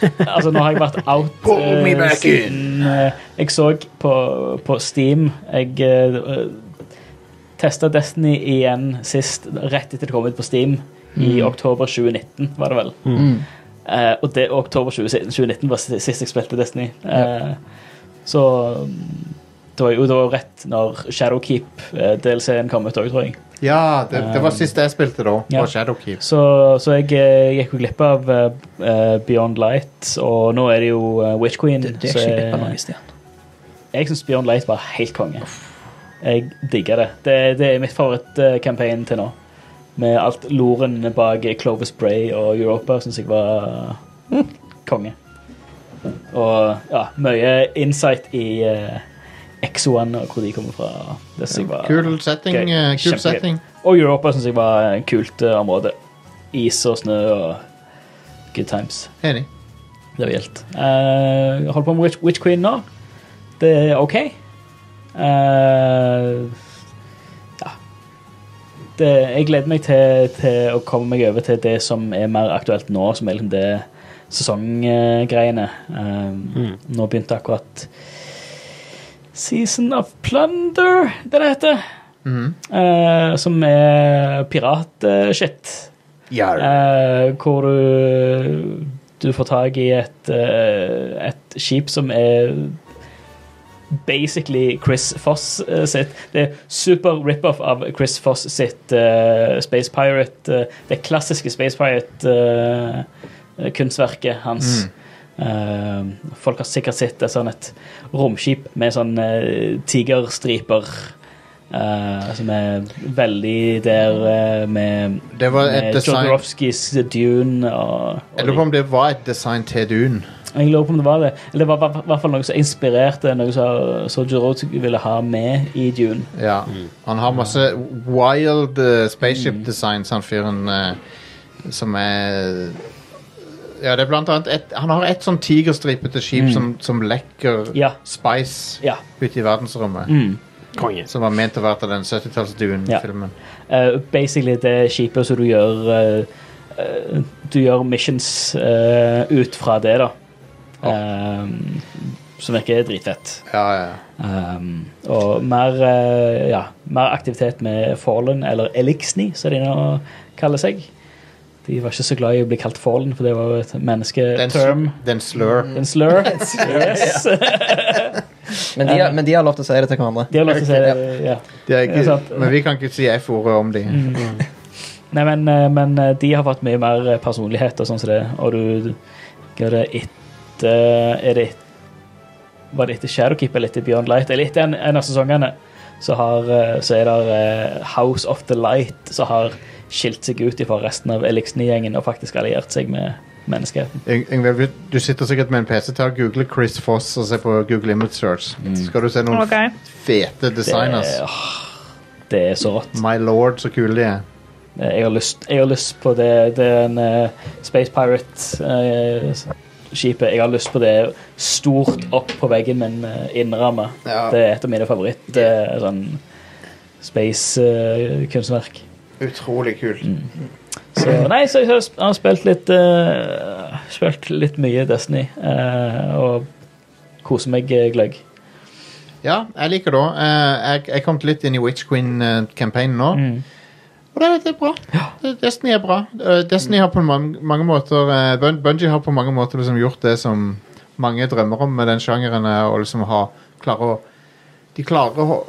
S4: altså Nå har jeg vært out eh, siden eh, Jeg så på, på Steam Jeg uh, testa Destiny igjen sist, rett etter det kom ut på Steam, i oktober 2019, var det vel.
S5: Mm.
S4: Eh, og det oktober 20, 2019 var si- sist jeg spilte Destiny. Eh, Så mm, det var jo det var rett når eh, Shadowkeep-DLC-en kom ut òg, tror jeg.
S2: Ja, det, det var sist jeg spilte, da.
S4: Um, Ja.
S2: På Shadowkeep.
S4: Så, så jeg eh, gikk jo glipp av eh, Beyond Light, og nå er det jo eh, Witch Queen.
S5: Du, du er
S4: så
S5: ikke
S4: jeg-
S5: glipp av noe, Stian.
S4: Jeg syns Beyond Light var helt konge. Jeg digger det. Det, det er mitt favorittcampaign til nå. Med alt loren bak Clovis Bray og Europa syns jeg var konge. Og ja, mye insight i uh, Exo-en og hvor de kommer fra. Det synes jeg var
S2: Kul setting.
S4: gøy.
S2: eh, kul
S4: Kjempegøy.
S2: setting.
S4: Og Europa syns jeg var et kult eh, område. Is og snø og good times.
S2: Enig.
S4: Det var gildt. Eh, jeg holder på med Witch, Witch Queen nå. Det er OK. Eh, ja. Det, jeg gleder meg til, til å komme meg over til det som er mer aktuelt nå, som er liksom det sesonggreiene. Eh, Nå begynte akkurat Season of Plunder, det det heter.
S2: Mhm.
S4: Eh, som er piratshit. Eh, hvor du, du får tak i et, eh, et skip som er basically Chris Foss eh, sitt. Det er super rip-off av Chris Foss sitt eh, Space Pirate. eh, det klassiske Space Pirate-kunstverket hans.
S2: Mm.
S4: Eh, folk har sikkert sett et, sånn et romskip med sånn eh, tigerstriper. eh, som er veldig der eh, med
S2: Det var et
S4: med
S2: design
S4: Jodorowskys Dune og,
S2: Jeg lurer på om det var et design til Dune.
S4: Jeg lurer på om det var det. Eller det var i hvert fall noe som inspirerte noe som som Jodorowsky ville ha med i Dune.
S2: Ja.
S4: Mm.
S2: Han har masse wild eh, spaceship designs, han fyren eh, som er Ja, det er blant annet et, Han har et sånn tigerstripete skip som, som lekker
S4: Mm. Ja.
S2: spice
S4: Ja. Mm.
S2: ute i verdensrommet.
S3: Konge.
S2: Som var ment å være til den 70-talls-Dune-filmen.
S4: Eh, basically det skipet som du gjør eh, eh, Du gjør missions eh, ut fra det, da. Eh, som virker dritfett.
S2: Ja, ja.
S4: Um, og mer, eh, ja, mer aktivitet med Fallen, eller Elixni, som de nå kaller seg. De var ikke så glad i å bli kalt Fallen, for det var jo et Eh,
S2: Den, sl
S4: mennesketerm.
S2: den slur.
S4: En slur. Yes.
S5: Men de, har- men de har lov til å si det til hverandre.
S4: De har lov til å si det. Ja.
S2: Det er
S4: Det er
S2: ikke,
S4: sant. Mm.
S2: men vi kan ikke si F-ordet om de.
S4: Nei, men, eh, men eh, de har fått mye mer eh, personlighet og sånn som det, og du hva er det etter eh, Er det et- Var det etter Shadowkeep eller etter Beyond Light? Eller etter en, en av sesongene så, har, eh, så er det eh, House of the Light som har skilt seg ut fra resten av Elixni-gjengen og faktisk alliert seg med menneskeheten.
S2: Yng- Yngve, du sitter sikkert med en PC til å google Chris Foss og se på Google Image Search. Skal du se noen
S6: Ok.
S2: fete
S4: Det, er-
S2: designers?
S4: åh, det er så rått.
S2: My lord, så kule de er.
S4: Eh, Jeg har lyst, jeg har lyst på det, den eh, Space Pirate-skipet. jeg har lyst på det stort opp på veggen, men uh, innramma.
S5: Ja.
S4: Det er et av mine favoritt eh, sånn eh, space-kunstverk.
S2: Utrolig kult.
S4: Så nei, så jeg har sp- har spilt litt eh, Spilt litt mye Destiny eh, og koser meg eh, gløgg.
S2: Ja, jeg liker det. også. Eh, jeg, jeg kom litt inn i Witch Queen-campaignen nå. Og det, det er bra. Det- Destiny er bra. Eh, Destiny har på mange, mange måter eh, Bun- Bungie har på mange måter liksom gjort det som mange drømmer om med den sjangeren. eh, Og liksom har, klarer å De klarer å ho-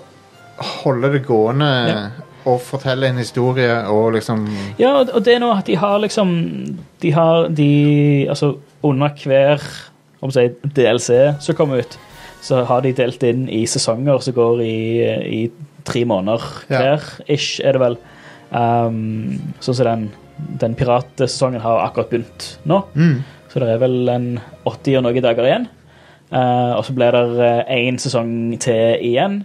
S2: holde det gående eh, og fortelle en historie og liksom
S4: Ja, og- og det er nå at de har liksom De har de Altså, under hver om å si, DLC som kommer ut, så har de delt inn i sesonger som går i, i tre måneder
S2: Ja.
S4: hver, ish, er det vel. Um, sånn som den, den piratsesongen har akkurat begynt nå.
S2: Mm,
S4: Så det er vel en 80 og noen dager igjen. Eh, og så blir det én sesong til igjen,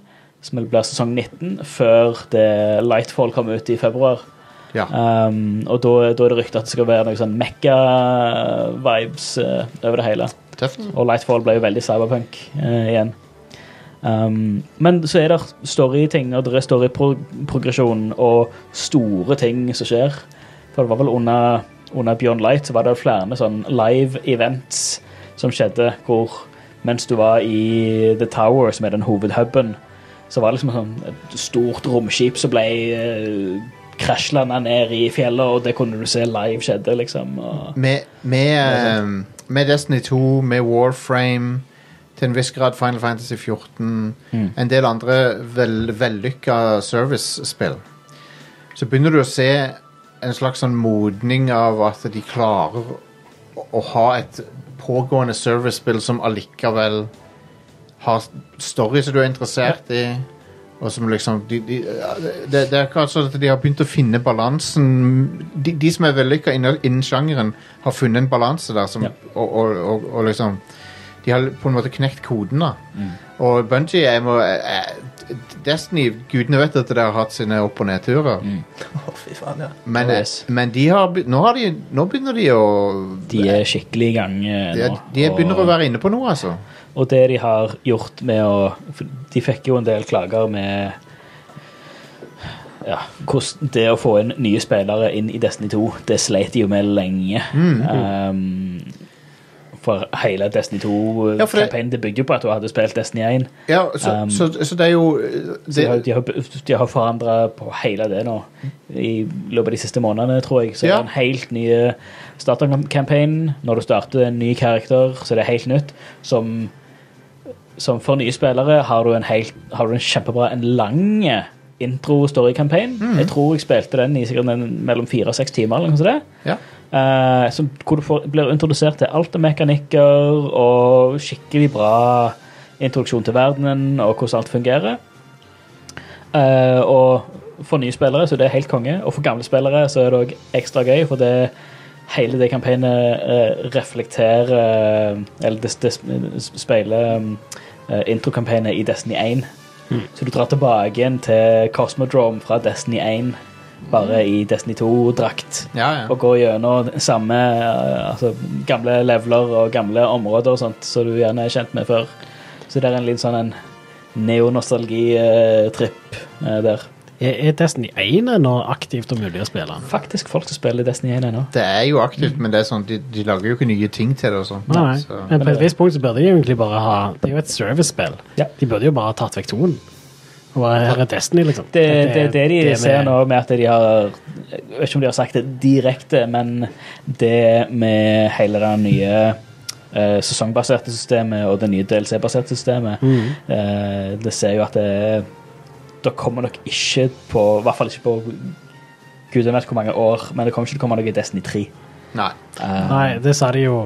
S4: som blir sesong 19, før det Lightfall kommer ut i februar.
S2: Ja.
S4: Um, og da, da er det rykte at det skal være noe sånn Mekka-vibes eh, over det hele.
S2: Tøft.
S4: Og Lightfall ble jo veldig cyberpunk eh, igjen. Um, men så er det storyting, og det er storyprogresjon og store ting som skjer. For det var vel under, under Beyond Light så var det flere sånn live events som skjedde hvor mens du var i The Tower, som er den hovedhuben, så var det liksom sånn et stort romskip som ble eh, krasjlanda ned i fjellet, og det kunne du se live skjedde, liksom. Og
S2: Med, med, eh, med Destiny 2, med Warframe, til en viss grad Final Fantasy 14, en del andre vel, vellykka servicespill, så begynner du å se en slags sånn modning av at de klarer å, å ha et pågående servicespill som allikevel har story som du er interessert i. Og som liksom de, de, det, det er akkurat sånn at de har begynt å finne balansen De, de som er vellykka innen, innen sjangeren, har funnet en balanse der som
S4: Ja.
S2: og, og, og, og liksom De har på en måte knekt koden, da.
S4: Mm.
S2: Og Bungie jeg må, jeg- jeg- Destiny Gudene vet at det har hatt sine opp- og nedturer.
S5: Å, fy faen, ja.
S2: Men,
S4: Oh, Mm. yes.
S2: men de har, be- nå, har de, nå begynner de å
S4: de er skikkelig i gang eh,
S2: de,
S4: nå.
S2: de begynner
S4: og-
S2: å være inne på noe, altså.
S4: Og det de har gjort med å for De fikk jo en del klager med ja, hvordan det å få inn nye spillere inn i Destiny 2, det sleit de jo med lenge.
S2: Mm.
S4: Um, for hele Destiny
S2: Ja, for det-
S4: 2-kampanjen det bygde jo på at du hadde spilt Destiny 1.
S2: Ja, så,
S4: Um,
S2: så, så, det er jo
S4: Så de har,
S2: det,
S4: de har, de har forandra på hele det nå i løpet av de siste månedene, tror jeg. Så
S2: Ja.
S4: er det en helt ny starter-campaign. Når du starter en ny karakter, så er det helt nytt. Som, som for nye spillere har du en, helt, har du en kjempebra, en lang intro-story-campaign.
S2: Mm.
S4: Jeg tror jeg spilte den i sikkert en, mellom fire og seks timer. eller noe sånt.
S2: ja.
S4: Eh, som, hvor du får, blir introdusert til alt av mekanikker og skikkelig bra introduksjon til verdenen og hvordan alt fungerer. Eh, og for nye spillere så det er helt konge, og for gamle spillere så er det òg ekstra gøy, for det hele det kampanjet eh, reflekterer eh, Eller det, det speiler eh, introkampanjen i Destiny 1. Så du drar tilbake igjen til Cosmodrome fra Destiny 1, bare i Destiny 2-drakt
S2: Ja, ja.
S4: og gå gjennom samme eh, altså, gamle leveler og gamle områder og sånt som du gjerne er kjent med før. Så det er en litt sånn en neonostalgi-tripp eh, der.
S3: Er, er Destiny 1 nå aktivt og mulig å spille?
S4: Faktisk folk som spiller Destiny 1 ennå.
S2: Det er jo aktivt,
S4: Mm.
S2: men det er sånn, de, de lager jo ikke nye ting til det. og sånt.
S3: Nei, nei.
S2: Så,
S3: Men på et visst punkt så burde de egentlig bare ha Det er jo et servicespill.
S4: Ja.
S3: De burde jo bare ha tatt vekk toen. Og bare, her er Destiny, liksom.
S4: Det er det, det de
S3: det med-
S4: ser nå med at de har Jeg vet ikke om de har sagt det direkte, men det med hele det nye eh, sesongbaserte systemet og det nye DLC-baserte systemet, eh, det ser jo at det Det kommer nok ikke på I hvert fall ikke på gudene vet hvor mange år, men det kommer ikke til å komme noe i Destiny Eh, 3.
S2: nei.
S3: Nei, det sa de jo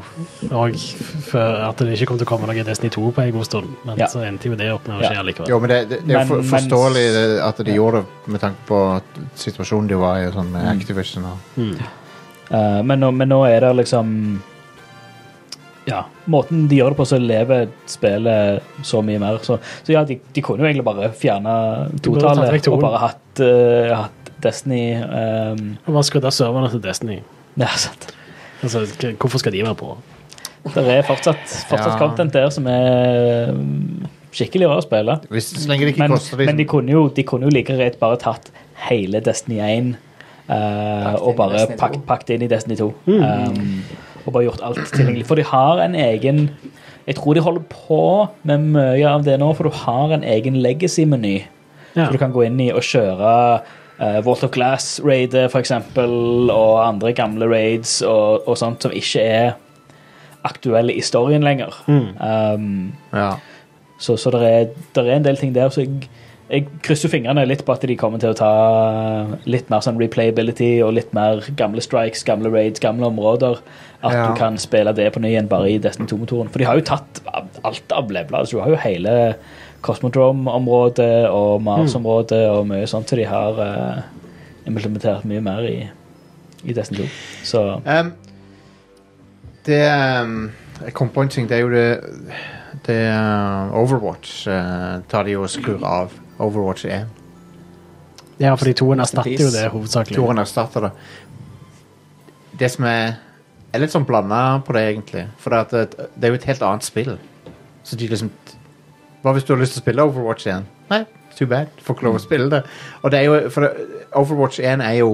S3: òg før at det ikke kom til å komme noe Destiny 2 på en god stund. Men
S4: Ja.
S3: så endte jo det opp med å
S4: Ja.
S3: skje likevel.
S2: Jo, men det, det, det er jo
S4: Men-
S2: for,
S4: men-
S2: forståelig det- at de gjorde det med tanke på at situasjonen de var i og sånn med
S4: Mm.
S2: Activision. Og,
S3: Mm.
S4: Eh, men, nå, men nå er det liksom Ja, måten de gjør det på, så lever spillet så mye mer. Så, så ja, de, de kunne jo egentlig bare fjerne
S3: burde tatt vekk
S4: totallet
S3: toen.
S4: og bare hatt, eh, hatt Destiny ehm,
S3: Og bare skrudd av serverne til Destiny.
S4: Ja, sant.
S3: Altså, k- hvorfor skal de være på?
S4: Det er fortsatt,
S2: Ja.
S4: fortsatt content der som er ehm, skikkelig rart å spille.
S2: Hvis, så lenge det ikke
S4: Men,
S2: koster
S4: men de kunne jo, de kunne jo like greit bare tatt hele Destiny 1 eh,
S5: Pakket
S4: og
S5: inn i
S4: bare
S5: Destiny Mm. 2.
S4: pak, pakket inn i Destiny 2. ehm, og bare gjort alt tilgjengelig. For de har en egen Jeg tror de holder på med mye av det nå, for du har en egen legacy-meny.
S3: Ja.
S4: Så du kan gå inn i og kjøre uh, Vault of Glass-raidet, for eksempel, og andre gamle raids og, og sånt som ikke er aktuelle i storyen lenger.
S5: Mm.
S4: Um,
S2: Ja.
S4: så så det, er, der er en del ting der, så jeg, jeg krysser fingrene litt på at de kommer til å ta litt mer sånn replayability og litt mer gamle strikes, gamle raids, gamle områder. At
S2: Ja.
S4: du kan spille det på ny igjen bare i Destiny 2-motoren. For de har jo tatt ab- alt av levela. Altså, du har jo hele Cosmodrome-området og Mars-området og mye sånt, så de har eh, implementert mye mer i, i Destiny 2. Så
S2: Ehm, det ehm, Jeg kom på en ting. Det er jo det, det eh, Overwatch eh, tar de jo og skrur av. Overwatch 1.
S3: Ja, fordi toen erstatter jo
S5: Peace.
S3: det hovedsakelig.
S2: Toren erstatter det. Det som er Jeg er litt sånn blanda på det, egentlig. For det, at det, det er jo et helt annet spill. Så de liksom Hva hvis du har lyst til å spille Overwatch igjen? Nei, too bad. Du får ikke lov å spille det. Og det er jo For det- Overwatch 1 er jo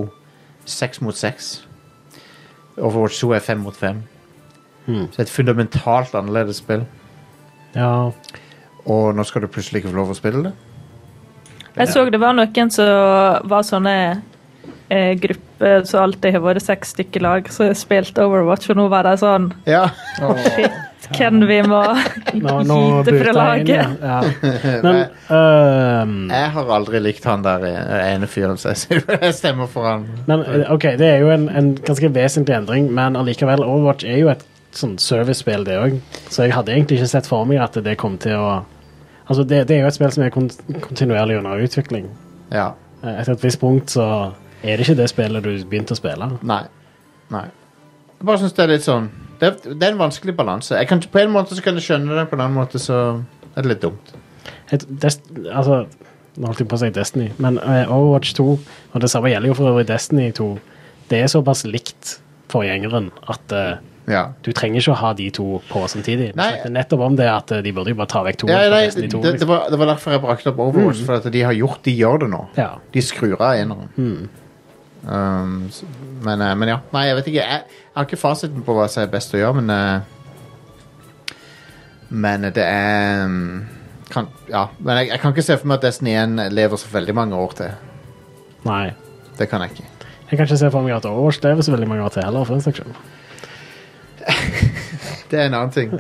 S2: seks mot seks. Overwatch 2 er fem mot fem.
S3: Mm.
S2: Så det er et fundamentalt annerledes spill.
S3: Ja.
S2: Og nå skal du plutselig ikke få lov å spille det?
S6: Jeg så det var noen som var sånne eh, grupper som alltid har vært seks stykker lag, som spilte Overwatch, og nå var de sånn
S2: Ja.
S6: Hvem vi må
S3: Nå, nå
S6: gite
S3: bytter
S6: fra
S3: jeg inn.
S6: laget.
S3: Ja. Ja. Men øhm,
S2: Jeg har aldri likt han der eh, ene fyren, så jeg- jeg stemmer for han.
S3: Men eh, ok, det er jo en, en ganske vesentlig endring, men allikevel, Overwatch er jo et sånn servicespill, det òg. Så jeg hadde egentlig ikke sett for meg at det kom til å Altså, det, det er jo et spill som er kon kontinuerlig under utvikling.
S2: Ja.
S3: Eh, Etter et visst punkt så er det ikke det spillet du begynte å spille.
S2: Nei. Nei. Jeg bare syns det er litt sånn Det er, det er en vanskelig balanse. Jeg kan, på en måte så kan jeg skjønne det, på en annen måte så er det litt dumt.
S3: Et, dest, altså, nå holdt jeg på å si Destiny, men eh, Overwatch 2, og det samme gjelder jo for øvrig Destiny 2, det er såpass likt forgjengeren at eh,
S2: Ja.
S3: du trenger ikke å ha de to på samtidig. Vi
S2: Nei.
S3: snakket nettopp om det at eh, de burde jo bare ta vekk to.
S2: Ja,
S3: fra
S2: nei,
S3: Destiny
S2: det,
S3: 2,
S2: det,
S3: liksom.
S2: var, det var derfor jeg brakte opp Overwatch, for at de har gjort De gjør det nå.
S3: Ja.
S2: De skrur av eneren. Um, s- men, eh, men ja. Nei, jeg vet ikke. Jeg, jeg har ikke fasiten på hva som er best å gjøre, men eh, Men det er mm, kan, Ja. Men jeg, jeg kan ikke se for meg at Destiny 1 lever så veldig mange år til.
S3: Nei.
S2: Det kan jeg ikke.
S3: Jeg kan ikke se for meg at Overwatch lever så veldig mange år til heller. for den saks skyld.
S2: Det er en annen ting.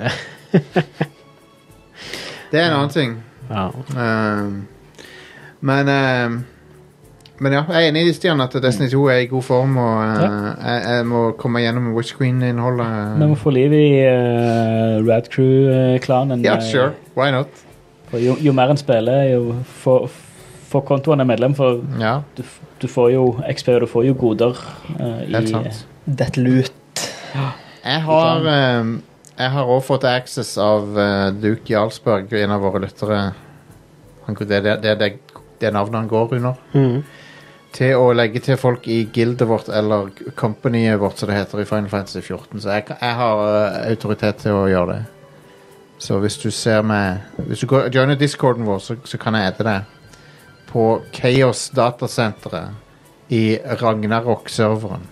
S2: Det er en annen ting.
S3: Ja.
S2: Ehm, men ehm, Men ja, jeg er enig i Stian at Destiny 2 er i god form, og eh, jeg, jeg må komme gjennom Witch Queen-innholdet.
S4: vi må få liv i eh, Rad Crew-klanen.
S2: Ja,
S4: eh,
S2: sure. Why not?
S4: Og jo, jo mer en spiller, jo for, for kontoen er medlem, for
S2: Ja,
S4: du, f- du får jo XP og du får jo goder. eh, i-
S2: helt sant.
S5: Dette lut.
S2: Jeg har ehm, Jeg har også fått access av eh, Duke Jarlsberg, en av våre lyttere. Han, det, det, det, det, det er navnet han går under.
S3: Mhm.
S2: til å legge til folk i gildet vårt eller companyet vårt, som det heter i Final Fantasy 14. Så jeg, kan- jeg har eh, autoritet til å gjøre det. Så hvis du ser meg Hvis du går, joiner discorden vår, så, så kan jeg ete deg. På Chaos Datasenteret i Ragnarok-serveren.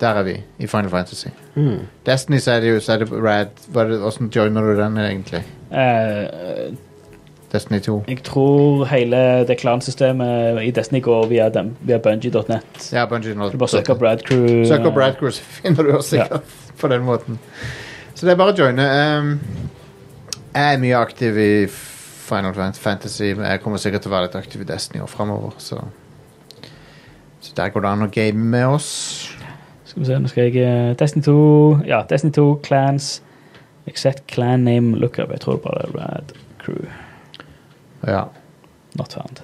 S2: Der er vi, i Final Fantasy.
S3: Mhm.
S2: Destiny, så er det jo så er det Rad. Hva er det- Hvordan joiner du den, egentlig?
S4: Eh,
S2: Destiny 2?
S4: jeg tror hele det klansystemet i Destiny går via, dem- via bungee.net.
S2: Ja, Bungie Nord.
S4: Du bare søker Brad Crew.
S2: Søk opp Radcrew, så finner du oss sikkert på den måten. Så det er bare å joine. Ehm, jeg er mye aktiv i Final Fan- Fantasy, men jeg kommer sikkert til å være litt aktiv i Destiny og framover, så Så der går det an å game med oss.
S4: Skal vi se, nå skal jeg eh, Destiny 2, ja, Destiny 2, clans. Except clan name lookup. Jeg tror bare Rad Crew.
S2: Ja.
S4: Not found.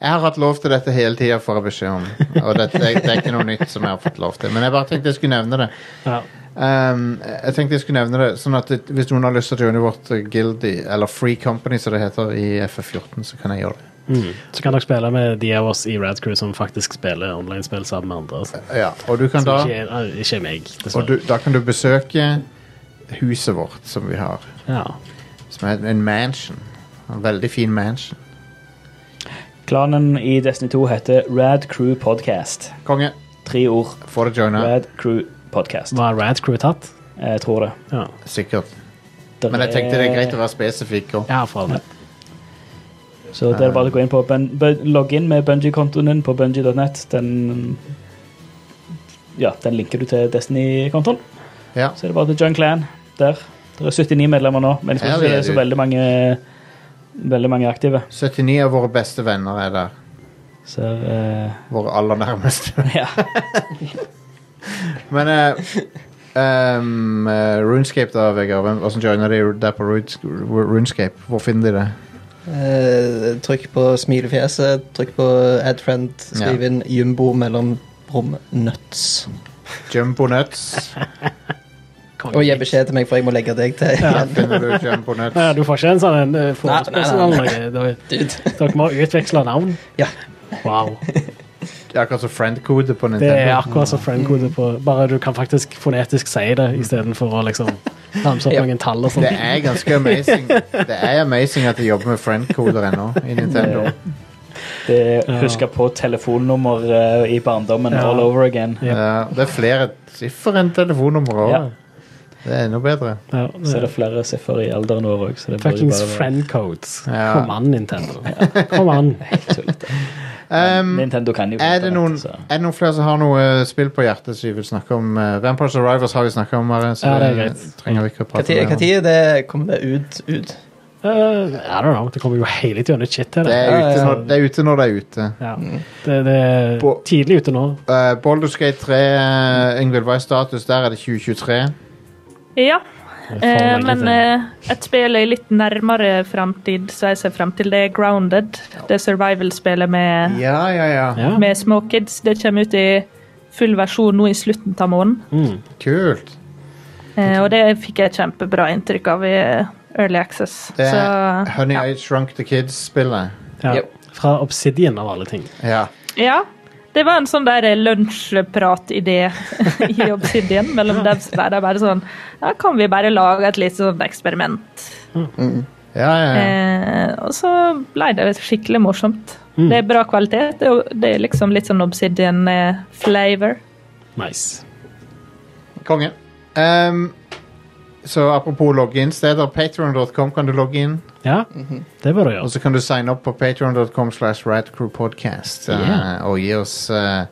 S2: Jeg har hatt lov til dette hele tida, får jeg beskjed om. Og det, det, det er ikke noe nytt som jeg har fått lov til. Men jeg bare tenkte jeg skulle nevne det.
S3: Ja.
S2: Ehm, jeg tenkte jeg skulle nevne det Sånn at det, hvis noen har lyst til å joine vårt eh, guild, i- eller Free Company som det heter i FF14, så kan jeg gjøre det.
S3: Mm. Så kan dere spille med de av oss i Rad Crew som faktisk spiller online-spill sammen med andre. Altså.
S2: Ja, og du kan
S3: Som
S2: da,
S3: ikke, er- ah, ikke er meg,
S2: og
S3: dessverre.
S2: du, da kan du besøke huset vårt som vi har.
S3: Ja.
S2: Som er en mansion. En veldig fin mansion.
S4: Klanen i Destiny 2 heter Rad Crew Podcast.
S2: Konge,
S4: Tre ord.
S2: få det joina.
S4: Rad Crew Podcast.
S3: Var Rad Crew tatt?
S4: Jeg tror det.
S3: Ja,
S2: Sikkert.
S4: Der
S2: Men jeg tenkte det er greit å være spesifikk. Og.
S3: ja for all del.
S4: Så det er bare å gå inn på bun bun logg inn med Bungie-kontoen din på bungie.net. Den Ja, den linker du til Destiny-kontoen.
S2: Ja.
S4: Så er det bare til John Clan der. Det er 79 medlemmer nå, men jeg tror
S2: Ja,
S4: ikke det
S2: det er
S4: er så
S2: det.
S4: veldig mange Veldig mange aktive.
S2: 79 av våre beste venner er der.
S4: Så eh,
S2: Våre aller nærmeste.
S4: ja.
S2: Men eh, ehm, eh, Runescape, da, Vegard. Hvem- Hvordan joiner de der på Runes- Runescape? Hvor finner de det?
S5: Eh, trykk på smilefjeset, trykk på add friend, skriv
S2: Ja.
S5: inn jumbo mellom rom nuts.
S2: Jumbo Nuts.
S5: Og gi beskjed til meg, for jeg må legge deg til igjen.
S2: Finner du Jumbo
S3: Ja,
S2: Nuts?
S3: du får ikke en sånn en, eh,
S5: Nei,
S3: forespørsel
S5: nei,
S3: eller
S5: nei,
S3: noe? Dere-
S5: Dude.
S3: Dere må utveksle navn?
S5: Ja.
S3: Wow.
S2: Det er akkurat som friend-kode på
S3: Det er
S2: Nintendo.
S3: akkurat som friendkode på Bare du kan faktisk fonetisk si det istedenfor å liksom ramse opp
S5: Ja.
S3: noen tall og
S2: Det
S3: sånn.
S2: er ganske amazing Det er amazing at de jobber med friend-koder ennå i Nintendo.
S4: Det er huske på telefonnummer eh, i barndommen
S3: Ja.
S4: all over again.
S2: Ja, det er flere siffer enn telefonnummer òg.
S4: Ja.
S2: Det er enda bedre.
S3: Ja,
S4: Så
S3: det
S4: er det flere siffer i alderen vår òg, så det bør jo
S3: Fuckings
S4: bare være
S3: friendcodes.
S2: Ja.
S3: Kom an, Nintendo. Kom an.
S4: helt tullete.
S2: Um,
S4: Nintendo kan jo
S2: er, det noen, er det noen flere som har noe eh, spill på hjertet som vi vil snakke om? Eh, Vampires Arrivals har vi snakka om, Maren, så
S3: Ja, det er
S2: det
S3: greit.
S2: trenger vi ikke å prate om.
S5: Når
S2: det.
S5: det kommer det ut? ut?
S3: Eh, I don't know. Det kommer jo hele tiden nytt shit til
S2: Det
S3: det.
S2: er ute når det er ute. Når det er ute.
S3: Ja. Det, det er
S2: På-
S3: tidlig ute nå.
S2: Uh, Baldur's Gate 3, eh, Yngvild, hva er status? Der er det 2023.
S6: Ja,
S3: For
S6: eh,
S3: lenge
S6: men
S3: til.
S6: eh, et spill i litt nærmere framtid, så jeg ser frem til, det er Grounded. Det survival-spillet med,
S2: Ja, ja, ja.
S3: ja.
S6: med små kids. Det kommer ut i full versjon nå i slutten av måneden.
S3: mm.
S2: Kult.
S6: Eh, og det fikk jeg kjempebra inntrykk av i eh, Early Access.
S2: Det
S6: Så
S2: er Honey I Shrunk The Kids-spillet.
S3: ja.
S5: Yep.
S3: Fra Obsidian, av alle ting.
S2: Ja.
S6: ja. Det var en sånn der eh, lunsjprat-idé i Obsidian mellom devs. Der det er bare sånn Ja, kan vi bare lage et lite sånn eksperiment?
S2: Ja, ja, ja.
S6: Eh, og så ble det skikkelig morsomt.
S3: Mm.
S6: Det er bra kvalitet. Det er, jo- det er liksom litt sånn obsidian-flavor.
S3: Nice.
S2: Konge. Um, så apropos login-steder. Patreon.com kan du logge inn.
S3: Ja,
S2: Mhm.
S3: det bør du
S2: Og
S3: gjøre.
S2: så kan du signe opp på patreon.com slash radcrewpodcast eh,
S3: Yeah.
S2: og gi oss eh,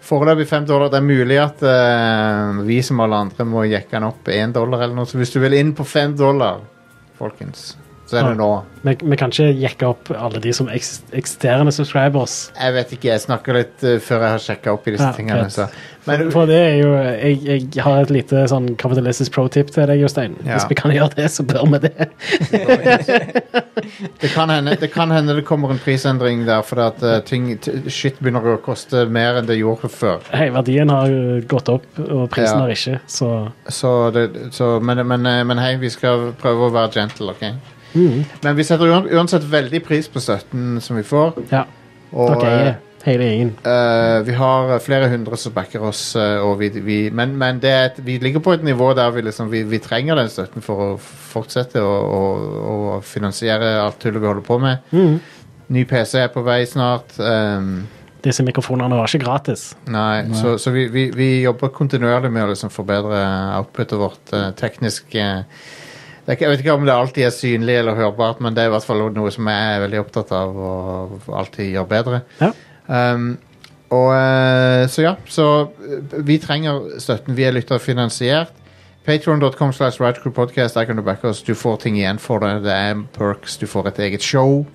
S2: foreløpig fem dollar. Det er mulig at eh, vi som alle andre må jekke den opp én dollar eller noe. Så hvis du vil inn på fem dollar, folkens, så er det
S3: Ja.
S2: nå.
S3: Vi, vi kan ikke jekke opp alle de som eks- eksisterende subscribers.
S2: Jeg vet ikke, jeg snakker litt eh, før jeg har sjekka opp i disse
S3: Ja,
S2: tingene.
S3: fett.
S2: Så. Men
S3: For det er jo Jeg, jeg har et lite sånn kapitalistisk pro-tip til deg, Jostein.
S2: Ja.
S3: Hvis vi kan gjøre det, så bør vi det.
S2: det kan, hende, det kan hende det kommer en prisendring der, fordi at eh, ting, t shit begynner å koste mer enn det gjorde før.
S3: Hei, verdien har jo gått opp, og prisen
S2: Ja.
S3: har ikke, så
S2: Så det, så, men, men, men hei, vi skal prøve å være gentle, ok?
S3: mm,
S2: Men vi setter uan- uansett veldig pris på støtten som vi får.
S3: Ja.
S2: Og
S3: Dere er hele gjengen.
S2: eh, eh, vi har flere hundre som backer oss, eh, og vi, vi, men, men det er et, vi ligger på et nivå der vi, liksom, vi, vi trenger den støtten for å fortsette å, å, å finansiere alt tullet vi holder på med.
S3: Mm.
S2: Ny PC er på vei snart. ehm,
S3: Disse mikrofonene var ikke gratis.
S2: Nei, så, så vi, vi, vi jobber kontinuerlig med å liksom forbedre outputet vårt eh, teknisk. eh, det er ikke, jeg vet ikke om det alltid er synlig eller hørbart, men det er i hvert fall noe som jeg er veldig opptatt av og alltid gjør bedre.
S3: Ja.
S2: Um, og eh, Så ja, så eh, vi trenger støtten. Vi er lytterfinansiert. Patreon.com slash radcrewpodcast, der kan du backe oss. Du får ting igjen for det. Det er perks. Du får et eget show.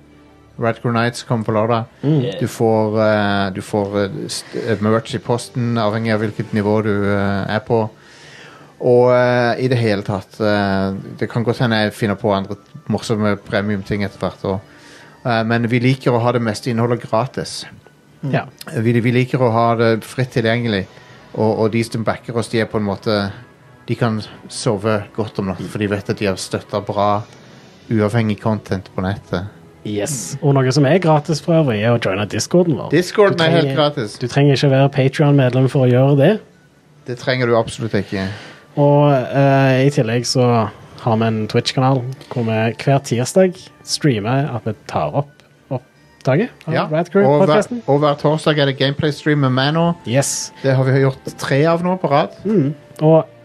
S2: Radcrew Nights kommer på lørdag. Du får, eh, du får eh, st- eh, merch i posten, avhengig av hvilket nivå du eh, er på. Og eh, i det hele tatt eh, Det kan godt hende jeg finner på andre morsomme premiumting etter hvert. også. Eh, men vi liker å ha det meste innholdet gratis. Mm.
S3: Ja.
S2: Vi, vi liker å ha det fritt tilgjengelig. Og, og de som backer oss, de er på en måte De kan sove godt om natten, for de vet at de har støtta bra, uavhengig content på nettet.
S3: Yes. Og noe som er gratis for øvrig, er å joine discorden vår.
S2: Discorden
S3: Du
S2: er helt
S3: trenger-
S2: gratis.
S3: Du trenger ikke være Patreon-medlem for å gjøre det.
S2: Det trenger du absolutt ikke.
S3: Og eh, i tillegg så har vi en Twitch-kanal hvor vi hver tirsdag streamer at vi tar opp opptaket av
S2: Ja.
S3: Rad Crew
S2: Og, hver,
S3: podcasten
S2: og hver torsdag er det gameplay-stream med meg nå.
S3: Yes.
S2: Det har vi gjort tre av nå på rad.
S3: Og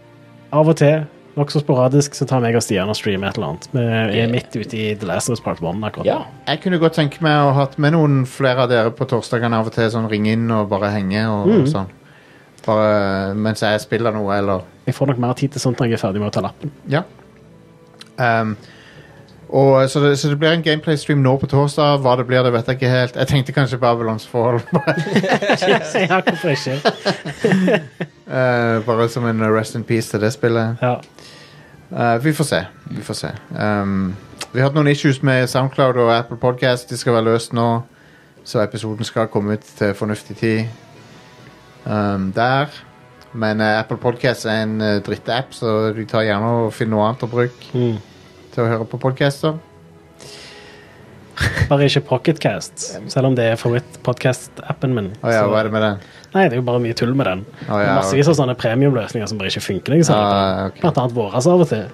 S3: av og til, nokså sporadisk, så tar meg og Stian og streamer et eller annet. Vi er midt ute i The Last of Us Part 1 akkurat
S4: Ja.
S3: nå.
S2: Jeg kunne godt tenke meg å ha hatt med noen flere av dere på torsdagene av og til. Sånn ringe inn og bare henge og, og sånn. Bare mens jeg spiller noe, eller
S3: Jeg får nok mer tid til sånt når jeg er ferdig med å ta lappen.
S2: Ja. Ehm, og, så, det, så det blir en gameplay-stream nå på torsdag. Hva det blir, det vet jeg ikke helt. Jeg tenkte kanskje Babylons forhold.
S3: ja, hvorfor ikke?
S2: Eh, bare som en rest in peace til det spillet.
S3: Ja.
S2: Eh, vi får se. Vi får se. Ehm, vi har hatt noen issues med SoundCloud og Apple Podcast. De skal være løst nå, så episoden skal komme ut til fornuftig tid ehm, der. Men eh, Apple Podcast er en eh, drittapp, så du tar gjerne og finner noe annet å bruke
S3: Mm.
S2: til å høre på podcaster.
S3: Bare ikke Pocketcast, selv om det er favoritt-podcast-appen min.
S2: Å ja,
S3: Så-
S2: hva er det med den?
S3: Nei, det er jo bare mye tull med den.
S2: Å, ja,
S3: Det er Massevis av sånne premiumløsninger som bare ikke funker. Liksom.
S2: Ah, ok.
S3: Blant annet våre så av og til.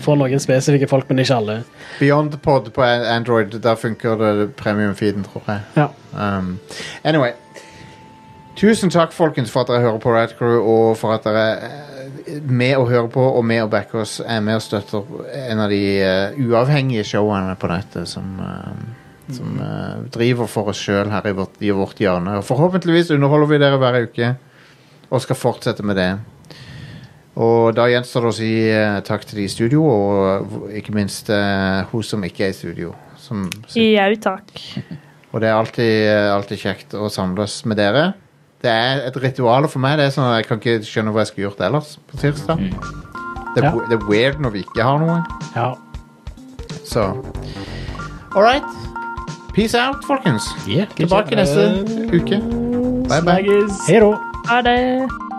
S3: For noen spesifikke folk, men ikke alle.
S2: Beyondpod på An- Android, der funker det premium-feeden, tror jeg.
S3: Ja.
S2: Um, anyway. Tusen takk, folkens, for at dere hører på Rad Crew, og for at dere eh, med å høre på og med å backe oss er med og støtter en av de eh, uavhengige showene på nettet som, eh, som eh, driver for oss sjøl her i vårt, i vårt hjørne. Og forhåpentligvis underholder vi dere hver uke og skal fortsette med det. Og da gjenstår det å si eh, takk til de i studio, og eh, ikke minst eh, hun som ikke er i studio. Som
S6: Jau takk.
S2: og det er alltid, eh, alltid kjekt å samles med dere. Det er et ritual for meg. Det er sånn at Jeg kan ikke skjønne hva jeg skulle gjort ellers på tirsdag. Det er,
S3: Ja.
S2: det er weird når vi ikke har noe.
S3: ja.
S2: Så All right. Peace out, folkens.
S3: Yeah.
S2: Tilbake neste uke. Bye, bye.
S4: Snakkes.
S3: Hei da.
S6: Ha det.